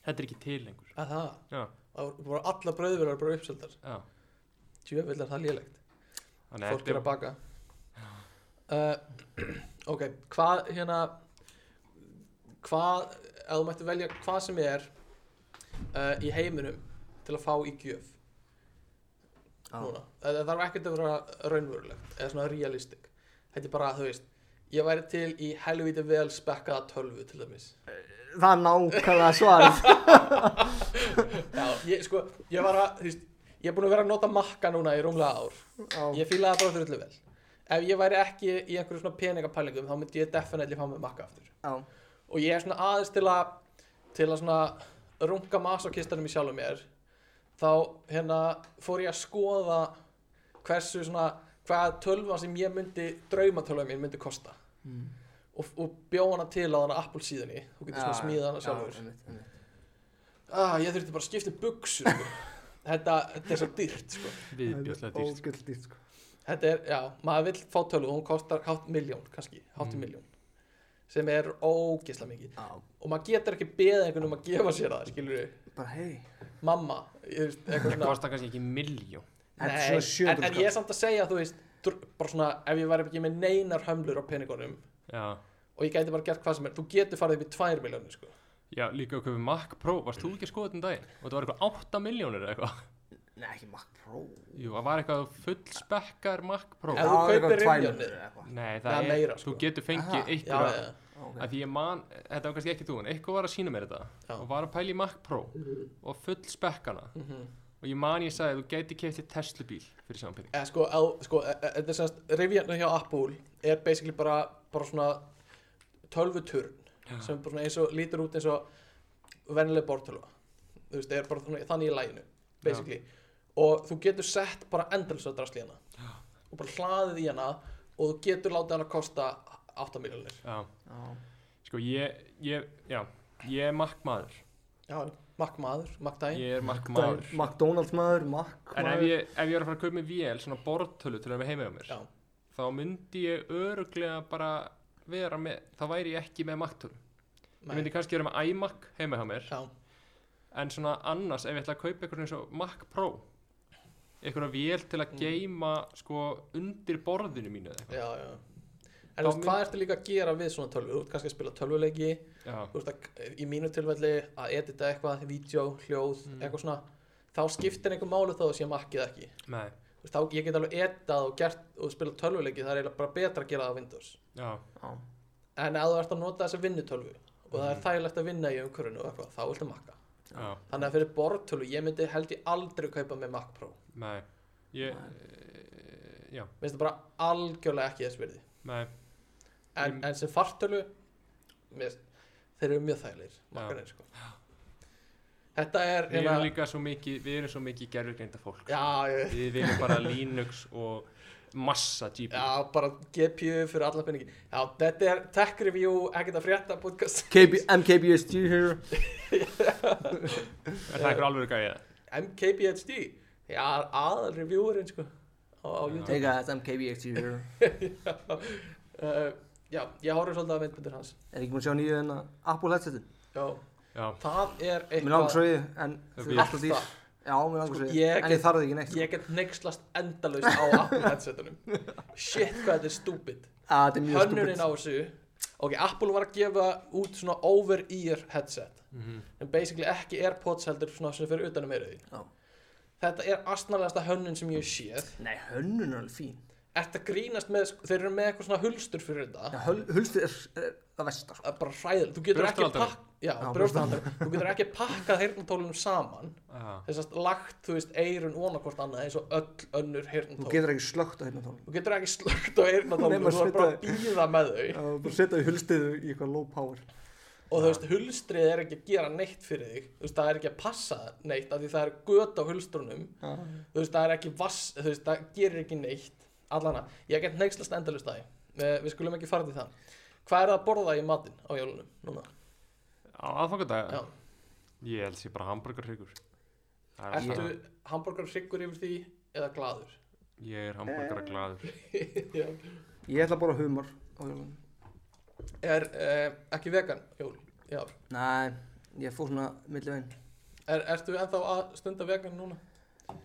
Speaker 3: þetta er ekki til lengur
Speaker 2: að það,
Speaker 3: Já,
Speaker 2: það voru alla brauðvélar bara uppseldar
Speaker 3: já
Speaker 2: tjöfvill er það lélegt
Speaker 3: Þannig
Speaker 2: fólk er að baka uh, *clears throat* ok, hvað hérna hvað, ef þú mættir velja hvað sem er uh, í heiminum til að fá í gjöf
Speaker 4: Já.
Speaker 2: núna, það það þarf ekkert að vera raunverulegt eða svona realistik þetta er bara, þú veist, ég væri til í helvíti vel spekkaða tölvu til dæmis
Speaker 4: Það er nákvæmlega svarið
Speaker 2: já, ég sko, ég var að, þú veist ég er búin að vera að nota makka núna í rúmlega ár
Speaker 4: Já.
Speaker 2: Ég fílaði það bara þrullu vel Ef ég væri ekki í einhverju svona peningapælingum þá myndi ég definitely fá mig makka aftur
Speaker 4: Já,
Speaker 2: og ég er svona aðeins til að til að svona runga masokistanum í sjálfum mér þá hérna fór ég að skoða hversu svona hvaða tölva sem ég myndi draumatölva mín myndi kosta
Speaker 4: Mm.
Speaker 2: og, og bjó hana til á hana Apple síðunni þú getur
Speaker 4: Já,
Speaker 2: svona smíðað hana
Speaker 4: já,
Speaker 2: sjálfur
Speaker 4: einmitt, einmitt.
Speaker 2: ah, ég þurfti bara að skipta um buksur
Speaker 4: *laughs*
Speaker 2: þetta, þetta er svo dýrt sko.
Speaker 3: viðbjöðslega dýrt
Speaker 4: Ógæðislega dýrt sko
Speaker 2: Þetta er, já, maður vill fá tölvu og hún kostar hátt miljón, kannski, hátt mm. miljón sem er ógisla mikið
Speaker 1: Já.
Speaker 2: og maður getur ekki beðið einhvern um að gefa sér það skilur
Speaker 1: bara hei
Speaker 2: mamma ég veist, eitthvað
Speaker 3: það
Speaker 2: svona
Speaker 3: kostar kannski ekki miljón
Speaker 1: *laughs* Þetta
Speaker 2: Nei,
Speaker 1: er svona 700
Speaker 2: en, en ég er samt að segja þú veist dr- bara svona ef ég væri ekki með neinar hömlur á peningunum
Speaker 3: já,
Speaker 2: og ég gæti bara gert hvað sem er þú getur farið upp í 2 miljónir sko
Speaker 3: já líka okkur við Mac Pro varst þú ekki að skoða þetta um daginn og það var eitthvað 8 miljónir eða eitthvað
Speaker 1: Nei, ekki Mac Pro
Speaker 3: jú, það var eitthvað fullspekkar Mac Pro
Speaker 2: Já. þú
Speaker 1: Það var
Speaker 2: kaupir
Speaker 1: eitthvað
Speaker 2: rifjunni.
Speaker 1: 200 eða eitthvað.
Speaker 3: nei, það
Speaker 2: Eða
Speaker 3: er,
Speaker 2: meira, sko.
Speaker 3: þú getur
Speaker 1: Aha.
Speaker 2: já,
Speaker 3: fengið eitthvað
Speaker 2: já,
Speaker 1: Ó, ok.
Speaker 3: að því ég man, þetta var kannski ekki þú en eitthvað var að sína mér þetta
Speaker 2: Já.
Speaker 3: og var að pæla í Mac Pro og full spekkana
Speaker 2: Mhm.
Speaker 3: og ég man ég sagði að þú gæti kefti Tesla bíl fyrir saman pening
Speaker 2: eða sko, eð, sko e- e- þetta er semst rifjarnu hjá Apple er basically bara, bara svona tölvuturn sem er bara svona eins og lítur út eins og vennileg bortölva þú veist, er bara þannig, þannig í læginu basically og þú getur sett bara endalsa drasli hana Já. og bara hlaðið í hana og þú getur látið hana kosta 8 miljonir
Speaker 3: já.
Speaker 1: Já.
Speaker 3: sko ég, ég, já, ég er Mac maður
Speaker 2: Já, en Mac maður, Mac dæn
Speaker 3: ég er Mac maður
Speaker 4: McDonalds maður, Mac
Speaker 3: en ef ég, ef ég er að fara að kaupa mér vél svona bortölu til að vera heima hjá mér
Speaker 2: Já.
Speaker 3: þá myndi ég öruglega bara vera með, þá væri ég ekki með Mac-tölu ég myndi kannski vera með iMac heima hjá mér
Speaker 2: Já,
Speaker 3: en svona annars ef ég ætla að kaupa eitthvað eins og Mac Pro eitthvað vél til að geyma sko undir borðinu mínu eða eitthvað
Speaker 2: já, já En þú veist,
Speaker 3: mynd-
Speaker 2: hvað ertu líka að gera við svona tölvu? Þú ert kannski að spila tölvuleiki
Speaker 3: já,
Speaker 2: þú veist að í mínu tilfelli að edita eitthvað, vídeo, hljóð,
Speaker 3: Mm.
Speaker 2: eitthvað svona þá skiptir einhver máli þá sé makkið ekki
Speaker 3: nei,
Speaker 2: Þú veist, þá ég get alveg editað og, gert, og spila tölvuleiki það er eiginlega bara betra að gera það á Windows
Speaker 3: já,
Speaker 1: Já.
Speaker 2: en ef þú ert að nota þessa vinnutölvu og það
Speaker 3: Mm.
Speaker 2: er þægilegt að vinna í umhverfinu og eitthvað, þá viltu makka
Speaker 3: já,
Speaker 2: þannig að fyrir borðtölvu, ég myndi held ég aldrei kaupa með Mac Pro
Speaker 3: nei ég, e, já,
Speaker 2: minnst það bara algjörlega ekki þess virði
Speaker 3: nei
Speaker 2: en,
Speaker 3: Mm.
Speaker 2: en sem fartölu mér, þeir eru mjög þægilegir makkarnir sko þetta er
Speaker 3: við erum líka svo mikið, við erum svo mikið gerfugreinda fólk
Speaker 2: já, ég,
Speaker 3: við viljum bara Linux og massa GPU
Speaker 2: Já, bara GPU fyrir alla peningi Já, þetta er Tech Review, ekkert að frétta podcast
Speaker 4: KB, MKBSG here
Speaker 3: er það eitthvað alveg gæðið
Speaker 2: MKBHD Já, aðal reviewerinn sko á, á YouTube
Speaker 4: Hey guys, MKBSG here
Speaker 2: *laughs* uh, Já, ég horfði svolítið að myndbundir hans
Speaker 4: Er ekki maður að sjá nýju en Apple headsetin?
Speaker 2: Já,
Speaker 3: já,
Speaker 2: það er
Speaker 4: Mér langar svo
Speaker 2: eitthvað
Speaker 4: í þau, en
Speaker 3: Það
Speaker 4: þau
Speaker 3: býr.
Speaker 4: er alltaf dýr Já, mér langar
Speaker 2: Sko,
Speaker 4: svo í
Speaker 2: ég
Speaker 4: þau, en
Speaker 2: get-
Speaker 4: ég þarf þau ekki neitt sko.
Speaker 2: Ég get neykslast endalaust á Apple
Speaker 4: *laughs*
Speaker 2: headsetunum Shit, hvað þetta er stúpid
Speaker 4: Að Þetta er mjög stúpid
Speaker 2: Hönnunin á þessu Ok, Apple var að gefa út svona over-ear headset
Speaker 4: Mhm.
Speaker 2: en basically ekki Airpods heldur svona sem fyrir utanum eruði
Speaker 4: Já.
Speaker 2: Þetta er astnalegasta hönnun sem ég hef séð
Speaker 4: Nei, hönnun er alveg fín
Speaker 2: Þetta grínast með, sko, þeir eru með eitthvað svona hulstur fyrir
Speaker 4: Já,
Speaker 2: þetta
Speaker 4: höl- Hulstur er er það versta sko.
Speaker 2: Það er bara hræðilegt, þú getur ekki
Speaker 3: Brjóstahaldari.
Speaker 2: pakk Já,
Speaker 4: Já,
Speaker 2: brjóstahaldari, þú getur ekki pakkað heyrnatólunum saman
Speaker 3: já,
Speaker 2: þessast lagt, þú veist, eirun vonakvort annað eins og öll önnur
Speaker 4: Þú
Speaker 2: heyrnatól
Speaker 4: getur ekki slögt á hérna tónum
Speaker 2: Þú getur ekki slögt á
Speaker 4: Nema
Speaker 2: heyrnatólunum, þú er bara að býða með þau
Speaker 4: Bara setja í hulstuðu í eitthvað low power
Speaker 2: og þú veist, hulstrið er ekki að gera neitt fyrir þig þú veist, það er ekki að passa neitt af því það er göt á hulstrunum
Speaker 4: Já.
Speaker 2: þú veist, það er ekki vass, þú veist, það gerir ekki neitt allana, ég get neykslast endalust að því Eh, við skulum ekki fara til það hvað er það að borða í matinn á jólunum núna?
Speaker 3: á aðfangadag
Speaker 2: Já.
Speaker 3: ég held sér bara hamburgarhryggur Það er
Speaker 2: Ertu
Speaker 3: alltaf-
Speaker 2: hambúrgar hryggur yfir því eða glaður? *laughs*
Speaker 3: ég er hamburgaraglaður
Speaker 2: Já.
Speaker 4: Ég ætla að bora humar á jólunum
Speaker 2: er eh, ekki vegan jól? Já.
Speaker 4: Nei, ég fór svona milli veginn
Speaker 2: Er, ertu ennþá að stunda vegan núna?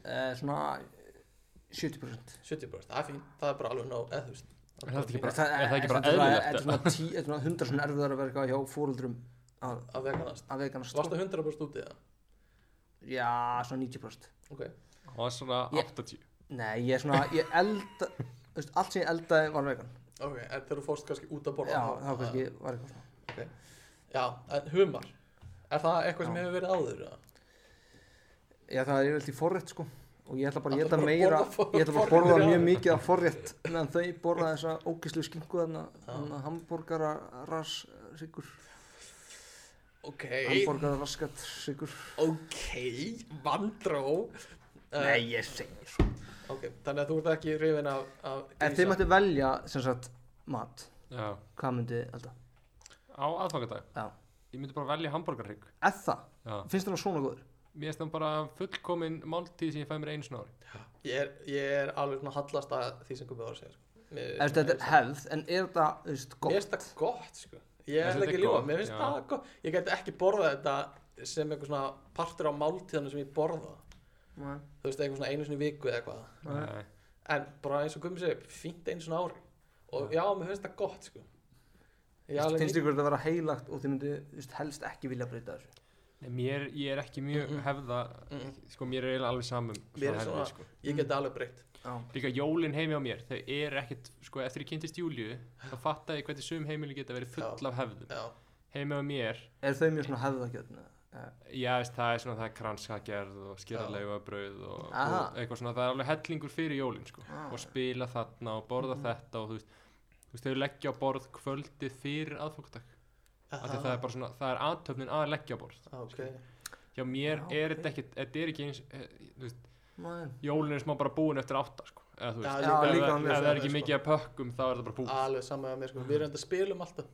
Speaker 4: eh, Svona 70%
Speaker 2: 70% það er fín, það er bara alveg nóg eða þú veist
Speaker 3: Er það ekki
Speaker 2: bara
Speaker 3: bara- er það ekki bara eðlilegt,
Speaker 4: eh, Þetta er svona tí- þetta er svona 100 svona erfiðar að verka hjá fóruldrum að,
Speaker 2: að veganast?
Speaker 4: að veganast
Speaker 2: Varstu 100% úti eða?
Speaker 4: Já, svona 90%
Speaker 2: Ok,
Speaker 3: það var svona
Speaker 4: Ég-
Speaker 3: 80
Speaker 4: Nei, ég er svona, ég elda þú veist, Allt sem ég eldaði var vegan
Speaker 2: ok, en þegar þú fórst kannski út að borða
Speaker 4: Já, þá kannski var eitthvað svona
Speaker 2: Já, en humar, er það eitthvað sem
Speaker 4: Já.
Speaker 2: hefur verið áður? eða?
Speaker 4: Já, það er yfirleitt í forrétt sko Og ég ætla bara að
Speaker 2: Ætlar
Speaker 4: geta
Speaker 2: bara að
Speaker 4: meira
Speaker 2: borða for-
Speaker 4: Ég ætla bara að borða
Speaker 2: forréttir,
Speaker 4: mjög
Speaker 2: já.
Speaker 4: mikið af forrétt meðan þau borða þessa ógislu skinku þarna þarna hambúrgara ras sigur
Speaker 2: Ok,
Speaker 4: hambúrgara raskat sigur
Speaker 2: ok, vandró Eh,
Speaker 4: ég segi svo
Speaker 2: Ok, þannig að þú ert ekki hrifin af, af
Speaker 4: Ef þið mættu velja sem sagt mat
Speaker 3: já.
Speaker 4: hvað myndið þið elda?
Speaker 3: á aðfangadag
Speaker 4: Já.
Speaker 3: ég myndi bara velja hamburgarhrygg
Speaker 4: Ef það,
Speaker 3: já.
Speaker 4: finnst þér það svona góður?
Speaker 3: mér finnst það bara fullkomin máltíð sem ég fæ mér einu sinni á ári
Speaker 2: ég, er, ég er alveg svona hallast að því sem komið var að segja sko. Mér-
Speaker 4: Ef þetta er hefð, en er það, þú veist,
Speaker 2: Mér
Speaker 4: gott?
Speaker 2: finnst það gott sko. Ég
Speaker 3: Þessi
Speaker 2: ætla
Speaker 3: er
Speaker 2: ekki að ljúa,
Speaker 3: gott,
Speaker 2: mér finnst
Speaker 3: já.
Speaker 2: það gott Ég gæti ekki borðað þetta sem einhver svona partur á máltíðanum sem ég borða
Speaker 4: Nei,
Speaker 2: Þú veist, einhver svona einu sinni í viku eða eitthvað
Speaker 4: nei.
Speaker 3: Nei.
Speaker 2: En bara eins og gummi segir, fínt einu svona ári Og já, mér finnst það gott, sko Ég alveg
Speaker 4: Finnst
Speaker 2: nýtt
Speaker 4: ykkur þetta að vera heilagt og þið myndu þú veist, helst ekki vilja breyta þessu?
Speaker 3: Nei, Mér, ég er ekki mjög
Speaker 2: Mhm.
Speaker 3: hefða
Speaker 2: Mhm.
Speaker 3: sko mér er eiginlega alveg saman
Speaker 2: Mér er svona-
Speaker 3: sko.
Speaker 2: Ég geti alveg breytt
Speaker 4: Já,
Speaker 3: líka jólin heimi á mér þau eru ekkit sko eftir ég kynntist Júliu þá fattaði ég hvernig sum heimili geta verið full
Speaker 2: Já.
Speaker 3: af hefðum
Speaker 2: Já,
Speaker 3: heimi á mér
Speaker 4: er þau mjög svona hefðakjötna?
Speaker 3: já veist það er svona það er kranshagerð og skýrarlegu brauð og,
Speaker 4: Aha.
Speaker 3: og eitthvað svona það er alveg hellingur fyrir jólin sko
Speaker 4: Ah.
Speaker 3: og spila þarna og borða þetta og þú veist þú veist, þau leggja á borð kvöldið fyrir aðfóktak af því það er bara svona, það er aðtöfnin að leggja á borð
Speaker 2: Ah, ok.
Speaker 3: hjá mér
Speaker 4: Já,
Speaker 3: er
Speaker 4: ok.
Speaker 3: þetta ekkit, þetta er ekki eins eh, þú veist,
Speaker 4: Nei,
Speaker 3: jólin er smá bara búin eftir átta sko. eða þú veist,
Speaker 2: Já,
Speaker 3: ef,
Speaker 4: líka
Speaker 3: ef,
Speaker 4: alveg
Speaker 3: ef það er
Speaker 2: svo,
Speaker 3: ekki
Speaker 2: sko.
Speaker 3: mikið að pökkum þá er það bara búið
Speaker 2: Alveg sama með mér, sko Við erum þetta spilum alltaf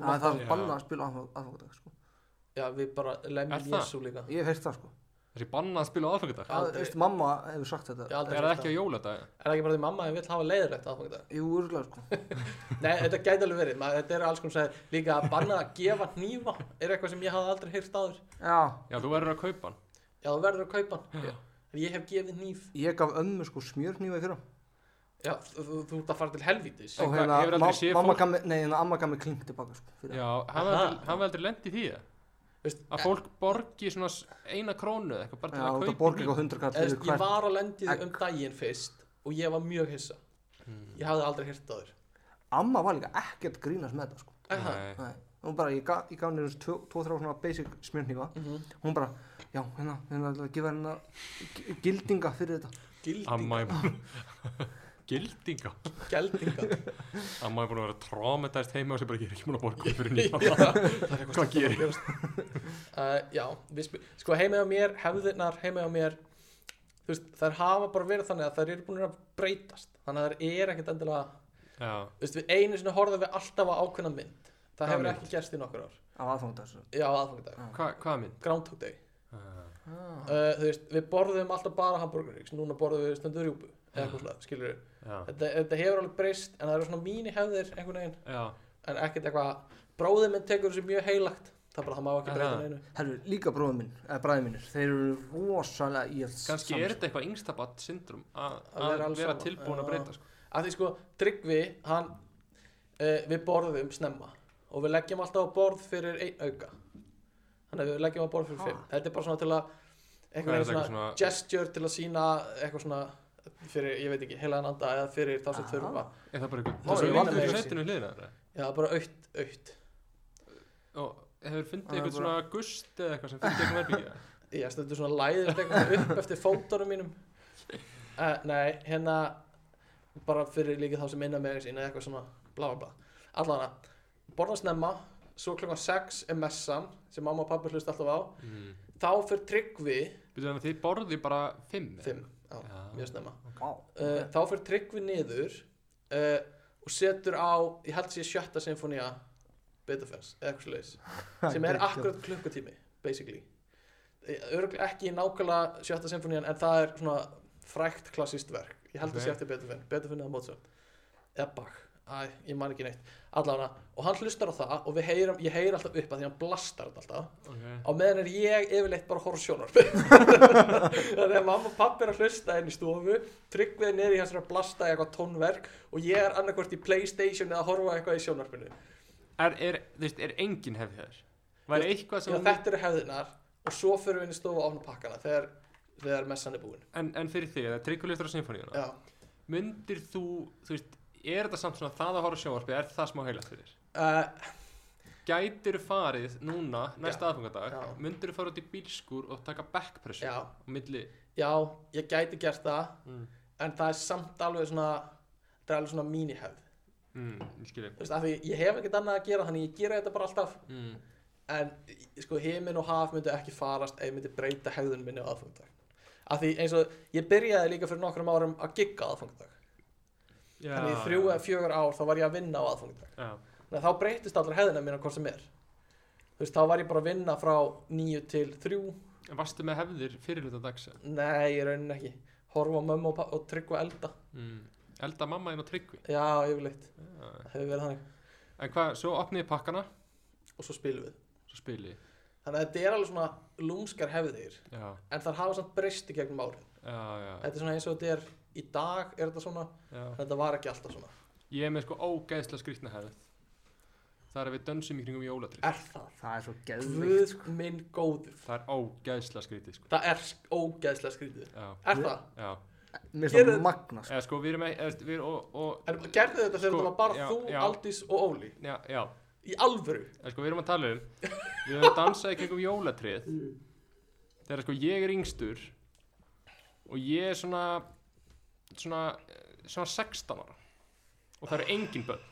Speaker 4: það er
Speaker 2: alltaf
Speaker 4: það
Speaker 3: Já.
Speaker 4: sem banna að spila aðfangadag sko.
Speaker 2: Já, við bara
Speaker 3: Er
Speaker 2: lemjum
Speaker 3: það?
Speaker 2: Jésu líka
Speaker 4: Ég hef heyrt það sko.
Speaker 3: þessi bannað að spila á aðfangadag
Speaker 2: Já,
Speaker 4: Það,
Speaker 2: aldrei-
Speaker 4: veist, mamma hefur sagt þetta.
Speaker 2: Ég aldrei
Speaker 3: er það ekki á jóladag
Speaker 2: Er það ekki bara því mamma en vill hafa leiðilegt
Speaker 3: *laughs*
Speaker 2: aðfangadag?
Speaker 4: Jú, örgulega sko.
Speaker 2: Nei, þetta gæti alveg verið, maður, þetta er alls konar sæðir Líka að banna að gefa hnífa er eitthvað sem ég hafði aldrei heyrt áður
Speaker 4: Já,
Speaker 3: já þú verður að kaupa hann
Speaker 2: Já, þú verður að kaupa hann En ég hef gefið hníf
Speaker 4: ég gaf ömmu sko smjörnýfa í fyrra.
Speaker 2: Já, þú, þú, þú ert að fara til helvítis
Speaker 3: Já.
Speaker 4: Og hérna,
Speaker 3: hvað, hefur aldrei
Speaker 4: ma
Speaker 3: séð
Speaker 4: mamma
Speaker 3: fólk-
Speaker 4: gaf mér, nei, en amma gaf mér kling tilbaka sko. Fyrir.
Speaker 3: já, hann
Speaker 2: Aha.
Speaker 3: hefði- hann veldur lendi því eða?
Speaker 2: Veist,
Speaker 3: að fólk borgi svona s- eina krónu eða eitthvað bara
Speaker 4: Já,
Speaker 3: til að
Speaker 4: þetta
Speaker 3: kaupa
Speaker 4: borga
Speaker 3: bíl.
Speaker 4: eitthvað hundra kall
Speaker 2: Eðst,
Speaker 4: fyrir
Speaker 2: Ég
Speaker 4: hvert.
Speaker 2: var á lendið
Speaker 4: Egg.
Speaker 2: um daginn fyrst og ég var mjög hissa
Speaker 3: Hmm.
Speaker 2: Ég hafði aldrei heyrt áður
Speaker 4: Amma var líka ekkert grínast með þetta sko.
Speaker 2: Er það?
Speaker 3: Nei.
Speaker 4: Nei. Hún bara, ég gaf, ég gaf henni þessu tvo- tvo, þrjá svona basic smjörnýfa.
Speaker 2: Mhm.
Speaker 4: Hún bara, já, hérna, hérna, ætla að gefa hérna gi- gildinga fyrir þetta.
Speaker 2: Gildinga,
Speaker 3: amma ég búin *laughs* gildinga
Speaker 2: geldinga
Speaker 3: *laughs* amma ég búin að vera trámetæst heima og sem bara ég er ekki búin að borga fyrir
Speaker 2: Já,
Speaker 3: nýja
Speaker 2: það er eitthvað
Speaker 3: *laughs* Hvað
Speaker 2: stórt að gerast. Uh, já, við spi- sko heima á mér, hefðirnar heima á mér þú veist, þær hafa bara verið þannig að þær eru búin að breytast þannig að þær er ekkert endilega
Speaker 3: já,
Speaker 2: þú veist, við einu sinni horfðum við alltaf á ákveðna mynd það
Speaker 3: Hvaða
Speaker 2: hefur
Speaker 3: mynd?
Speaker 2: ekki gerst í nokkur ár
Speaker 4: Á sko. aðfangadag svo.
Speaker 2: já, aðfangadag,
Speaker 3: Hva, hvað minn?
Speaker 2: Groundhog Day
Speaker 3: Ah.
Speaker 4: Ah.
Speaker 2: uh, þú veist, við borðum alltaf bara hamburgerryggs núna borðum við stundur rjúbu eða eitthvað slag, skilur við
Speaker 3: já,
Speaker 2: þetta, þetta hefur alveg breyst, en það eru svona mínu hefðir einhvern veginn,
Speaker 3: já,
Speaker 2: en ekkert eitthvað bróðið minn tekur þessu mjög heilagt það er bara, það má ekki
Speaker 3: Aha.
Speaker 2: breyta neinu
Speaker 4: Herru, líka bróður minn, eða bræði mínir, þeir eru rosalega í að
Speaker 3: kannski er þetta eitthvað yngstabatt syndrum að
Speaker 2: Að vera
Speaker 3: að
Speaker 2: alls
Speaker 3: vera
Speaker 2: saman.
Speaker 3: tilbúin að
Speaker 2: Já.
Speaker 3: breyta sko.
Speaker 2: að því sko Tryggvi hann, uh, við borðum snemma og við leggjum alltaf á borð fyrir einn auka þannig að við leggjum á borð fyrir
Speaker 4: Ha.
Speaker 2: fimm þetta er bara svona til að
Speaker 3: Hvað
Speaker 2: einhvern
Speaker 3: er
Speaker 2: veginn svona,
Speaker 3: þetta, eitthvað svona-
Speaker 2: gesture til að sína eitthvað svona fyrir, ég veit ekki, heilaðan anda eða fyrir þá sem
Speaker 4: Aha.
Speaker 2: þurfa
Speaker 3: Er það bara
Speaker 2: Það
Speaker 3: einhver
Speaker 2: er
Speaker 3: Það er
Speaker 2: vinna
Speaker 3: vinna með
Speaker 2: með
Speaker 3: sættinu hliðina þeirra
Speaker 2: já, bara aukt, aukt
Speaker 3: Og hefur
Speaker 4: Það
Speaker 3: fundið
Speaker 4: er
Speaker 3: eitthvað svona gust eða eitthvað sem fundið eitthvað verðbyggja
Speaker 2: ég stundur svona læðist eitthvað upp eftir fótunum mínum uh, nei, hérna bara fyrir líka þá sem innan með sín eða eitthvað svona bla bla bla allavega, borða snemma svo klokkan 6 er messan sem mamma og pappi hlust alltaf á
Speaker 3: mm.
Speaker 2: þá fyrir Tryggvi
Speaker 3: Býtum þannig að þið borðið bara fimm eða?
Speaker 2: 5, já,
Speaker 3: Já.
Speaker 2: mjög snemma uh,
Speaker 4: Vá,
Speaker 3: Eh,
Speaker 4: ok.
Speaker 2: þá fyrir Tryggvi niður uh, og setur á ég held sér sjötta sinfonía Beethoven's, eða eitthvað slags sem er
Speaker 4: Geggjað.
Speaker 2: akkurat klukkutími basically örgulega ekki nákvæmlega sjötta sinfonían en það er svona frækt klassist verk ég held að
Speaker 3: Ok.
Speaker 2: sé eftir Beethoven, Beethoven eða Mozart eða Bach, æ, ég man ekki neitt allavega, og hann hlustar á það og við heyrum, ég heyri alltaf upp að því hann blastar þetta alltaf
Speaker 3: okay.
Speaker 2: á meðan er ég yfirleitt bara horf sjónar þannig að mamma og pappi er að hlusta inn í stofu tryggvið niður í hans er að blasta í eitthvað tónverk og ég er annarkvort í Playstation eða að horfa á eitthvað í sjónarpinu
Speaker 3: er, er, þú veist, er engin hefð þér? Var
Speaker 2: Ég-
Speaker 3: eitthvað sem
Speaker 2: Já, þetta eru hefðinar og svo fyrir við inn í stofu og opna pakkana þegar, þegar messan er búin
Speaker 3: en, en fyrir þig, það er tryggulöftur á sinfoníuna
Speaker 2: Já,
Speaker 3: Myndir þú, þú veist, er þetta samt svona það að horfa á sjónvarpið, er það smá heilagt fyrir?
Speaker 2: uh,
Speaker 3: Gætir farið núna, næsta aðfangadag
Speaker 2: Já.
Speaker 3: Myndir þú fara út í bílskúr og taka backpress
Speaker 2: já,
Speaker 3: á milli
Speaker 2: já, ég gæti gert það
Speaker 3: Mm.
Speaker 2: en það er samt alveg svona það er alveg svona mínihefð
Speaker 3: mm, ég skil ég.
Speaker 2: Þú veist, af því ég hef ekkert annað að gera þannig ég gera þetta bara alltaf
Speaker 3: mm.
Speaker 2: en sko heiminn og haf myndi ekki farast ef ég myndi breyta hefðun minni á aðfangdag af því eins og ég byrjaði líka fyrir nokkrum árum að gigga á aðfangdag
Speaker 3: Já,
Speaker 2: þannig í þrjú eða fjögur ár þá var ég að vinna á aðfangdag
Speaker 3: Já,
Speaker 2: Nei, þá breytist allar hefðina mína hvort sem er Þú veist, þá var ég bara að vinna frá nýju til þrjú
Speaker 3: En varstu með hefðir fyrir hluta dags? eða?
Speaker 2: Nei, ég raunin ekki Horfa á mömmu og, pa- og tryggva elda
Speaker 3: Mm. Hmm. Elda mamma þín og tryggvi
Speaker 2: Já, yfirleitt,
Speaker 3: Já.
Speaker 2: það hefur verið þannig
Speaker 3: En hvað, svo opniði pakkana
Speaker 2: og svo spilum við
Speaker 3: Svo spiliði
Speaker 2: þannig að þetta er alveg svona lúmskar hefðir
Speaker 3: Já,
Speaker 2: en þar hafa samt breyst í gegnum árin
Speaker 3: já, já,
Speaker 2: þetta er svona eins og þetta er í dag er þetta svona,
Speaker 3: já.
Speaker 2: þetta var ekki alltaf svona
Speaker 3: Ég er með sko ógeðslega skrýtna hefð Það er að við dönsum í kringum jólatrið
Speaker 2: er það,
Speaker 4: Það er svo geðvikt
Speaker 2: Guð minn góður
Speaker 3: Það er ógeðslega skrýtið sko
Speaker 2: það er sk- ógeðslega skrítið
Speaker 3: Já,
Speaker 2: er það,
Speaker 3: já
Speaker 4: Mér finnst það
Speaker 2: Gerið-
Speaker 4: magna sko.
Speaker 3: Eða sko, við erum, ekki- eða, við erum og, og
Speaker 2: en gerðu þetta þegar
Speaker 3: Sko,
Speaker 2: þetta var bara
Speaker 3: já,
Speaker 2: þú,
Speaker 3: já.
Speaker 2: Aldís og Óli
Speaker 3: Já, já
Speaker 2: í alvöru
Speaker 3: Eða sko, við erum að tala um Við höfum dansað í kringum jólatrið
Speaker 4: Mm.
Speaker 3: Þegar sko, ég er yngstur Og ég er svona Svona, eh, svona 16 ára Og það eru engin börn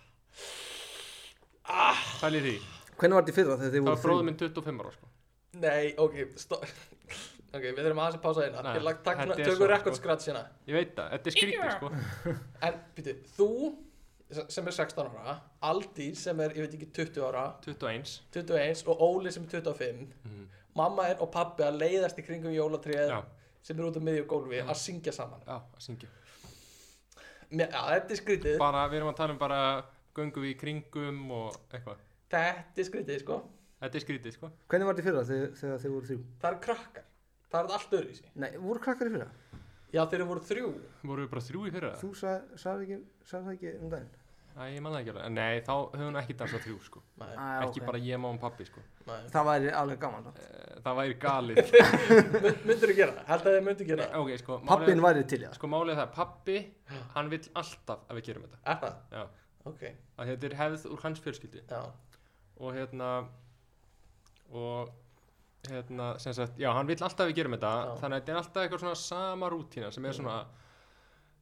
Speaker 3: ah. Pælið í því
Speaker 4: Hvernig var þetta í fyrra þegar þið
Speaker 3: Það
Speaker 4: voru
Speaker 3: var bróðum minn 25 ára sko
Speaker 2: nei, ok, stó *laughs* ok, við þurfum aðeins að pása eina
Speaker 3: Nei,
Speaker 2: ég lagt takk,
Speaker 3: þetta er
Speaker 2: tökum
Speaker 3: svo-
Speaker 2: rekordskrat sína
Speaker 3: Ég veit það, þetta er skrítið sko
Speaker 2: en, býtu, þú sem er 16 ára Aldís sem er, ég veit ekki, 20 ára
Speaker 3: 21
Speaker 2: 21 og Óli sem er 25
Speaker 3: Mhm.
Speaker 2: mamma er og pabbi að leiðast í kringum jólatrið
Speaker 3: Já,
Speaker 2: sem er út á miðju gólfi að syngja saman
Speaker 3: já, að syngja
Speaker 2: Mér, já, þetta er skrítið,
Speaker 3: Bara, við erum að tala um bara Göngum við í kringum og eitthvað
Speaker 2: þetta er skrítið sko
Speaker 3: Þetta er skrítið sko
Speaker 4: þrjú Hvernig var þetta í fyrra þegar, þegar þið voru þrjú
Speaker 2: það eru krakkar, það er allt öðru í sig
Speaker 4: Nei, voru krakkar í fyrra?
Speaker 2: já, þeir eru voru þrjú
Speaker 3: Vorum við bara þrjú í fyrra?
Speaker 4: Þú sagði sag ekki, sag ekki um daginn
Speaker 3: Æ, ég man það ekki alveg En Nei, þá höfum við ekki dansað þrjú sko
Speaker 2: Nei,
Speaker 4: ah,
Speaker 3: Ekki bara ég, mamma og pappi sko
Speaker 2: nei.
Speaker 4: Það væri alveg gaman
Speaker 3: Eh, Það væri
Speaker 4: *laughs*
Speaker 3: galið
Speaker 2: myndur þú gera það, held að þið myndur gera það
Speaker 3: Ok, sko
Speaker 4: Pappin
Speaker 3: var
Speaker 4: væri til í það
Speaker 3: Sko málið er það, pappi, hann vill alltaf að við gerum þetta
Speaker 2: er það,
Speaker 3: Já,
Speaker 2: ok,
Speaker 3: að þetta er hefð úr hans fjölskyldi
Speaker 2: já
Speaker 3: og hérna og hérna, sem sagt, já, hann vill alltaf að við gerum þetta
Speaker 2: Já.
Speaker 3: þannig að þetta er alltaf eitthvað svona sama rútína sem er svona,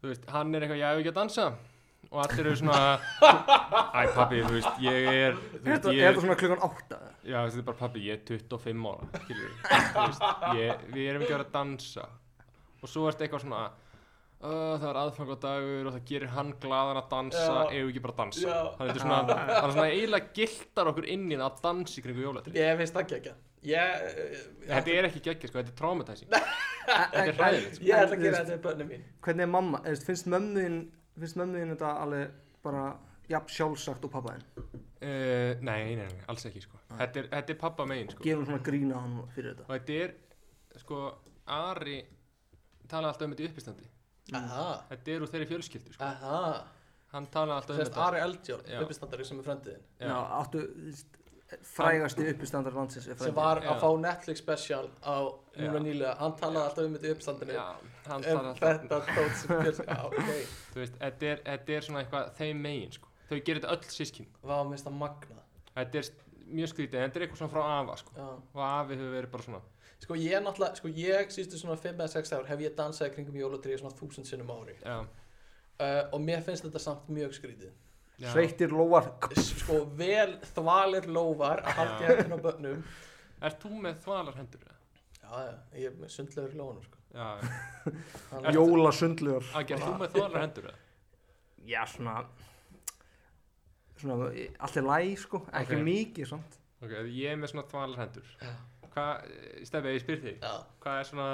Speaker 3: þú veist, hann er eitthvað ég hef ekki að dansa og allir eru svona
Speaker 4: *laughs*
Speaker 3: æ, pappi, þú veist, ég er þú
Speaker 4: Er
Speaker 3: veist,
Speaker 4: þetta-
Speaker 3: ég
Speaker 4: er þetta svona klukkan átta? eða?
Speaker 3: já, þetta er bara pappi, ég er 25 ára skilur við, þú veist, ég, við erum ekki að vera að dansa og svo ertu eitthvað svona Uh, það er aðfangadagur og það gerir hann glaðan að dansa
Speaker 2: Já.
Speaker 3: ef ekki bara að dansa
Speaker 2: Já.
Speaker 3: þannig að þetta er svona, það er svona eiginlega giltar okkur inn í það að dansa í kringu jólatri
Speaker 2: ég finnst það ekki ég, eh, ég,
Speaker 3: Þetta er ekki geggja sko, þetta er traumatizing Þetta er hræðilegt sko.
Speaker 2: ég ætla
Speaker 4: En,
Speaker 2: að
Speaker 4: þú
Speaker 2: gera þetta við börnum mín
Speaker 4: Hvernig er mamma? eða, þú veist, Finnst mömmuðin Finnst mömmuðin þetta alveg bara Jafn sjálfsagt og pappaðin
Speaker 3: uh, Nei, nei, nei, nei, alls ekki sko Þetta er, þetta er pappa megin sko
Speaker 4: Gerum svona grína hann fyrir þetta
Speaker 3: Og þetta er, sko, Ari talaði alltaf um þetta í uppistandi
Speaker 2: aha,
Speaker 3: Þetta er úr þeirri fjölskyldu sko
Speaker 2: aha
Speaker 3: Hann talaði alltaf um
Speaker 2: sérst
Speaker 3: þetta
Speaker 2: Ari Eldjórn,
Speaker 3: Já.
Speaker 2: uppistandari sem er fremdiðin
Speaker 3: Já.
Speaker 4: Já, áttu þú veist, Frægasti uppistandar landsins er
Speaker 2: sem
Speaker 4: frændi.
Speaker 2: var
Speaker 3: Já.
Speaker 2: að fá Netflix special á núna
Speaker 3: Já.
Speaker 2: nýlega, hann talaði alltaf um þetta í uppstandinu
Speaker 3: Já, hann
Speaker 2: um
Speaker 3: talaði alltaf
Speaker 2: þetta tótt sem fjöls já, ok,
Speaker 3: Þú veist, þetta er, þetta er svona eitthvað þeim megin sko Þau gerir þetta öll sískin
Speaker 2: vá, mér finnst það magna
Speaker 3: Þetta er st- mjög skrítið, en þetta er eitthvað svona frá afa sko
Speaker 2: já.
Speaker 3: Og afi hefur verið bara svona
Speaker 2: sko ég náttúrulega, sko ég sístu svona 5 eða 6 ár hef ég dansað í kringum jólatrið svona 1000 sinnum á ári
Speaker 3: Já,
Speaker 2: uh, og mér finnst þetta samt mjög skrítið
Speaker 3: já
Speaker 4: Sveittir lóar
Speaker 2: S- sko vel þvalir lófar að halda í hættinu á börnum
Speaker 3: Ert þú með þvalarhendur? eða?
Speaker 2: já, já, ég er með sundlegur í lófanum sko.
Speaker 3: Já,
Speaker 2: Þannig að-
Speaker 4: Jólasundlugar
Speaker 3: Agger, þú með þvalarhendur? eða?
Speaker 4: Já, svona Svona Allt er læg sko Ekki
Speaker 3: Ok.
Speaker 4: mikið samt
Speaker 3: Ok, ég er með svona þvalarhendur
Speaker 2: Já.
Speaker 3: Hvað, Stefi, ég spyr þig
Speaker 2: já,
Speaker 3: Hvað er svona,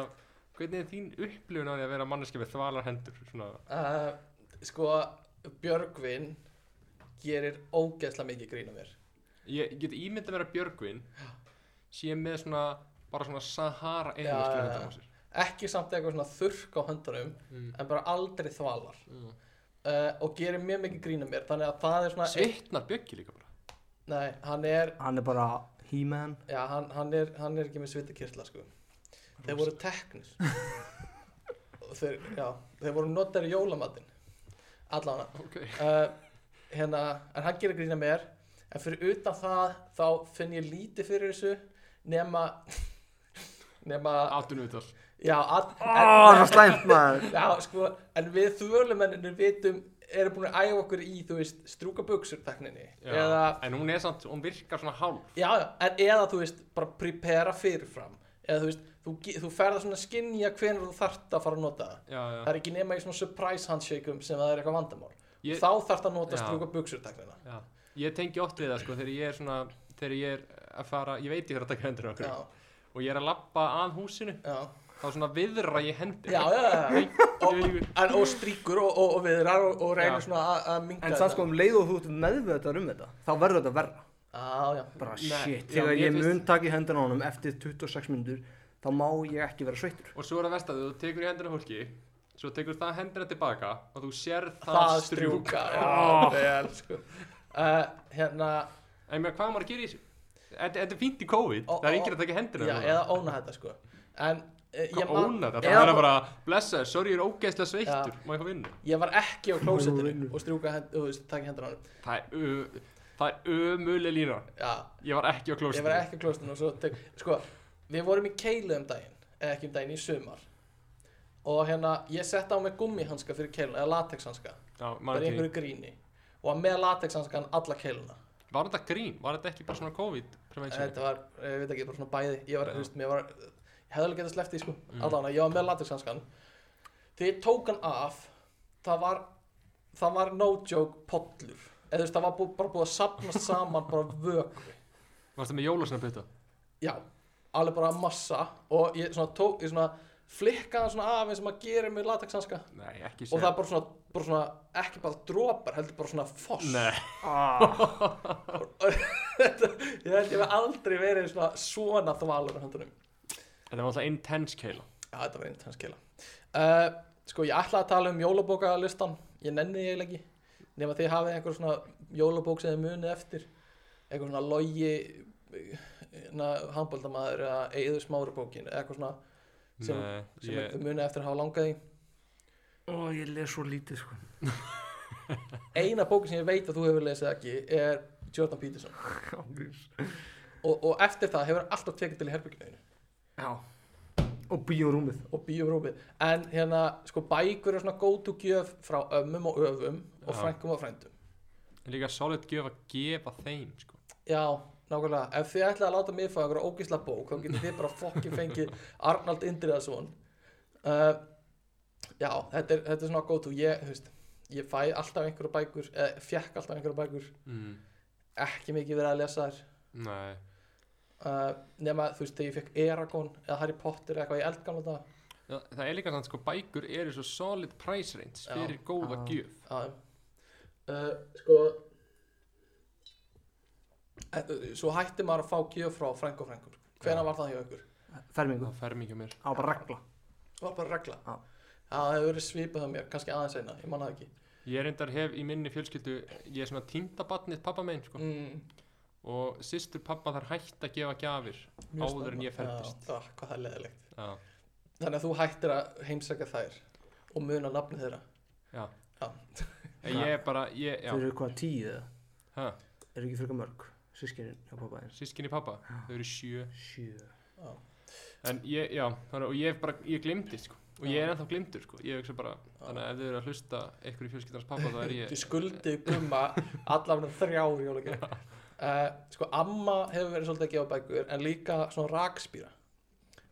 Speaker 3: hvernig er þín upplifun á því að vera manneski með þvalarhendur? Svona,
Speaker 2: uh, sko Björgvin gerir ógeðslega mikið grín að mér
Speaker 3: ég ég get ímyndað mér að Björgvin sé með svona, bara svona Sahara
Speaker 2: Já,
Speaker 3: einhverskjöld
Speaker 2: já,
Speaker 3: hendur á
Speaker 2: já.
Speaker 3: sér
Speaker 2: ekki samt eitthvað svona þurrk á höndunum
Speaker 3: Mm.
Speaker 2: en bara aldrei þvalar
Speaker 3: Mm.
Speaker 2: uh, og gerir mjög mikið grín að mér þannig að það er svona
Speaker 3: Svitnar Bjöggi líka bara
Speaker 2: nei, hann er
Speaker 4: Hann er bara He-Man
Speaker 2: Já, hann, hann, er, hann er ekki með svitakirtla sko. Þeir voru teknir Og þeir, já, þeir voru notar í jólamatinn Allana
Speaker 3: Ok,
Speaker 2: uh, hérna, En hann gerir grína mér En fyrir utan það Þá finn ég lítið fyrir þessu Nema Nema
Speaker 3: áttunum við tal
Speaker 2: Já, að,
Speaker 4: Ó,
Speaker 2: en,
Speaker 4: það slæmt *laughs* maður
Speaker 2: já sko, en við þvölumennir vitum Erum búin að æfa okkur í Þú veist, strúka buksur tekninni Eða
Speaker 3: En hún er samt, hún virkar svona hálf
Speaker 2: já, já, en eða þú veist bara prepara fyrirfram eða þú veist, þú, ge- þú ferða svona að skynja hvenær þú þart að fara að nota það
Speaker 3: Já,
Speaker 2: það
Speaker 3: já,
Speaker 2: er ekki nema í svona surprise handshakeum sem það er eitthvað vandamál
Speaker 3: Ég-
Speaker 2: þá þart að nota
Speaker 3: Já.
Speaker 2: strúka buksurtaklina
Speaker 3: já Ég tengi oft við það sko, þegar ég er svona Þegar ég er að fara, ég veit ég er að taka hendur á okkur
Speaker 2: já,
Speaker 3: Og ég er að labba að húsinu
Speaker 2: já,
Speaker 3: þá svona viðra ég hendi
Speaker 2: já, já, já, já. Og, en, og stríkur og, og, og viðrar og, og reynir
Speaker 3: Já.
Speaker 2: svona að- að minga
Speaker 4: En samt sko um leið og þú ert meðvöðar um þetta Þá verður þetta verra
Speaker 2: Já, já,
Speaker 4: Bara
Speaker 3: Nei,
Speaker 4: shit,
Speaker 3: já,
Speaker 4: þegar
Speaker 3: mér
Speaker 4: ég
Speaker 3: finnst-
Speaker 4: mun taka í hendina á honum eftir 26 mínútur Þá má ég ekki vera sveittur
Speaker 3: og svo er það verst að þú tekur í hendina á fólki svo tekur það hendina tilbaka og þú sér það,
Speaker 2: það
Speaker 3: strjúk
Speaker 2: strjúka Já, vel, sko uh, Hérna,
Speaker 3: en mér hvað á maður að gera í þessu þetta þetta er fínt í COVID,
Speaker 2: Ó,
Speaker 3: það er
Speaker 2: ó,
Speaker 3: yngir að taka í hendina
Speaker 2: já, eða óna þetta, sko En eh, ég,
Speaker 3: Hvað
Speaker 2: man,
Speaker 3: óna þetta?
Speaker 2: Eða-
Speaker 3: Það er bara, blessa, sorry, ég er ógeðslega sveittur, má ég fá vinnu?
Speaker 2: ég var ekki á klósettinu og strjúka hend, og taka hendur á hann
Speaker 3: Það er, ö- það er ömuleg lína.
Speaker 2: Já,
Speaker 3: Ég var ekki á klósinu.
Speaker 2: ég var ekki á klósettinu og svo tek, Sko, við vorum í keilu um daginn eða ekki um daginn, í sumar og hérna, ég setti á mig gummihanska fyrir keiluna, eða latexhanska,
Speaker 3: Já,
Speaker 2: bara í
Speaker 3: maður
Speaker 2: einhverju
Speaker 3: ekki.
Speaker 2: gríni og með latexhanskan alla keiluna
Speaker 3: Var þetta grín? Var þetta ekki bara svona COVID prevention?
Speaker 2: Þetta var, ég veit ekki, bara svona bæði Ég var,
Speaker 3: Já. Mm.
Speaker 2: þú veist, mér var Ég hefði alveg getað sleppt því, sko Allan að ég var með latexhanskan Þegar ég tók hann af Það var, það var no joke pollur Eða þú veist, það var bú, bara búið að sapnast saman Bara vökvi
Speaker 3: Varst það með jólasina putta?
Speaker 2: Já, alveg bara massa Og ég svona tók, ég svona Flikkaði hann svona af eins og maður gerir með latexhanska
Speaker 3: Nei, ekki
Speaker 2: Og það bara svona, bara svona Ekki bara dropar, heldur bara svona foss
Speaker 3: Nei.
Speaker 2: Þetta- Ég held ég hef aldrei verið svona Svona þvalur á höndunum
Speaker 3: Þetta var alltaf intense keila.
Speaker 2: Já, þetta var intens keila uh, Sko, ég ætlaði að tala um jólabókalistan Ég nenni því eiginlega ekki Nefn að þið hafið einhver svona jólabók sem þið munið eftir Eitthvað svona logi Hambóldamaður eða Eður smári bókin Eða eitthvað svona Sem-
Speaker 3: Nei,
Speaker 2: sem
Speaker 3: ég,
Speaker 2: þið munið eftir að hafa langað í
Speaker 4: Ó, ég les svo lítið sko
Speaker 2: Eina bókin sem ég veit að þú hefur lesið ekki Er Jordan Peterson
Speaker 4: Ángríns.
Speaker 2: Og, og eftir það hefur hann alltaf tekið til í herbygginu
Speaker 4: Já Og bíórúmið
Speaker 2: og bíórópið en hérna sko bækur er svona góð to gjöf frá ömmum og öfum og
Speaker 3: Já.
Speaker 2: frænkum og frændum
Speaker 3: en líka solid gjöf að gefa þeim, sko.
Speaker 2: Já, nákvæmlega, ef þið ætlaði að láta mig fá einhverja ógisla bók, þá getið þið bara fokkin fengið Arnald Indriðason uh, Já, þetta er, þetta er svona gótt og ég, þú veist ég fæ alltaf einhverja bækur, eða fjekk alltaf einhverja bækur,
Speaker 3: Mm.
Speaker 2: ekki mikið verið að lesa þær
Speaker 3: Nei.
Speaker 2: uh, nema, þú veist, þegar ég fekk Eragon eða Harry Potter eða eitthvað í eldgamla dag
Speaker 3: Já, það er líka þannig, sko, bækur eru svo solid price range
Speaker 2: Já.
Speaker 3: fyrir
Speaker 4: Já.
Speaker 3: góða gjöf.
Speaker 2: Já, uh, sko en, uh, Svo hætti maður að fá gjöf frá frænk og frænkum Hvenær
Speaker 3: Já.
Speaker 2: var það hjá ykkur?
Speaker 4: Fermingu
Speaker 3: Það fer mikið mér.
Speaker 4: Á bara regla
Speaker 2: Það var bara regla
Speaker 4: Já.
Speaker 2: það hefur verið svipað á mér, kannski aðeins einna, ég manna það ekki
Speaker 3: Ég reyndar hef í minni fjölskyldu, ég er svona týndabatnið pappa meginn, sko.
Speaker 2: mm,
Speaker 3: Og systur pappa þar hætt að gefa gjafir.
Speaker 2: mjög
Speaker 3: Áður en
Speaker 2: snemma.
Speaker 3: ég fermdist.
Speaker 2: Já, já, Hvað það er leðilegt
Speaker 3: Já.
Speaker 2: Þannig að þú hættir að heimsækja þær og muna nafnið þeirra
Speaker 3: Já.
Speaker 2: Já.
Speaker 3: En Ég er bara, ég,
Speaker 4: Þau
Speaker 3: já.
Speaker 4: eru hvað tíu eða
Speaker 3: Hæ,
Speaker 4: Eru ekki frekar mörg Sískininn hjá pappa eins
Speaker 3: sískinni pappa, þau eru sjö.
Speaker 4: Sjö
Speaker 2: Já.
Speaker 3: En ég, já, þannig, og ég hef bara, ég glimti, sko. Og ég er ennþá glimtur, sko. Ég hugsa bara, þannig að ef þau eru að hlusta ykkur í fjölskyldans pappa, þá er ég...
Speaker 2: Þið skuldið gumma allafnum þrjár jólagjörn uh, Sko, amma hefur verið svolítið að gefa bækur en líka svona rakspýra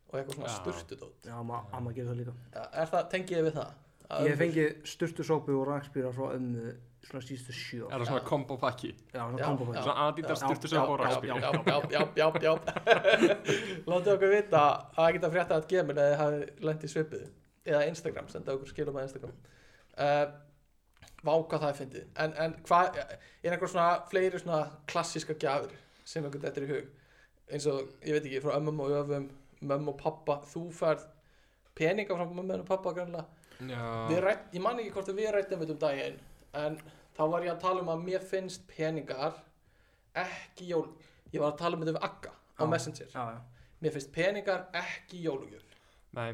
Speaker 2: og eitthvað svona
Speaker 3: Já.
Speaker 2: sturtudót
Speaker 4: Já, ma amma gerir það líka
Speaker 2: Já, Er það, tengið þið við það? Að-
Speaker 4: Ég hef fengið sturtusópu og rakspýra frá ömmu Svona síðustu sjö
Speaker 3: Er
Speaker 4: ár.
Speaker 3: það svona kombo pakki?
Speaker 4: Já,
Speaker 2: Já,
Speaker 4: svona kombo
Speaker 2: já.
Speaker 4: fæði
Speaker 3: Svona Adidas
Speaker 4: Já,
Speaker 3: styrtu
Speaker 4: já,
Speaker 3: sem
Speaker 4: já,
Speaker 3: bóra
Speaker 2: Já, já, já, já, já, já *laughs* Látið okkur vita að það geta frétta að gemin eða þið hafi lent í svipið eða Instagram, senda okkur skilum að Instagram uh, Vá hvað það er fyndið En, en hvað, er einhver svona fleiri svona klassíska gjafir sem einhvern þetta er í hug eins og, ég veit ekki, frá ömmum og öfum mömm og pappa, þú færð peninga frá mömmu og pappa grannlega Við
Speaker 3: já.
Speaker 2: rætt, ég man ekki hvort að við rættum þetta um daginn en þá var ég að tala um að mér finnst peningar ekki jól ég var að tala um þetta við Akka á
Speaker 4: Já.
Speaker 2: Messenger
Speaker 4: Já, já
Speaker 2: mér finnst peningar ekki jólugjöf
Speaker 3: Nei,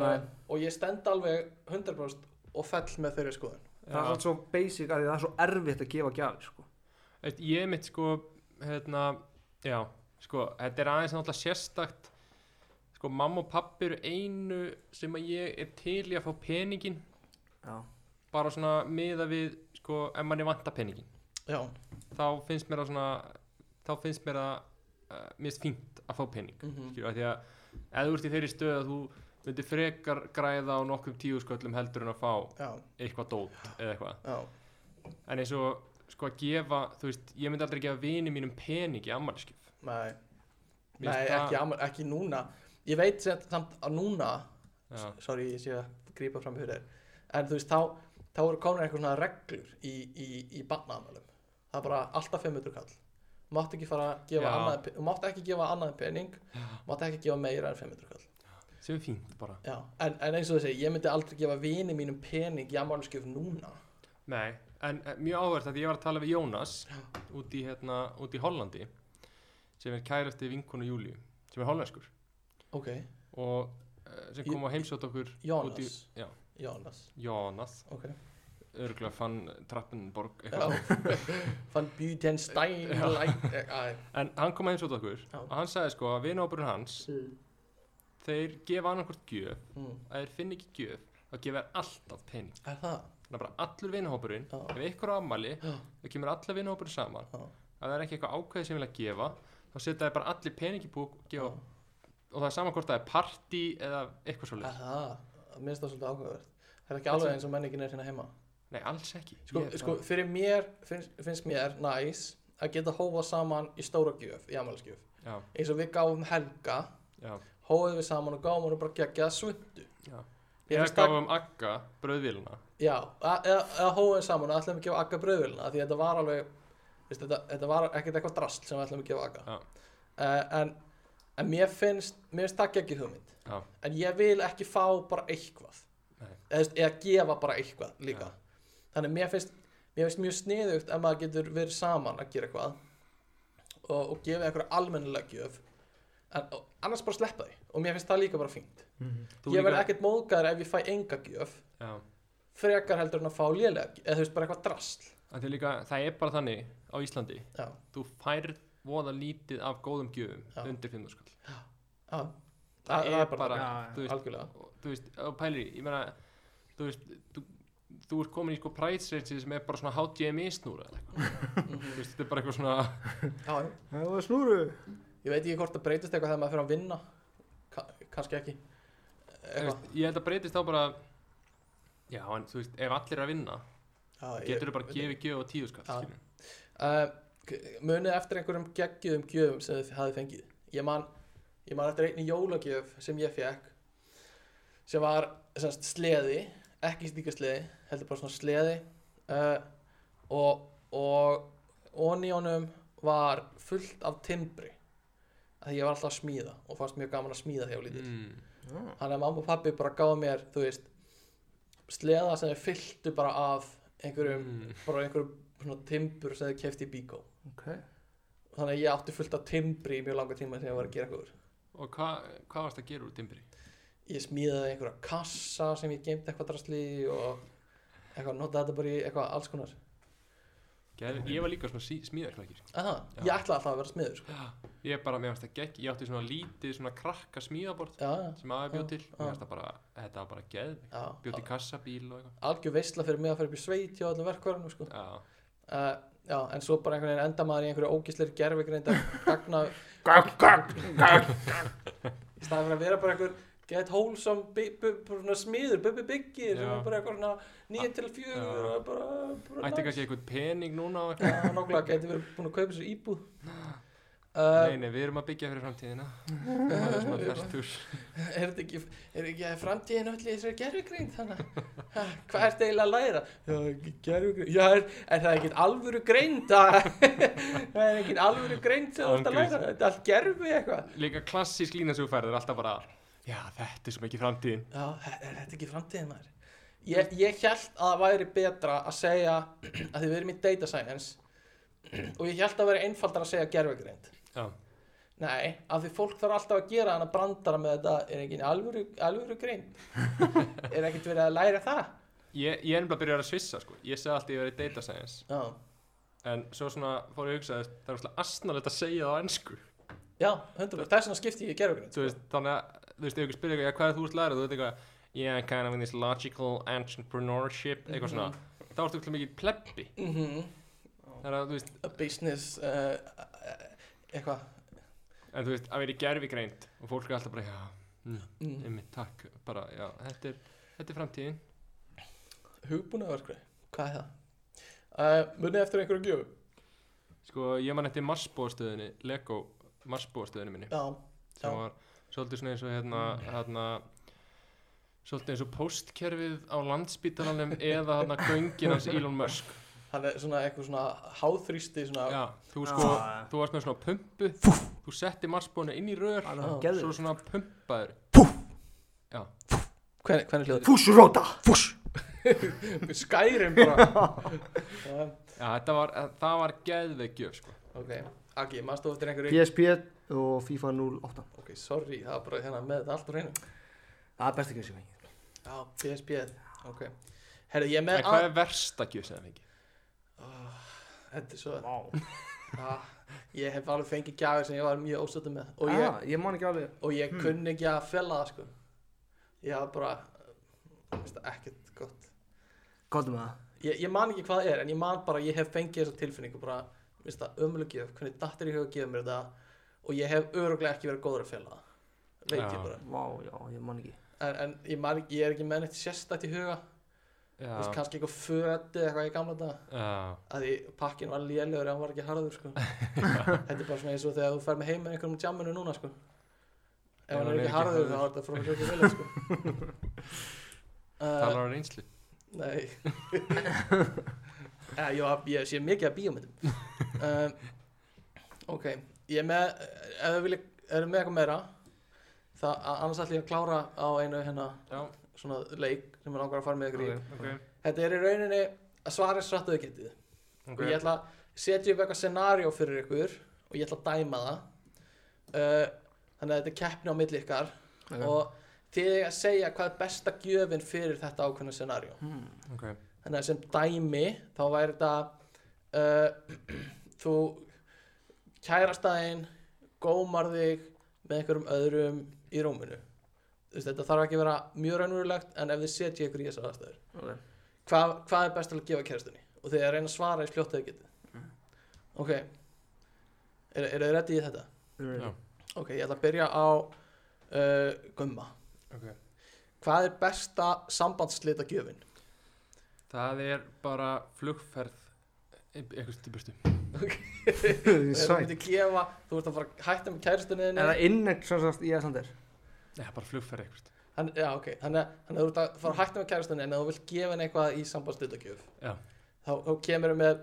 Speaker 4: Nei.
Speaker 2: Um, og ég stend alveg 100% og fell með þeirri skoðun
Speaker 4: Það er
Speaker 3: já.
Speaker 4: svolítið svo basic að því það er svo erfitt að gefa gjafir sko.
Speaker 3: Eitt, Ég mitt sko, hérna, já, sko, þetta er aðeins náttúrulega sérstakt Sko, mamma og pappi eru einu sem að ég er til í að fá peningin
Speaker 4: Já,
Speaker 3: Bara svona miða við, sko, ef manni vantar peningin
Speaker 2: já,
Speaker 3: Þá finnst mér að svona, þá finnst mér að, uh, mér finnst fínt að fá pening
Speaker 2: mhm,
Speaker 3: skilur, af því að ef þú ert í þeirri stöð að þú myndir frekar græða á nokkrum tíu sköllum heldur en að fá
Speaker 2: já,
Speaker 3: eitthvað dót eða eitthvað
Speaker 2: já,
Speaker 3: en eins og sko að gefa þú veist, ég myndi aldrei gefa vini mínum pening í ammæliskef
Speaker 2: nei nei, ekki, amma- ekki núna ég veit sem, samt að núna
Speaker 3: já,
Speaker 2: sorry ég sé að grípa fram fyrir þér en þú veist þá, þá eru komin eitthvað svona reglur í, í, í barnaðamælum það er bara alltaf 500 kall mátt ekki fara að gefa
Speaker 3: Já.
Speaker 2: annað en pe- mátt ekki gefa annað en pening mátt ekki gefa meira en 500 kall
Speaker 3: sem er fínt bara
Speaker 2: Já, en, en eins og þessi, ég myndi aldrei gefa vini mínum pening í ammálskjöf núna
Speaker 3: Nei, en eh, mjög áhverð að ég var að tala við Jónas út í, hérna, út í Hollandi sem er kærasti vinkonu Júlíu sem er hollenskur
Speaker 2: Ok,
Speaker 3: og uh, sem kom á heimsótt okkur
Speaker 2: Jónas
Speaker 3: Út í, já,
Speaker 2: Jónas,
Speaker 3: Jónas
Speaker 2: ok
Speaker 3: örgulega fann Trappenborg
Speaker 2: Já.
Speaker 3: eitthvað
Speaker 2: Van Buitenstein
Speaker 3: Já.
Speaker 2: like, eh, æ,
Speaker 3: en hann kom að heimsótt okkur
Speaker 2: Já.
Speaker 3: og hann sagði sko að vinahópurinn hans þeir gefa annarkvort gjöf
Speaker 2: mm,
Speaker 3: að þeir finna ekki gjöf þá gefa þær alltaf pening
Speaker 2: Er það?
Speaker 3: þannig að bara allur vinahópurinn
Speaker 2: Já.
Speaker 3: ef einhver á ammali
Speaker 2: Já.
Speaker 3: þá kemur allar vinahópurinn saman
Speaker 2: Já.
Speaker 3: ef það er ekki eitthvað ákveðið sem vilja gefa þá setja þeir bara allir pening í búk og
Speaker 2: Já,
Speaker 3: gefa og það er saman hvort það er partí eða eitthvað svo
Speaker 2: er það? Mér finnst það svolítið áhugavert Það er ekki alveg eins og menningin er hérna heima
Speaker 3: Nei, alls ekki
Speaker 2: Sko,
Speaker 3: Ég-
Speaker 2: sko fyrir mér finnst, finnst mér næs að geta hófa saman í stóra gjöf, í ammálskjöf
Speaker 3: Já,
Speaker 2: eins og við gáfum helga
Speaker 3: já,
Speaker 2: hófið við saman og gáfum hún bara geggjað svundu
Speaker 3: já
Speaker 2: Ég
Speaker 3: Ég
Speaker 2: finnst það-
Speaker 3: gafum um Agga bröðvíluna
Speaker 2: Já, að- eða, eða hófum við saman og ætlum að gefa Agga bröðvélina því þetta var alveg veist, þetta, þetta var ekkert eitthvað drast sem við ætlum að gefa Agga
Speaker 3: Já.
Speaker 2: uh, en, en mér finnst mér finnst það ekki hugmynd
Speaker 3: Já.
Speaker 2: en ég vil ekki fá bara eitthvað
Speaker 3: Nei.
Speaker 2: eða, þú veist, eða gefa bara eitthvað líka þannig mér finnst mér finnst mjög sniðugt að maður getur verið saman að gera eitthvað og, og gefa eitthvað almennilega gjöf en, og, annars bara sleppa því og mér finnst það líka bara fínt
Speaker 3: Þú
Speaker 2: ég
Speaker 3: líka-
Speaker 2: verð ekkert móðgæður ef ég fæ enga gjöf
Speaker 3: Já,
Speaker 2: frekar heldur en að fá lélega eða þú veist bara eitthvað drasl
Speaker 3: Af því líka, það er bara þannig á Íslandi
Speaker 2: já,
Speaker 3: þú færð voða lítið af góðum gjöfum
Speaker 2: Já.
Speaker 3: undir 500 skall
Speaker 2: já.
Speaker 3: Það er bara,
Speaker 4: Já,
Speaker 3: þú veist,
Speaker 2: algjörlega
Speaker 3: og- þú veist, og pælir í, ég meina þú veist, þú, þú ert komin í sko price range sem er bara svona HDMI snúra
Speaker 2: *laughs*
Speaker 3: eða eitthvað. sko.
Speaker 2: Mhm.
Speaker 3: þú veist, þetta er bara eitthvað svona
Speaker 2: já,
Speaker 1: Það var snúru.
Speaker 2: ég veit ekki hvort það breytist eitthvað þegar maður fyrir að vinna Ka kannski ekki
Speaker 3: Þú
Speaker 2: eitthvað
Speaker 3: veist, ég held að breytist þá bara já, en þú veist, ef allir er að vinna
Speaker 2: já,
Speaker 3: getur þú
Speaker 2: ég-
Speaker 3: bara að gefa gjöf á tíu skall
Speaker 2: Já.
Speaker 3: skilurðu.
Speaker 2: uh, k- munið eftir einhverjum geggjum gjöfum sem þið hafið fengið ég man, ég man eftir einni jólagjöf sem ég fekk sem var semst, sleði ekki stíka sleði, heldur bara svona sleði uh, og og onni honum var fullt af timbri að því ég var alltaf að smíða og fannst mjög gaman að smíða þegar ég var lítill
Speaker 3: mm.
Speaker 2: Þannig að mamma og pappi bara gáði mér, þú veist, sleða sem þau fylltu bara af einhverjum,
Speaker 3: Mm.
Speaker 2: bara einhverjum svona timbur sem þau kefti í bíkó.
Speaker 4: ok
Speaker 2: Þannig að ég átti fullt af timbri í mjög langa tíma sem ég var að gera eitthvað úr.
Speaker 3: og hvað hva varst að gera úr timbri?
Speaker 2: Ég smíðaði einhverja kassa sem ég geimti eitthvað drasli í og eitthvað, notaði þetta bara í eitthvað alls konar.
Speaker 3: Geð, ég var líka svona sí, smíðarkrakki sko.
Speaker 2: Að það, ég
Speaker 3: Já.
Speaker 2: ætlaði alltaf að vera smiður, sko.
Speaker 3: ég bara, mér varst að gegg, ég átti svona lítið svona krakka smíðabort
Speaker 2: Já, já,
Speaker 3: sem aðeins bjóð
Speaker 2: Já,
Speaker 3: til
Speaker 2: já.
Speaker 3: mér varst að bara, þetta var bara geð bjóð til
Speaker 2: já.
Speaker 3: kassabíl og
Speaker 2: Algjör veistla fyrir mig að fara upp í sveit hjá öllum verkvarunum, sko.
Speaker 3: eitthvað já,
Speaker 2: Uh, já, en svo bara einhvern veginn enda maður í einhverju ógísleiri gerfigreind að gagna í staðan fyrir að vera bara einhver get wholesome bi- bu- bara svona smiður, bubbi byggir sem
Speaker 3: Já.
Speaker 2: er bara eitthvað svona 9 til 4
Speaker 3: Já.
Speaker 2: og bara, bara
Speaker 3: ætti
Speaker 2: nice.
Speaker 3: kannski eitthvað pening núna og eitthvað
Speaker 2: Já, nákvæmlega, geti verið búin að kaupa sér íbúð
Speaker 3: Nei,
Speaker 2: uh,
Speaker 3: nei, við erum að byggja fyrir framtíðina Það er
Speaker 2: *laughs*
Speaker 3: svona tertur
Speaker 2: er þetta ekki, er ekki framtíðin öll í þessari gerfugrind þannig ha, hvað ertu eiginlega að læra já, gerfugrind, já, er, er það ekki alvöru greind að *laughs* það er ekki alvöru greind sem þú ert að
Speaker 3: Ángriðs.
Speaker 2: læra þetta er allt gerfi eitthvað
Speaker 3: Líka klassísk lína sem þú færð er alltaf bara Já, þetta er sem ekki framtíðin
Speaker 2: Já, er er þetta ekki framtíðin maður? Ég, ég held að það væri betra að segja *clears throat* að því við erum í data science *clears throat* og ég held að það væri einfaldar að segja gerfugreind.
Speaker 3: Já,
Speaker 2: Nei, af því fólk þarf alltaf að gera hana brandara með þetta er ekki alvöru, alvöru *laughs* greind. er ekkert verið að læra það?
Speaker 3: ég, ég er nefnilega að byrja að svissa sko Ég segi alltaf ég verið data science
Speaker 2: Já,
Speaker 3: En svo svona fór ég að hugsa Það er svona asnalegt að segja það á ennsku
Speaker 2: já, hundur, þess vegna skipti ég í gerfugreind.
Speaker 3: Þú veist, þannig að, þú veist, ef ekki spyrja eitthvað "Já, Hvað er þú ert lærið, þú veit eitthvað Yeah, kind of in this logical entrepreneurship Eitthvað svona Þá ertu ekki mikið plebbi
Speaker 2: Mm
Speaker 3: Þannig að, þú veist,
Speaker 2: A business, uh, uh, eitthvað.
Speaker 3: en þú veist, að vera í gerfigreind Og fólk er alltaf bara, já, mm,
Speaker 2: Mm.
Speaker 3: einmitt, takk Bara, já, þetta er, þetta er framtíðin
Speaker 2: Hugbúnaverkri, hvað er það? Uh, munið eftir einhverju gjöfu?
Speaker 3: Sko, ég man eftir marsbóðstöðinni, Lego marsbóðstöðinni minni
Speaker 2: Já,
Speaker 3: sem
Speaker 2: já.
Speaker 3: var svolítið svona eins og hérna, hérna svolítið eins og postkerfið á landsbítalanum eða hérna göngin hans Elon Musk
Speaker 2: hann er svona eitthvað svona háþrýsti svona
Speaker 3: Já, þú
Speaker 4: Já.
Speaker 3: sko, þú varst með svona pumpu þú setti marsbónu inn í rör
Speaker 4: Hann er
Speaker 2: Já,
Speaker 3: svo
Speaker 4: geður
Speaker 3: svona pumpaður
Speaker 2: Hvern, hvernig hljóður
Speaker 4: Fúsróta
Speaker 2: þið? *laughs* Skyrim *laughs* bara Já,
Speaker 3: Já, þetta var, eh, það var geðveggjöf sko
Speaker 2: ok, Agi, maður stóð eftir einhverju
Speaker 4: PSP og FIFA 08
Speaker 2: ok, sorry, það var bara hérna með þetta allt úr einu
Speaker 4: Það er besta gjöf sem ég fengi.
Speaker 2: já, PSP, ok herru, ég er
Speaker 3: En
Speaker 2: með
Speaker 3: hvað er versta gjöf sem það fengi?
Speaker 2: þetta er svo
Speaker 4: Vá
Speaker 2: ah, ég hef alveg fengið gjafir sem ég var mjög óstöndum með og ég,
Speaker 4: ah, Ég man ekki alveg
Speaker 2: og
Speaker 3: Hmm.
Speaker 2: ég kunni ekki að fella það sko ég haf bara veist það, ekkert gott
Speaker 4: Kottum með það
Speaker 2: ég, ég man ekki hvað það er en ég man bara að ég hef fengið þessa tilfinningu bara, minnst það ömulugjöf hvernig dattir í huga að gefa mér þetta og ég hef öruglega ekki verið góður að fela það veit
Speaker 3: Já.
Speaker 2: ég bara
Speaker 4: Vá, já, ég man ekki
Speaker 2: en, en ég, man, ekki- ég er ekki með neitt sérstætt í huga Þú veist,
Speaker 3: Já,
Speaker 2: kannski eitthvað föti eða eitthvað í gamla daga
Speaker 3: já,
Speaker 2: að því pakkin var lélegur en hann var ekki harður *laughs* sko. þetta er bara svona eins og þegar þú fer með heim með einhverjum úr jamminu núna sko. ef hann er ekki harður þá er þetta frá þessu ekki vel sko. *laughs* uh,
Speaker 3: talar á reynslu
Speaker 2: *laughs* Nei ja, já, Ég sé mikið af bíómyndum um, Ok Ég er með eh, Ef þið vilja Erum með eitthvað meira Það a- annars ætlum ég að klára á einu hérna
Speaker 3: Já,
Speaker 2: Svona leik Sem ég langar að fara með ykkur í
Speaker 3: ok,
Speaker 2: Þetta er í rauninni Að svara srætt að þið getið Og ég
Speaker 3: ok
Speaker 2: ætla að setja upp eitthvað scenario fyrir ykkur Og ég ætla að dæma það uh, Þannig að þetta er keppni á milli ykkar Og þið eiga að segja hvað er besta gjöfin fyrir þetta ákveðna scenario
Speaker 4: hmm.
Speaker 3: Ok,
Speaker 2: þannig að sem dæmi þá væri þetta uh, *clears throat* þú kærastæðin gómar þig með einhverjum öðrum í rúminu Þú veist, þetta þarf ekki að vera mjög raunverulegt en ef þið setja ykkur í þessar aðstæður
Speaker 4: Ok.
Speaker 2: hvað, hvað er best að gefa kærastunni og þið er að reyna að svara í fljótt að þið getið ok eru er þið reddi í þetta?
Speaker 4: Já. *laughs*
Speaker 2: ok, ég ætla að byrja á uh, gumma
Speaker 3: ok
Speaker 2: hvað er besta sambandslita gjöfin?
Speaker 3: Það er bara flugferð einhvers til burtu
Speaker 2: Ef þú myndir klefa, þú ert að fara að hætta með kærastunni
Speaker 4: Er það innegt sem sagt í Æslandir?
Speaker 3: Nei, bara flugferð einhvers
Speaker 2: hann, já, ok, þannig að- þannig að þú ert að fara að hætta með kærastunni en ef þú vilt gefa henni eitthvað í sambandslítakjöf
Speaker 3: Já.
Speaker 2: þá, þá kemur henni með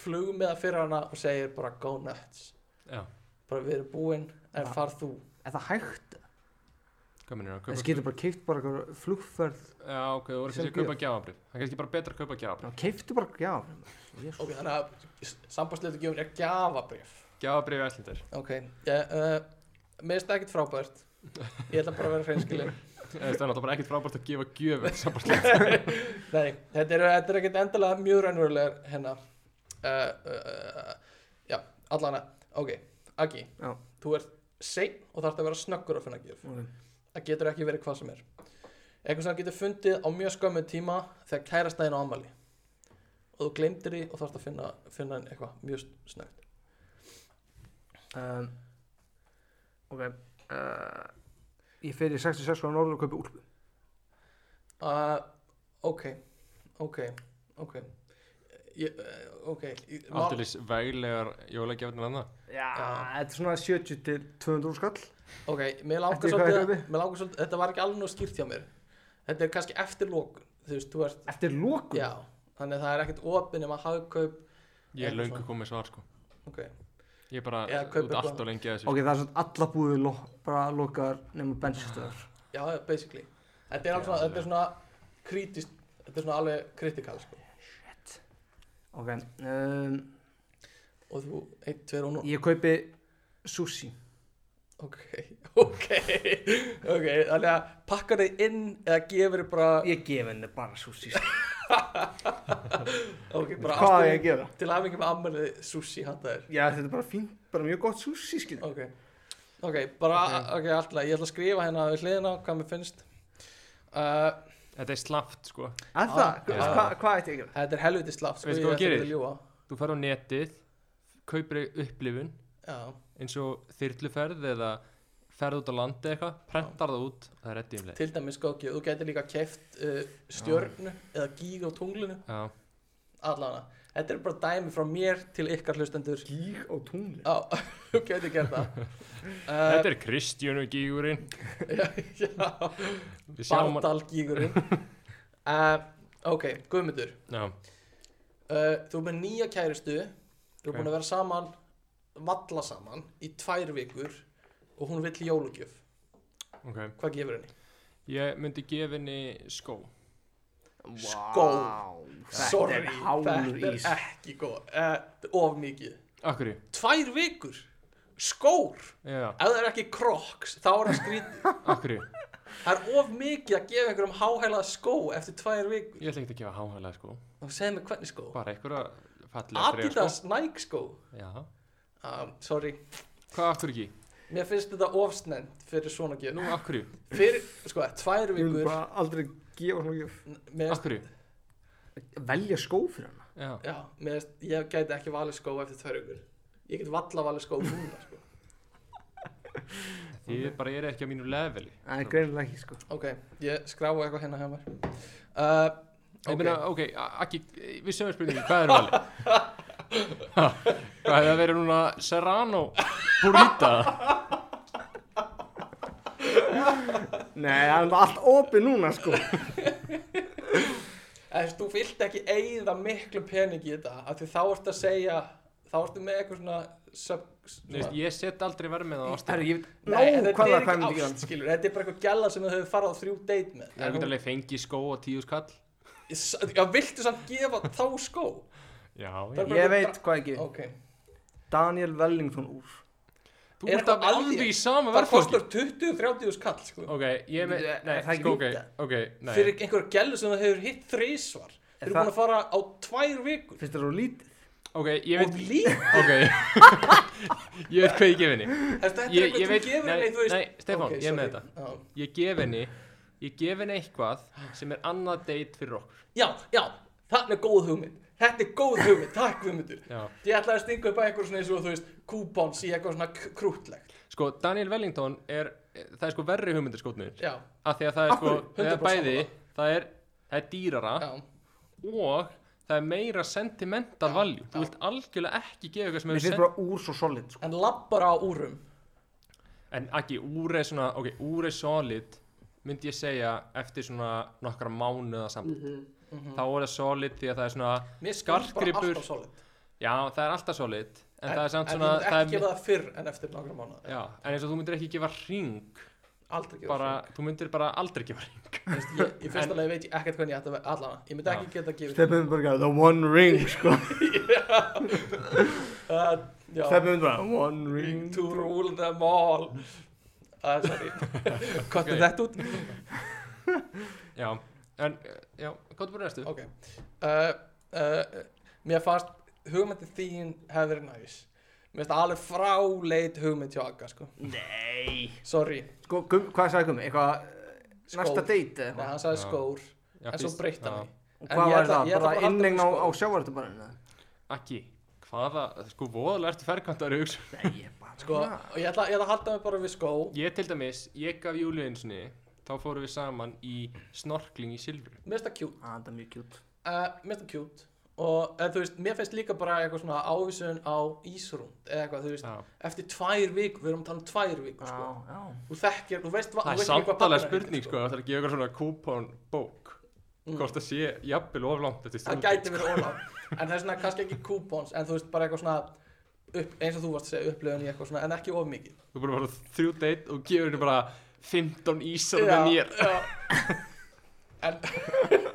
Speaker 2: flug með það fyrir hana og segir bara go nuts
Speaker 3: Já,
Speaker 2: bara við erum búin, en
Speaker 4: Já.
Speaker 2: far þú
Speaker 4: Er það hægt?
Speaker 3: hvað minnir
Speaker 4: Það
Speaker 3: það?
Speaker 4: getur bara keift bara eitthvað flugferð
Speaker 3: Já, ok, þú voru
Speaker 4: Sem
Speaker 3: þessi að kaupa
Speaker 4: gjöf.
Speaker 3: gjáabrif Það er kannski bara betra að kaupa gjáabrif
Speaker 4: Keiftu bara, já Jesus.
Speaker 2: ok, þannig að sambandslítakjöfin er gjafabrif
Speaker 3: Gjáabrif í æslandar
Speaker 2: ok, ég uh, meðist ekkert frábært ég ætla bara að vera hreinskilin
Speaker 3: Það er náttúrulega bara ekkert frábært að gefa gjöfum sambandslegt
Speaker 2: Nei, þetta er, þetta er ekkert endilega mjög raunverulegar hérna uh, uh, uh, Já, allana Ok, Aggi
Speaker 4: Já.
Speaker 2: Þú ert sein og þarft að vera snöggur að finna gjöf
Speaker 4: Ok.
Speaker 2: Það getur ekki verið hvað sem er Eitthvað sem þú getur fundið á mjög skömmu tíma þegar kærastæðin á ammali og þú gleymdir því og þarft að finna, finna henni eitthvað mjög snöggt
Speaker 4: um, Ok uh, Ég fer í 66 á norður og kaupi úlpu
Speaker 2: uh, Ok, ok, ok Ég, eh, ok ég- má-
Speaker 3: Aldeilis veglegar jólagjafnir annað
Speaker 4: Já,
Speaker 2: Já.
Speaker 4: þetta er svona 70 til 200 skall
Speaker 2: Ok, mér langar
Speaker 4: Eftir hvað
Speaker 2: svolítið,
Speaker 4: er kaupið?
Speaker 2: mér langar svolítið, þetta var ekki alveg nú skýrt hjá mér. Þetta er kannski eftir lókun, þú veist, þú ert,
Speaker 4: Eftir lókun
Speaker 2: já, þannig að það er ekkert opinn um að hagkaup,
Speaker 3: Ég er
Speaker 2: Eitthvað
Speaker 3: löngu
Speaker 2: svona.
Speaker 3: komið svar sko
Speaker 2: ok,
Speaker 3: Ég er bara
Speaker 2: Eða kaupa
Speaker 3: út allt
Speaker 2: eitthvað.
Speaker 3: og lengi að þessu
Speaker 4: Ok, það er svona alla búið lo bara lokaðar nema bensinstöðar
Speaker 2: já, basically. Þetta er alveg svona, þetta er svona krítist, þetta er svona alveg kritikal, sko.
Speaker 4: Ok um,
Speaker 2: Og þú, einn, tveir og nú.
Speaker 4: Ég kaupi sushi
Speaker 2: Ok, ok, *laughs* ok, þannig að pakkar þig inn eða gefur þig bara,
Speaker 4: Ég gef henni bara sushi sko.
Speaker 2: ok, bara
Speaker 4: Hvað er ég
Speaker 2: ástin-
Speaker 4: að gera?
Speaker 2: til aðmengi með ammaliði sushi handa þér.
Speaker 4: Já, þetta er bara fínt, bara mjög gott sushi skil
Speaker 2: Ok, ok, bara, ok, alltaf, ég ætla að skrifa hérna við hliðina hvað mér finnst. Uh,
Speaker 3: Þetta er slaft sko
Speaker 4: Er það?
Speaker 2: Já.
Speaker 4: Hvað hva, hva ætti ég að gera?
Speaker 2: Þetta er helviti slapp, sko,
Speaker 3: Veistu
Speaker 2: ég
Speaker 3: hvað
Speaker 2: ætla
Speaker 3: gerir?
Speaker 2: ekki að ljúa.
Speaker 3: Þú fer á netið Kaupir þig upplifun
Speaker 2: Já,
Speaker 3: eins og þyrluferð eða ferð út á landi eitthvað Prentar það út Það er reddi um leið
Speaker 2: til dæmis skóki,
Speaker 3: Ah.
Speaker 2: þú getur líka keft uh, stjörnu eða gíg á tunglinu,
Speaker 3: Já,
Speaker 2: allana. þetta er bara dæmi frá mér til ykkar hlustendur
Speaker 4: Gíg á tungli
Speaker 2: Já, *laughs* þú getur gert
Speaker 3: *laughs*
Speaker 2: það uh,
Speaker 3: Þetta er Kristjánu gígurinn
Speaker 2: *laughs* Já,
Speaker 3: Við sjáum hann
Speaker 2: Bardalgígurinn uh, Ok, Guðmundur
Speaker 3: Já,
Speaker 2: uh, Þú er með nýja kærustu Þú
Speaker 3: Ok.
Speaker 2: er búin að vera saman Valla saman í tvær vikur Og hún vill jólugjöf
Speaker 3: ok
Speaker 2: Hvað gefur henni?
Speaker 3: Ég myndi gefa henni skó
Speaker 2: Skó.
Speaker 4: Sorry,
Speaker 2: Sorry,
Speaker 4: þetta
Speaker 2: þetta er ekki góð uh, Of mikið
Speaker 3: Akkurri,
Speaker 2: Tvær vikur Skór
Speaker 3: já,
Speaker 2: Ef það er ekki kroks Þá er það skrítið
Speaker 3: akkurri
Speaker 2: Það er of mikið að gefa einhverjum háhælað skó Eftir tvær vikur
Speaker 3: Ég ætla ekki að gefa háhælega skó
Speaker 2: Og segja mér hvernig skó
Speaker 3: Bara einhverja fallega þrjá skó
Speaker 2: Adidas Nike skó
Speaker 3: Já,
Speaker 2: um, Sorry
Speaker 3: hvað akkurri ekki?
Speaker 2: Mér finnst þetta ofsnend fyrir svona gjöf
Speaker 3: Nú akkurri,
Speaker 2: Fyrir, sko, tvær
Speaker 4: Ég vil
Speaker 2: vikur
Speaker 4: bara aldrei gefa hann gjöf
Speaker 2: mér, finnst-
Speaker 3: akkurri
Speaker 4: Velja skó fyrir hana
Speaker 3: Já,
Speaker 2: Já, mér, finnst- ég gæti ekki valið skó eftir tvær vikur Ég get valla valið skó núna, sko
Speaker 3: þið bara eru ekki á mínu leveli
Speaker 4: Það er greinilega ekki sko
Speaker 2: Ok, ég skráu eitthvað hérna hjá mér uh, Ok.
Speaker 3: Ég meina, ok, a- Akki, við sögum spurningu, hvað er valið? Ha, hvað hefði að vera núna Serrano burrita?
Speaker 4: Nei, það er bara allt opið núna sko
Speaker 2: Ef þú vilt ekki eigða miklu pening í þetta af Því þá ertu að segja Þá ertu með eitthvað svona, sub,
Speaker 3: Þú veist, Ég set aldrei vermið á ástina
Speaker 4: Herru, ég veit
Speaker 2: Nei, en
Speaker 4: Nó,
Speaker 2: þetta
Speaker 4: hvað
Speaker 2: er
Speaker 4: er það
Speaker 2: ekki ást, skilur Þetta er bara eitthvað gæla sem þau hefur farið á þrjú deit með
Speaker 3: Ég get alveg fengið skó og tíu skall
Speaker 2: alveg Já, viltu samt gefa þá skó?
Speaker 3: Já,
Speaker 2: Það
Speaker 3: já
Speaker 2: er bara
Speaker 4: Ég
Speaker 2: eitthvað
Speaker 4: veit hvað ekki
Speaker 2: Ok
Speaker 4: Daniel Wellington úr
Speaker 3: Þú
Speaker 2: Er
Speaker 3: ert
Speaker 2: eitthvað
Speaker 3: alveg
Speaker 2: að
Speaker 3: alveg
Speaker 2: þér?
Speaker 3: í sama
Speaker 2: Það
Speaker 3: verðfólki
Speaker 2: kostar 20-30 skall sko.
Speaker 3: Ok, ég með,
Speaker 4: Bíddu,
Speaker 3: nei,
Speaker 4: er það ekki
Speaker 3: sko, ok,
Speaker 4: líka?
Speaker 3: ok, nei
Speaker 2: Fyrir einhverja gælu sem það hefur hitt þrísvar Þeir eru
Speaker 4: það-
Speaker 2: búin að fara á tvær vikur
Speaker 4: Finnst það svo lítið?
Speaker 3: Ok, ég
Speaker 2: Og
Speaker 3: veit,
Speaker 2: líka
Speaker 3: ok *laughs* Ég veit hvað ég gef henni
Speaker 2: Þetta er eitthvað
Speaker 3: Ég, ég
Speaker 2: sem
Speaker 3: veit,
Speaker 2: gefur
Speaker 3: nei,
Speaker 2: henni, þú veist
Speaker 3: nei, Stefán,
Speaker 2: Ok,
Speaker 3: ég er með
Speaker 2: sorry.
Speaker 3: þetta
Speaker 2: Já.
Speaker 3: Ég gef henni, ég gef henni eitthvað sem er annað date fyrir okkur
Speaker 2: Já, já, það er góð hugmynd Þetta er góð hugmynd, takk hugmyndur
Speaker 3: Já
Speaker 2: Ég ætlaði að stinga upp að eitthvað svona eins og þú veist Kúpons í eitthvað svona k- krútlegt
Speaker 3: Sko, Daniel Wellington er, það er sko verri hugmyndir skotnir
Speaker 2: Já,
Speaker 3: Af því að það er sko,
Speaker 2: Af hverju?
Speaker 3: það er
Speaker 2: 100%
Speaker 3: bæði, það er, það er dýrara
Speaker 2: já,
Speaker 3: og það er meira sentimental value Þú vilt algjörlega ekki gefa eitthvað sem
Speaker 4: Mér
Speaker 3: hefur
Speaker 4: finnst
Speaker 3: sent
Speaker 4: bara úr svo solid sko
Speaker 2: en labbar á úrum
Speaker 3: En ekki, úr er svona, ok, úr er solid myndi ég segja eftir svona nokkra mánuða samt
Speaker 2: Mhm,
Speaker 3: þá er það solid því að það er svona
Speaker 2: Mér finnst bara
Speaker 3: skartgripur,
Speaker 2: alltaf solid
Speaker 3: já það er alltaf solid en, það er samt
Speaker 2: en
Speaker 3: svona
Speaker 2: ég myndi
Speaker 3: það
Speaker 2: ekki
Speaker 3: er,
Speaker 2: gefa það fyrr en eftir nokkra mánuð
Speaker 3: já, en eins og þú myndir ekki gefa ring
Speaker 2: Aldrei gefa
Speaker 3: bara,
Speaker 2: það
Speaker 3: þú myndir bara aldrei gefa ring *laughs*
Speaker 2: Þú veist, ég, í fyrsta lagi veit ég ekkert hvernig ég ætti að vera allan ég myndi
Speaker 3: Já.
Speaker 2: ekki geta að gefa
Speaker 4: Stefnum bara eitthvað, the one ring sko
Speaker 2: uh, já,
Speaker 4: Stefnum bara one ring
Speaker 2: to rule them all uh,
Speaker 3: *laughs*
Speaker 2: sorry kottum
Speaker 3: Ok.
Speaker 2: þetta út
Speaker 3: já, en, eh, já, hvað er bara næstu?
Speaker 2: ok uh, uh, mér fannst hugmyndin þín hefði verið næs mér finnst það alveg fráleit hugmynd hjá Aga sko.
Speaker 4: Nei
Speaker 2: sorry,
Speaker 4: Sko, gum, hvað sagði Gummi? Eitthvað, eh,
Speaker 2: Skór.
Speaker 4: næsta date eða
Speaker 2: Nei,
Speaker 4: eitthvað?
Speaker 2: hann sagði
Speaker 3: Já.
Speaker 2: skór
Speaker 3: Já,
Speaker 2: en svo
Speaker 3: fyrst-
Speaker 2: breytta
Speaker 3: já.
Speaker 2: hann
Speaker 4: Og
Speaker 2: En
Speaker 4: Hvað
Speaker 2: ég
Speaker 4: var
Speaker 2: ætla-
Speaker 4: það?
Speaker 2: ég ætla
Speaker 4: Bara
Speaker 2: bara aldrei
Speaker 4: innegna á,
Speaker 2: skór.
Speaker 4: á sjávartubarinn?
Speaker 3: ekki, hvaða, sko voðalega ertu ferkantar í hugsun
Speaker 4: Nei, ég bara Ah,
Speaker 2: sko, og ég ætla, ég ætla að halda mig bara við skó
Speaker 3: ég til dæmis, ég gaf Júliu einu sinni þá fórum við saman í snorkling í silfru
Speaker 2: mér finnst það cute
Speaker 4: Ah, það er mjög kjút
Speaker 2: uh, mér finnst það cute og eða, þú veist, mér finnst líka bara eitthvað svona ávísun á ísrúnd eða eitthvað, þú veist,
Speaker 3: Já.
Speaker 2: eftir tvær vikur, við erum að tala um tvær vikur,
Speaker 4: Já,
Speaker 2: sko
Speaker 4: já
Speaker 2: þú þekkir, þú veist,
Speaker 3: Það er samtalega spurning sko, það er að gefa ykkur svona kúpón bók
Speaker 2: Mm.
Speaker 3: Hvort það sé jafnvel of langt eftir
Speaker 2: það
Speaker 3: stundum
Speaker 2: gæti verið ólátt en það er svona kannski ekki coupons en þú veist, bara eitthvað svona upp, eins og þú varst að segja, upplöðun í eitthvað svona en ekki of mikið
Speaker 3: Þú er bara að fara á þrjú deitt og gefur henni bara 15 ísar með mér
Speaker 2: já. *laughs* en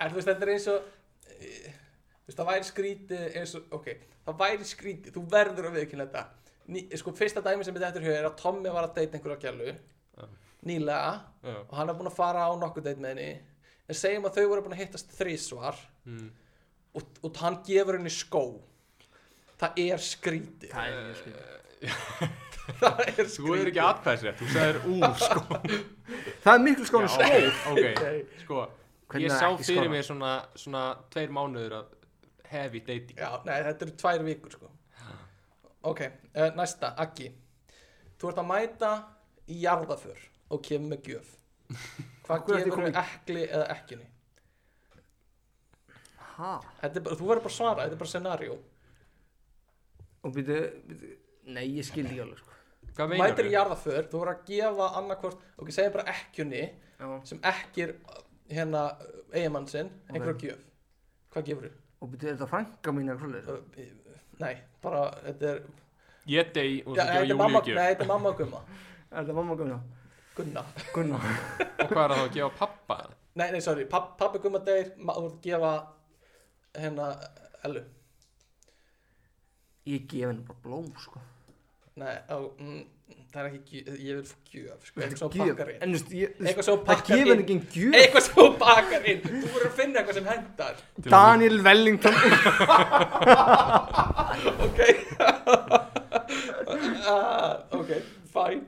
Speaker 2: en þú veist, þetta er eins og eh, þú veist, það væri skrítið eins og, ok, það væri skrítið þú verður að viðkynna þetta Ný, sko, fyrsta dæmi sem þetta eftir hér er að Tommi var að deyta einhverja gælu
Speaker 3: Já.
Speaker 2: nýlega
Speaker 3: Já.
Speaker 2: og hann er búin að fara á nokkuð deitt með henni en segjum að þau voru búin að hittast þrísvar
Speaker 3: Mm.
Speaker 2: og, og hann gefur henni skó það er skrítið
Speaker 4: Það er mjög skrítið.
Speaker 2: *laughs* það er skrítið
Speaker 3: Þú er ekki aðkvæðsrétt, þú sagðir
Speaker 2: *laughs*
Speaker 3: úr sko
Speaker 4: Það er miklu skóna skó
Speaker 3: Já, ok, sko
Speaker 4: Hvernig
Speaker 3: Ég
Speaker 4: er
Speaker 3: sá
Speaker 4: ekki
Speaker 3: fyrir
Speaker 4: skóna?
Speaker 3: mér svona, svona tveir mánuður af heavy dating
Speaker 2: já, nei, þetta eru tvær vikur sko. ok, uh, næsta, Aggi þú ert að mæta í jarðaför og kemur með
Speaker 3: *laughs*
Speaker 2: gjöf hvað
Speaker 4: Af hverju ertu
Speaker 2: gefur
Speaker 4: komin
Speaker 2: með ekli eða ekkinni
Speaker 4: ha?
Speaker 2: Þetta er bara, þú verður bara að svara, þetta er bara scenarió
Speaker 4: Og býtu, býtu Nei, ég skildi ekki alveg sko
Speaker 3: Hvað meinar
Speaker 2: Mætir í jarðaför, þú verður að gefa annarkvort Ok, segja bara ekkjunni
Speaker 4: Já
Speaker 2: sem ekkir hérna eiginmann sinn, einhverja
Speaker 4: Ok.
Speaker 2: gjöf Hvað gefur þú?
Speaker 4: Og býtu, er þetta frænka mín eitthvað leir?
Speaker 2: Nei, bara, þetta er
Speaker 3: Ég degi og
Speaker 2: Já,
Speaker 3: þú
Speaker 2: þetta
Speaker 3: gefur
Speaker 2: er mamma,
Speaker 3: Júlíu
Speaker 2: nei,
Speaker 3: gjöf
Speaker 2: þetta er mamma og gumma
Speaker 4: Er þetta mamma Gunna?
Speaker 2: Gunna
Speaker 4: Gunna
Speaker 3: Og hvað er það þá að gefa pappa?
Speaker 2: Nei, nei, sorry, papp, pappi gumma deyr ma- Þú voru að gefa hérna Ellu
Speaker 4: Ég gef henni bara blóm sko
Speaker 2: Nei, á, mm, það er ekki gjöf, ég vil fá gjöf sko, Eitthvað svo
Speaker 4: Gjöf.
Speaker 2: pakkar inn
Speaker 4: En þú veist, ég þú
Speaker 2: Eitthvað
Speaker 4: veist,
Speaker 2: svo
Speaker 4: Það
Speaker 2: pakkar
Speaker 4: gef henni
Speaker 2: inn
Speaker 4: ekki en gjöf
Speaker 2: Eitthvað svo pakkar inn Þú voru að finna eitthvað sem
Speaker 4: *laughs*
Speaker 2: hendar
Speaker 4: Daniel Wellington
Speaker 2: Ok Ah, Ok, fine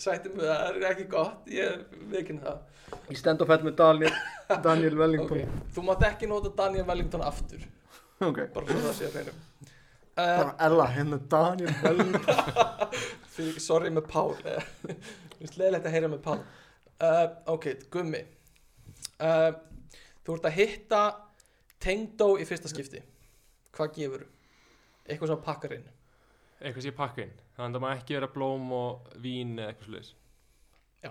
Speaker 2: Sættum við það, það er ekki gott Ég vekinn það
Speaker 4: Ég stend og fell með Daniel *laughs* Daniel
Speaker 2: Ok,
Speaker 4: Wellington
Speaker 2: þú mátt ekki nota Daniel Wellington aftur
Speaker 4: Ok
Speaker 2: Bara svo það sé að reynum uh,
Speaker 5: Bara Ella, hérna Daniel *laughs* Wellington
Speaker 2: Fyrir ekki, sorry með Pál Eh, Mér finnst leðilegt að heyra með Pál uh, Ok, gummi uh, Þú ert að hitta Tengdó í fyrsta skipti Hvað gefur? Eitthvað sem pakkar inn
Speaker 3: Eitthvað sé pakkin Þannig að maður ekki vera blóm og vín eða eitthvað slags
Speaker 2: Já.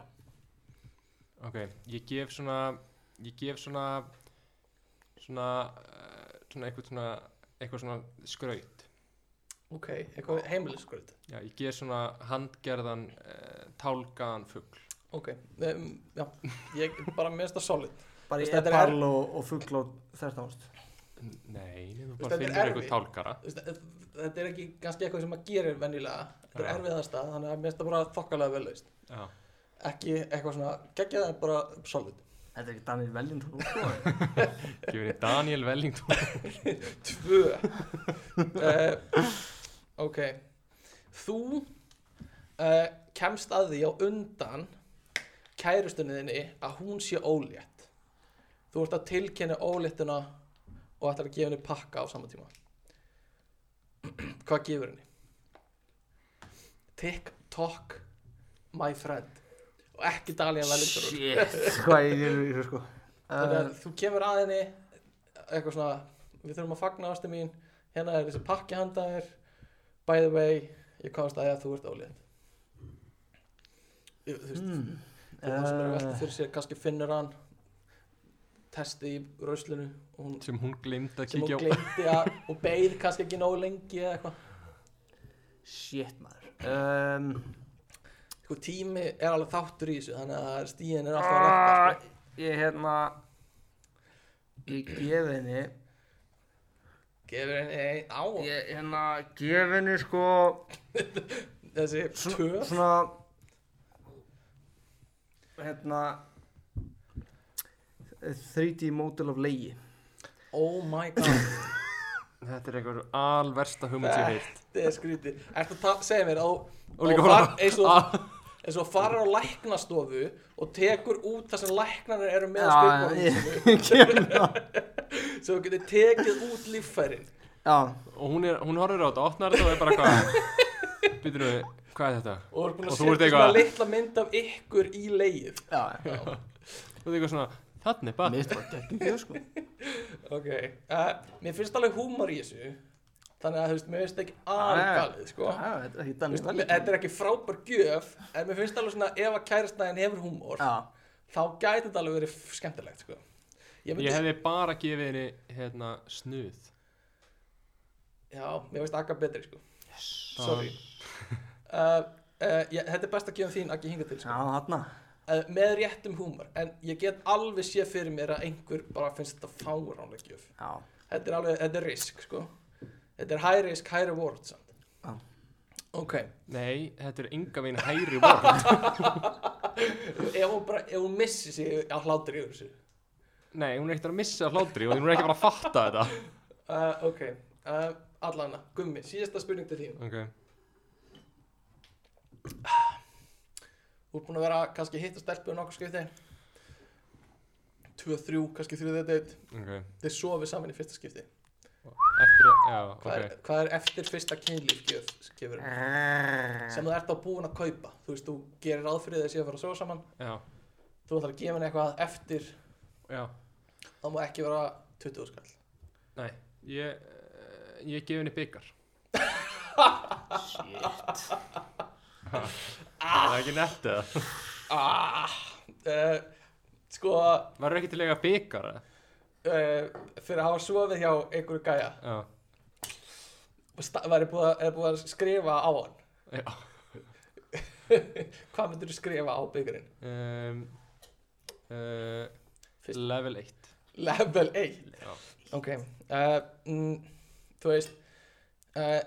Speaker 3: Ok, ég gef svona Ég gef svona Svona eh, Svona eitthvað svona Eitthvað svona skraut
Speaker 2: Ok, eitthvað heimilisgröð
Speaker 3: Já, ég gef svona handgerðan uh, Tálgaðan fugl
Speaker 2: Ok, um, já Ég bara mér finnst það solid
Speaker 4: Bara
Speaker 2: Veist,
Speaker 4: ég er
Speaker 2: þetta er
Speaker 4: parl og, og fugl á þérst ást
Speaker 3: Nei,
Speaker 2: Þetta
Speaker 3: þú bara
Speaker 2: er
Speaker 3: finnur eitthvað
Speaker 2: erfitt.
Speaker 3: tálgara
Speaker 2: Þú veist, Þetta er ekki kannski eitthvað sem maður gerir venjulega Þetta er
Speaker 3: Já.
Speaker 2: erfiðasta, þannig að mér finnst það bara þokkalega vel laust
Speaker 3: Já,
Speaker 2: Ekki eitthvað svona geggjað en bara solid
Speaker 4: Þetta er ekki Daniel Wellington sko.
Speaker 3: gefur þið Daniel Wellington
Speaker 2: Tvö *laughs* uh, Ok Þú uh, kemst að því á undan kærustunni þinni að hún sé ólétt Þú ert að tilkynna óléttuna og ætlar að gefa henni pakka á sama tíma *clears throat* Hvað gefur henni? TikTok my friend og ekki Dalian Wellington
Speaker 4: Shit Hvað ég er í þessu sko
Speaker 2: þannig að
Speaker 4: uh,
Speaker 2: þú kemur að henni eitthvað svona, við þurfum að fagna ástu mín hérna er þessi pakki handa þér by the way, ég komst að því að þú ert ólétt Ég- þú veist,
Speaker 4: mm,
Speaker 2: þú veist sem er að velta
Speaker 4: uh,
Speaker 2: fyrir sér kannski finnur hann testi í rauslinu og hún
Speaker 3: sem hún gleymd að
Speaker 2: sem hún
Speaker 3: kíkja á
Speaker 2: gleymdi að og beið kannski ekki nógu lengi eða eitthvað
Speaker 4: Shit maður um,
Speaker 2: sko, tími er alveg þáttur í þessu þannig að stíðin er alltaf að lækka sko.
Speaker 4: Ég hérna Ég gef henni
Speaker 2: gefur henni á
Speaker 4: Ég hérna gef henni sko
Speaker 2: þessi töf
Speaker 4: Svona Hérna 3D model of legi
Speaker 2: oh my god
Speaker 3: Þetta er einhver alversta hugmynd
Speaker 2: Eh,
Speaker 3: sem ég heilt
Speaker 2: Þetta er skrítið Ertu að ta- segja mér á,
Speaker 3: Og líka
Speaker 2: á
Speaker 3: bara- Ah.
Speaker 2: far- eins, og, eins og farar á læknastofu og tekur út það sem læknarnir eru með á
Speaker 4: ég
Speaker 2: skrifborðinu sínu,
Speaker 4: gef
Speaker 3: *laughs*
Speaker 4: henni það
Speaker 2: *laughs* svo þú getur tekið út líffærin
Speaker 4: Já,
Speaker 3: Og hún, er, hún horfir á þetta, opnar þetta og er bara hvað *laughs* Býtur við, hvað er þetta?
Speaker 2: og þú ert búin
Speaker 3: Og
Speaker 2: að
Speaker 3: þú ert
Speaker 2: setja
Speaker 3: eitthvað-
Speaker 2: svona litla mynd af ykkur í leið
Speaker 4: já, já
Speaker 3: Og það er eitthvað svona, þannig bara
Speaker 4: Mér stóð ekki ekki sko
Speaker 2: ok uh, mér finnst alveg húmar í þessu þannig að þú veist, mér finnst ekki
Speaker 3: Ah,
Speaker 2: algalið sko.
Speaker 4: Já, þetta er ekki
Speaker 2: Þú veist,
Speaker 4: Daniel
Speaker 2: mér- þetta er ekki frábær gjöf en mér finnst alveg svona ef að kærastnæðin hefur húmor
Speaker 4: Já,
Speaker 2: þá gæti þetta alveg verið f- skemmtilegt sko. ég myndi
Speaker 3: Ég hefði bara gefið henni, hérna, snuð
Speaker 2: Já, mér finnst Akka betri sko Sorry uh, uh, ég, Þetta er best að gefa þín Akki hinga
Speaker 4: Ah.
Speaker 2: til
Speaker 4: já,
Speaker 2: sko.
Speaker 4: þarna
Speaker 2: uh, Með réttum húmor En ég get alveg sé fyrir mér að einhver bara finnst þetta fáránleg gjöf
Speaker 4: Já,
Speaker 2: Þetta er alveg, þetta er risk sko Þetta er high risk, high reward samt
Speaker 4: Já.
Speaker 2: Ok,
Speaker 3: Nei, þetta er enga veginn hæri vorn
Speaker 2: ef hún bara, ef hún missir sig á hlátri yfir þessu
Speaker 3: Nei, hún er ekkert að missa af hlátri og hún er ekki bara að fatta þetta
Speaker 2: uh, Ok, uh, allana, gummi, síðasta spurning til þín
Speaker 3: Ok,
Speaker 2: Þú ert búin að vera kannski að hitta stelpu og nokkuð skipti Tvö, þrjú, kannski þriðið deitt
Speaker 3: ok
Speaker 2: Þeir sofið saman í fyrsta skipti
Speaker 3: Eftir að, já,
Speaker 2: Hvað,
Speaker 3: ok
Speaker 2: er, hvað er eftir fyrsta kynlíf gjöf, gefur
Speaker 4: Ah. Eh.
Speaker 2: sem þú ert á búin að kaupa þú veist, þú gerir ráð fyrir þessi að fara að sofa saman
Speaker 3: Já,
Speaker 2: þú ætlar að gefa henni eitthvað eftir
Speaker 3: já
Speaker 2: þá má ekki vera 20 skall
Speaker 3: Nei, ég, eh, ég gef henni byggar *laughs*
Speaker 6: Það er ekki nett eða?
Speaker 2: ah, uh, Sko
Speaker 3: Var ekki til að eiga byggar?
Speaker 2: uh, Fyrir að hafa sofið hjá einhverju gæja
Speaker 3: Já,
Speaker 2: sta- væri búið að, er búið að skrifa á hann
Speaker 3: já
Speaker 2: *laughs* Hvað myndir þú skrifa á byggurinn?
Speaker 3: um, uh,
Speaker 2: Fyrst-
Speaker 3: Level 1
Speaker 2: Level 1
Speaker 3: Já.
Speaker 2: Ok uh, mm, Þú veist uh,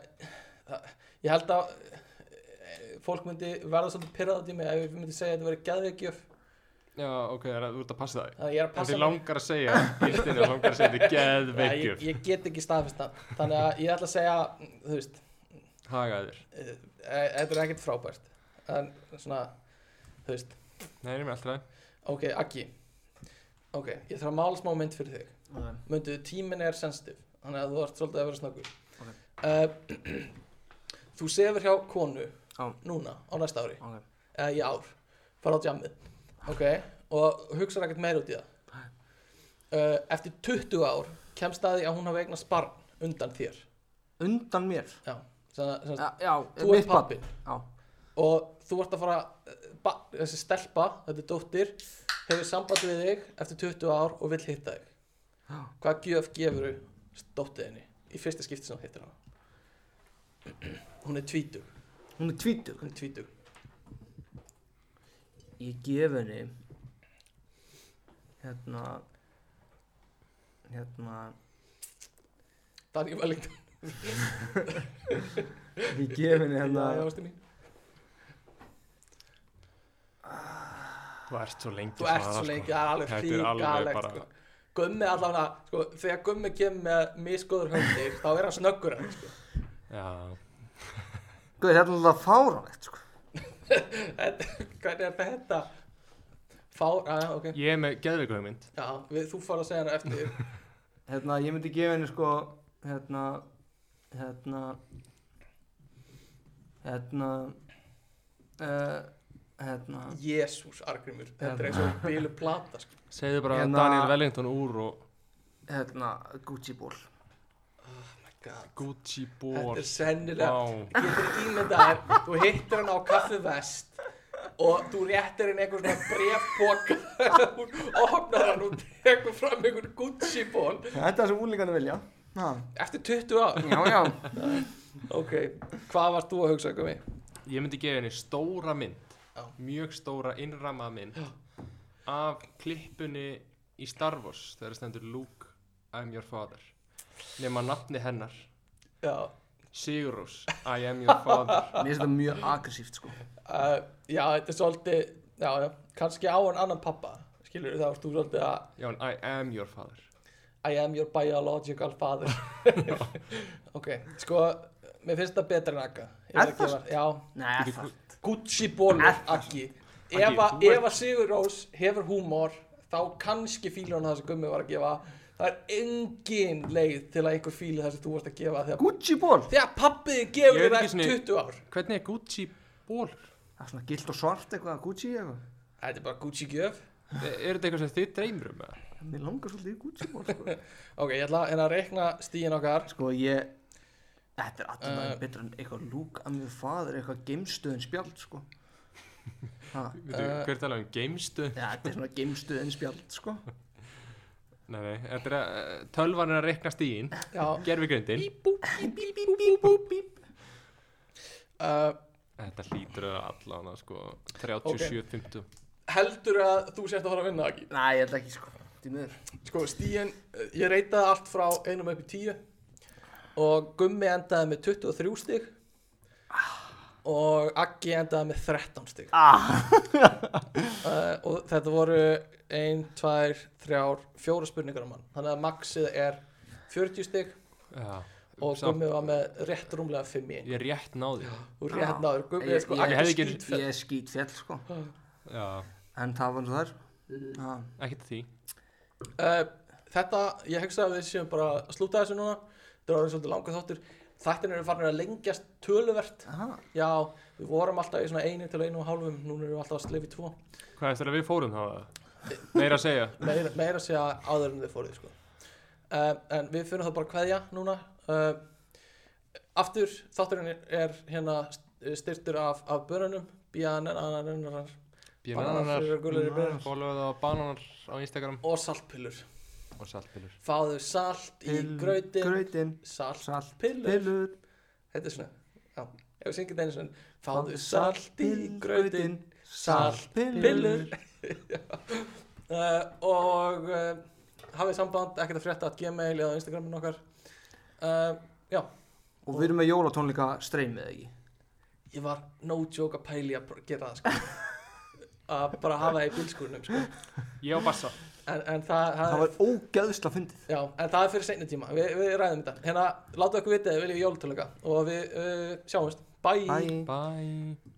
Speaker 2: það, Ég held að eh, fólk myndi verða svolítið pirrað út í mig ef ég myndi segja að þetta verið geðveikjöf
Speaker 3: Já, ok, það er að þú ert að passa það
Speaker 2: þannig að ég er að
Speaker 3: En
Speaker 2: passa
Speaker 3: þið langar að segja Ístinni langar að segja
Speaker 2: mig.
Speaker 3: þetta
Speaker 2: Nei, ég,
Speaker 6: Geðveikjur
Speaker 2: ég get ekki staðfist það þannig að ég ætla að segja mm, þú veist
Speaker 3: Hagaðir
Speaker 2: eh, eh, þetta er ekkert frábært en svona þú veist
Speaker 3: Nei, ég er með alltaf
Speaker 2: ok, Aggi ok, ég þarf að mála smá mynd fyrir þig myndu tíminn er sensitive þannig að þú ert svolítið að vera snöggur
Speaker 4: Ok.
Speaker 2: okay. *clears throat* þú sefur hjá konu
Speaker 4: Já.
Speaker 2: núna á næsta ári
Speaker 4: Ok.
Speaker 2: eða í ár, fara á djammið ok, og hugsar ekkert meira út í það uh, eftir 20 ár kemst að því að hún hafi eignast barn undan þér
Speaker 4: Undan mér
Speaker 2: já, sem, sem,
Speaker 4: Já, já
Speaker 2: þú
Speaker 4: Eh, mitt
Speaker 2: ert
Speaker 4: barn.
Speaker 2: pappin
Speaker 4: Já,
Speaker 2: og þú ert að fara eh, ba- þessi stelpa, þetta er dóttir hefur samband við þig eftir 20 ár og vill hitta þig
Speaker 4: Já.
Speaker 2: hvað gjöf gefur þú dóttiðinni í fyrsta skipti sem þú hittir hana hún er tvítug
Speaker 4: hún er tvítug
Speaker 2: hún er tvítug
Speaker 4: Ég gef henni Hérna Hérna
Speaker 2: Daniel Wellington
Speaker 4: Ég gef henni hérna
Speaker 2: Já, já, ástin mín.
Speaker 6: Þú ert svo lengi sko.
Speaker 2: þú ert svo lengi það er alveg
Speaker 6: Þetta er alveg
Speaker 2: hríkalegt
Speaker 6: bara-
Speaker 2: sko. Gummi allavega, sko, þegar Gummi kemur með misgóður höndir, þá er hann snöggur hann, sko.
Speaker 6: Já,
Speaker 4: Guð, þetta er alltaf fáránlegt sko
Speaker 2: Þetta- Hvernig er þetta? Fár, aðja, ok.
Speaker 6: ég er með geðveiku hugmynd
Speaker 2: Já, við, þú fara að segja hana eftir.
Speaker 4: Hérna, ég myndi gefa henni sko Hérna Hérna Hérna uh, Hérna
Speaker 2: Jésús, Argrimur, þetta er eins og bílu plata sko.
Speaker 3: Segðu bara
Speaker 4: Hérna-
Speaker 3: Daniel Wellington úr og
Speaker 4: Hérna, Gucci ból
Speaker 3: Gucci
Speaker 2: Þetta
Speaker 3: ból
Speaker 2: er sennilega
Speaker 3: Vá
Speaker 2: Getur ímyndað þér, þú hittir hann á kaffivest og þú réttir henni einhver svona *laughs* brefpoka og opnar hann og tekur fram einhver Gucci ból
Speaker 4: Þetta er það sem úlingarnir vilja Já,
Speaker 2: eftir 20 ár
Speaker 4: já, já.
Speaker 2: Ok, hvað varst þú að hugsa ykkur mig?
Speaker 3: Ég myndi gefa henni stóra mynd
Speaker 2: Já.
Speaker 3: Mjög stóra innramma mynd Af klippunni í Star Wars Þegar stendur Luke I'm your father Nefna nafni hennar
Speaker 2: Já,
Speaker 3: Sigurós I am your father
Speaker 4: Mér finnst þetta mjög aggressíft sko
Speaker 2: uh, já, þetta er svolítið já, já, kannski á hann annan pappa skilur þá varst þú svolítið að
Speaker 3: Já, en I am your father
Speaker 2: I am your biological *laughs* father Ok, sko Mér finnst það betra en Agga Ég verð
Speaker 4: Er
Speaker 2: að gefa- Já,
Speaker 4: Nei, er það
Speaker 2: Gucci bólur, Aggi Ef að-
Speaker 3: þú
Speaker 2: ef að Sigur Rós hefur húmor þá kannski fílar hann það sem Gummi var að gefa Það er engin leið til að einhver fíli það sem þú varst að gefa þegar,
Speaker 4: Gucci ból
Speaker 2: þegar pappið gefur
Speaker 3: Ég veit
Speaker 2: þér
Speaker 3: ekki
Speaker 2: eftir
Speaker 3: sinni-
Speaker 2: 20 ár
Speaker 3: Hvernig er Gucci ból?
Speaker 4: Það er svona gilt og svart eitthvað, Gucci eitthvað
Speaker 2: Þetta er bara Gucci gjöf
Speaker 3: Er E, er þetta eitthvað sem þið dreymir um? eða?
Speaker 4: Mér langar svolítið í Gucci ból sko
Speaker 2: Ok, ég ætla hérna að reikna stíin okkar
Speaker 4: Sko ég Þetta er alltaf
Speaker 2: Eh.
Speaker 4: uh, betra en eitthvað lúk að mjög faður eitthvað geimstöðin spjald sko ha,
Speaker 3: Veitu,
Speaker 2: Eh.
Speaker 3: Hver talaði um geimstu?
Speaker 4: ja, Þetta er svona geimstöðin spjald sko
Speaker 3: Nei, nei, þetta er að eh, tölvan er að rekna stíin
Speaker 2: Já,
Speaker 3: Gerfi grindin
Speaker 2: uh,
Speaker 3: Þetta hlýtur að allan að sko 37.50
Speaker 2: heldur að þú sért að fara að vinna Aggi
Speaker 4: Nei, ég held ekki sko Því miður
Speaker 2: Sko, stíin, eh, ég reytaði allt frá einum upp í tíu og Gummi endaði með 23 stig og Aggi endaði með 13 stig *laughs*
Speaker 4: ah.
Speaker 2: uh, og þetta voru 1, 2, 3, 4 spurningar á mann þannig að maxið er 40 stig
Speaker 3: Já
Speaker 2: og
Speaker 3: Samt-
Speaker 2: Gummi var með rétt rúmlega 5 í einu
Speaker 3: Ég rétt náði
Speaker 2: og rétt náður, Gummi
Speaker 4: Ég-
Speaker 2: er sko
Speaker 4: ég-
Speaker 3: ég hefði
Speaker 2: Aggi
Speaker 3: ekki-
Speaker 2: skýtfell
Speaker 4: Ég er skítfjall sko
Speaker 3: Já,
Speaker 4: En það var nú þar ha.
Speaker 3: ekkert því
Speaker 2: uh, Þetta, ég hugsa að við séum bara að slúta þessu núna þetta er orðið svolítið langur þáttur Þættin eru farin að lengjast töluvert
Speaker 4: Aha.
Speaker 2: Já, við vorum alltaf í svona einu til einu og hálfum, núna erum við alltaf að slefi tvo
Speaker 3: Hvað er þetta að við fórum þá? eða? Meira að segja
Speaker 2: meira, meira að segja áður en þið fóruð sko. uh, en við fyrir það bara að kveðja núna uh, aftur þátturinn er, er hérna styrtur af, af börunum bjananar
Speaker 3: Bananar,
Speaker 2: bananar
Speaker 3: follow það á bananar á Instagram
Speaker 2: og saltpillur
Speaker 3: og saltpilur
Speaker 2: fáðu salt í
Speaker 4: Pill-
Speaker 2: grautin
Speaker 4: Grautin,
Speaker 2: saltpillur
Speaker 4: pillur,
Speaker 2: þetta er svona já, ef við syngjum þetta einu svona fáðu salt í grautin saltpillur uh, og uh, hafið samband ekkert að frétta að gmail eða á instagramin okkar uh, já
Speaker 4: Og við erum með jólatónleika streymið ekki
Speaker 2: ég var no joke að pæli að pr- gera *laughs* það sko. að bara hafa það í bílskúrinum sko.
Speaker 6: Ég og Bassa
Speaker 2: en, en það, það,
Speaker 4: Það
Speaker 2: er,
Speaker 4: var ógeðsla fyndið
Speaker 2: já, en það er fyrir seinni tíma Vi, við ræðum þetta hérna, láta okkur vita ef við viljum jólutöluga og við uh, sjáumst, eh, bye.
Speaker 4: Bye
Speaker 3: Bye